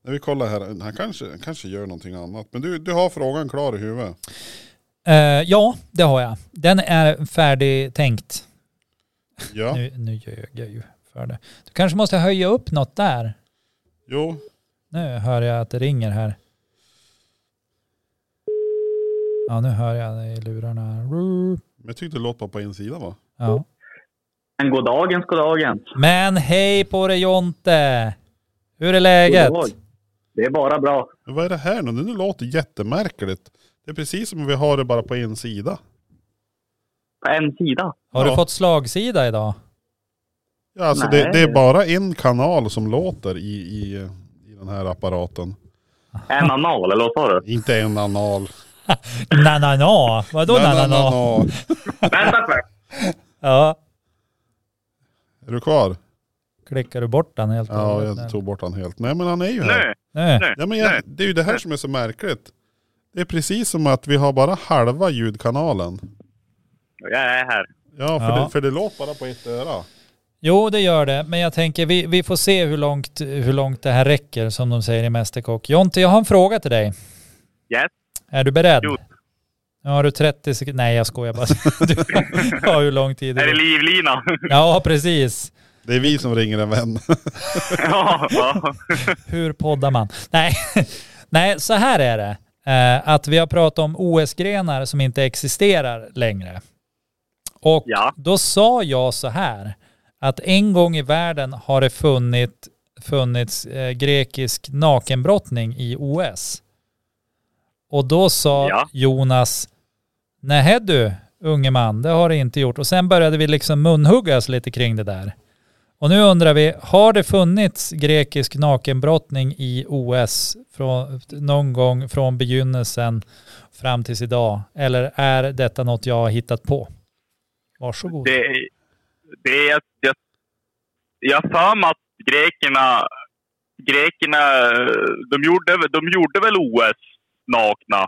S1: När vi kollar här, han kanske, han kanske gör någonting annat. Men du, du har frågan klar i huvudet.
S2: Eh, ja, det har jag. Den är färdigtänkt.
S1: Ja,
S2: Nu, nu ljög jag ju för det. Du kanske måste höja upp något där.
S1: jo.
S2: Nu hör jag att det ringer här. Ja, nu hör jag det i lurarna.
S1: Men jag tyckte det låt bara på insidan va?
S2: Ja.
S3: Men god dagens, god dagens.
S2: Men hej på dig Jonte! Hur är läget?
S3: God dag. Det är bara bra.
S1: Men vad är det här nu? Det låter jättemärkligt. Det är precis som om vi har det bara på en sida.
S3: På en sida.
S2: Har du
S1: Ja.
S2: fått slagsida idag?
S1: Ja, alltså
S3: Nej.
S1: det, det är bara en kanal som låter i, i, i den här apparaten.
S3: En anal, eller vad sa du?
S1: Inte en anal.
S2: Nanana, vadå nanana?
S1: Na-na-na-na.
S3: Vänta för.
S2: Ja,
S1: Är du kvar?
S2: klickar du bort den helt och
S1: Ja,
S2: hållet nu?
S1: jag tog bort han helt. Nej men han är ju här.
S3: Nu,
S2: Nu.
S3: nu.
S1: Ja, men jag,
S3: Nej.
S1: det är ju det här som är så märkligt. Det är precis som att vi har bara halva ljudkanalen.
S3: Jag är här.
S1: Ja, för,
S2: Ja.
S1: Det, för det låter bara på ett öra.
S2: Jo, det gör det. Men jag tänker, vi, vi får se hur långt, hur långt det här räcker, som de säger i Mästerkock. Jonte, jag har en fråga till dig.
S3: Yes.
S2: Är du beredd?
S3: Jo.
S2: Nu har du 30 sekunder. Nej, jag skojar bara. Du har hur lång tid du
S3: Är det
S2: vill.
S3: livlina?
S2: Ja, precis.
S1: Det är vi som ringer en vän.
S3: ja, ja.
S2: Hur poddar man? Nej, Nej så här är det. Eh, Att vi har pratat om OS-grenar som inte existerar längre. Och
S3: Ja.
S2: då sa jag så här, att en gång i världen har det funnit, funnits eh, grekisk nakenbrottning i OS. Och då sa
S3: Ja.
S2: Jonas, nej du unge man, det har det inte gjort. Och sen började vi liksom munhuggas lite kring det där. Och nu undrar vi, har det funnits grekisk nakenbrottning i OS från, någon gång från begynnelsen fram tills idag? Eller är detta något jag har hittat på? Varsågod.
S3: Det, det är... Jag, jag har för mig att grekerna... Grekerna, de gjorde, väl- de gjorde väl OS nakna?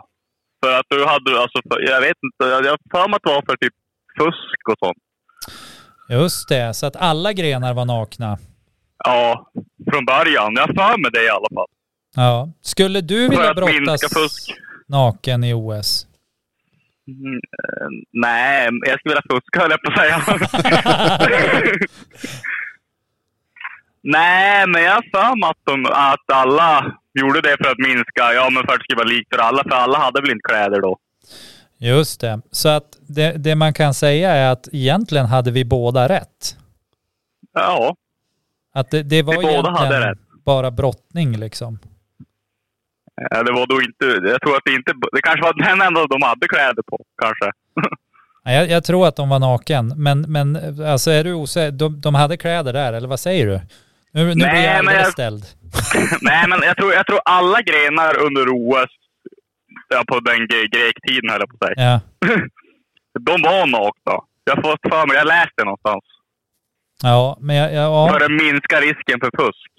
S3: För att du hade... Alltså, för, jag vet inte. Jag jag har för mig att det var för typ fusk och sånt.
S2: Just det, så att alla grenar var nakna.
S3: Ja, från början. Jag har för mig det i alla fall.
S2: Ja. Skulle du
S3: För
S2: vilja
S3: att minska
S2: brottas
S3: fusk.
S2: naken i OS?
S3: Mm, eh, nej, jag skulle vilja fuska höll jag på att säga. nej, men jag har för mig att, de, att alla gjorde det för att minska. Ja, men för att det skulle vara likt för alla. För alla hade väl inte kläder då.
S2: Just det. Så att det, det man kan säga är att egentligen hade vi båda rätt.
S3: Ja,
S2: Att det, det var
S3: Vi båda
S2: egentligen
S3: hade rätt.
S2: bara brottning liksom.
S3: Ja, eh, det var då inte... Jag tror att det inte... Det kanske var den enda de hade kläder på, kanske.
S2: Nej, Jag, jag tror att de var naken, men, men alltså är du osäker? De, de hade kläder där, eller vad säger du? Nu, nu blir
S3: Nej,
S2: jag
S3: men
S2: alldeles
S3: jag-
S2: ställd.
S3: nej, men jag tror, jag tror alla grenar under OS, ja, på den gre- grektiden höll jag på att säga.
S2: Ja.
S3: De var nakna. Jag har fått för mig, jag läste någonstans.
S2: ja, men jag...
S3: För
S2: Ja,
S3: att minska risken för fusk.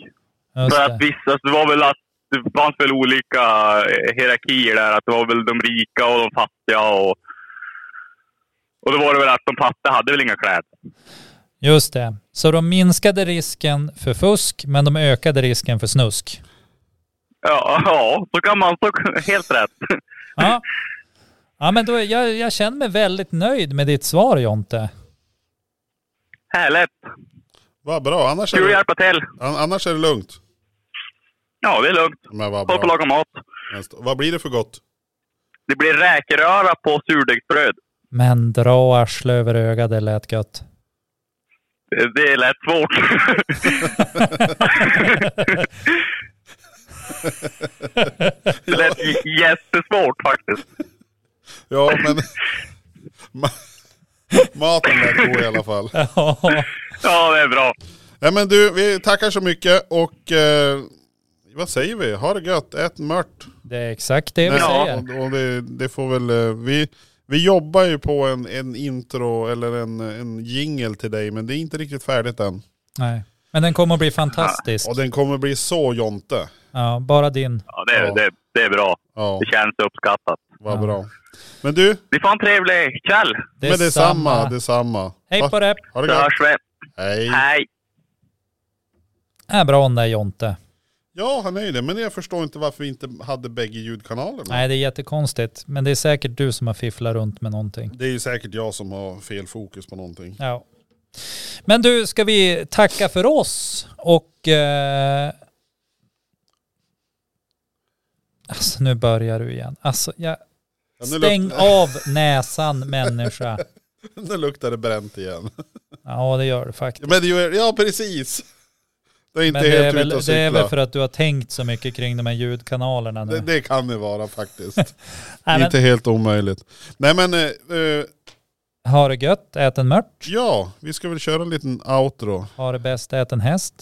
S2: ja just
S3: För att
S2: det.
S3: vissa, det var väl att det fanns väl olika eh, hierarkier där. Att det var väl de rika och de fattiga och... Och då var det väl att de fattiga hade väl inga kläder.
S2: Just det. Så de minskade risken för fusk, men de ökade risken för snusk.
S3: Ja, ja så kan man. Så, helt rätt.
S2: Ja, ja men då, är- jag, jag känner mig väldigt nöjd med ditt svar Jonte.
S3: Härligt.
S1: Vad bra, annars är,
S3: Kul att
S1: det,
S3: hjälpa till.
S1: an- annars är det lugnt.
S3: Ja, det är lugnt.
S1: Men vad
S3: Håll på att
S1: bra.
S3: laga mat.
S1: Vad blir det för gott?
S3: Det blir räkröra på surdegsbröd.
S2: Men dra arsle över ögat, det lät gött.
S3: Det- Det lät svårt. det lät j- jättesvårt faktiskt.
S1: Ja men... Ma- Maten lät god i alla fall.
S2: Ja,
S3: Ja, det är bra.
S1: Ja, men du, vi tackar så mycket och eh, vad säger vi? Ha det gött, ät mört.
S2: det är exakt det vi
S3: Ja.
S2: säger.
S1: och, och det, det får väl, eh, vi, vi jobbar ju på en, en intro eller en, en jingle till dig men det är inte riktigt färdigt än.
S2: Nej. Men den kommer att bli fantastisk.
S1: Och den kommer bli så Jonte.
S2: Ja, bara din.
S3: Ja, det, är-
S1: Ja.
S3: Det, det är bra.
S1: Ja,
S3: Det känns uppskattat.
S1: vad
S2: Ja.
S1: bra. Men du,
S3: Ni får en trevlig kväll.
S1: men detsamma, detsamma.
S2: Hej på det.
S1: Ha det
S3: Så
S1: gott.
S3: hörs vi.
S1: Hej.
S3: Hej!
S2: Är Äh, bra om det Jonte.
S1: Ja, han är ju det. Men jag förstår inte varför vi inte hade bägge ljudkanalerna.
S2: Nej, det är jättekonstigt. Men det är säkert du som har fifflat runt med någonting.
S1: Det är ju säkert jag som har fel fokus på någonting.
S2: Ja. Men du, ska vi tacka för oss och... Eh... Alltså nu börjar du igen. Alltså jag...
S1: Ja, nu,
S2: Stäng
S1: luktar,
S2: av näsan människa.
S1: nu luktar det bränt igen.
S2: Ja det gör det faktiskt.
S1: Ja, Men det gör, ja precis. Det är inte
S2: Men det är,
S1: helt
S2: väl,
S1: ute och
S2: det är väl för
S1: cykla.
S2: att du har tänkt så mycket kring de här ljudkanalerna nu.
S1: Det, det kan det vara faktiskt.
S2: Nej, men,
S1: Inte helt omöjligt. Nej men, eh, eh,
S2: ha det gött, ät en mört.
S1: ja, vi ska väl köra en liten outro.
S2: Ha det bäst, ät en häst.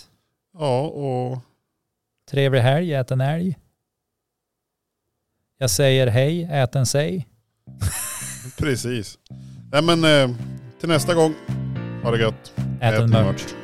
S1: Ja, och
S2: Trevlig helg, ät en älg. Jag säger hej, ät en sej.
S1: Precis. Nej men eh, till nästa gång. Ha det gött.
S2: Ät en mört.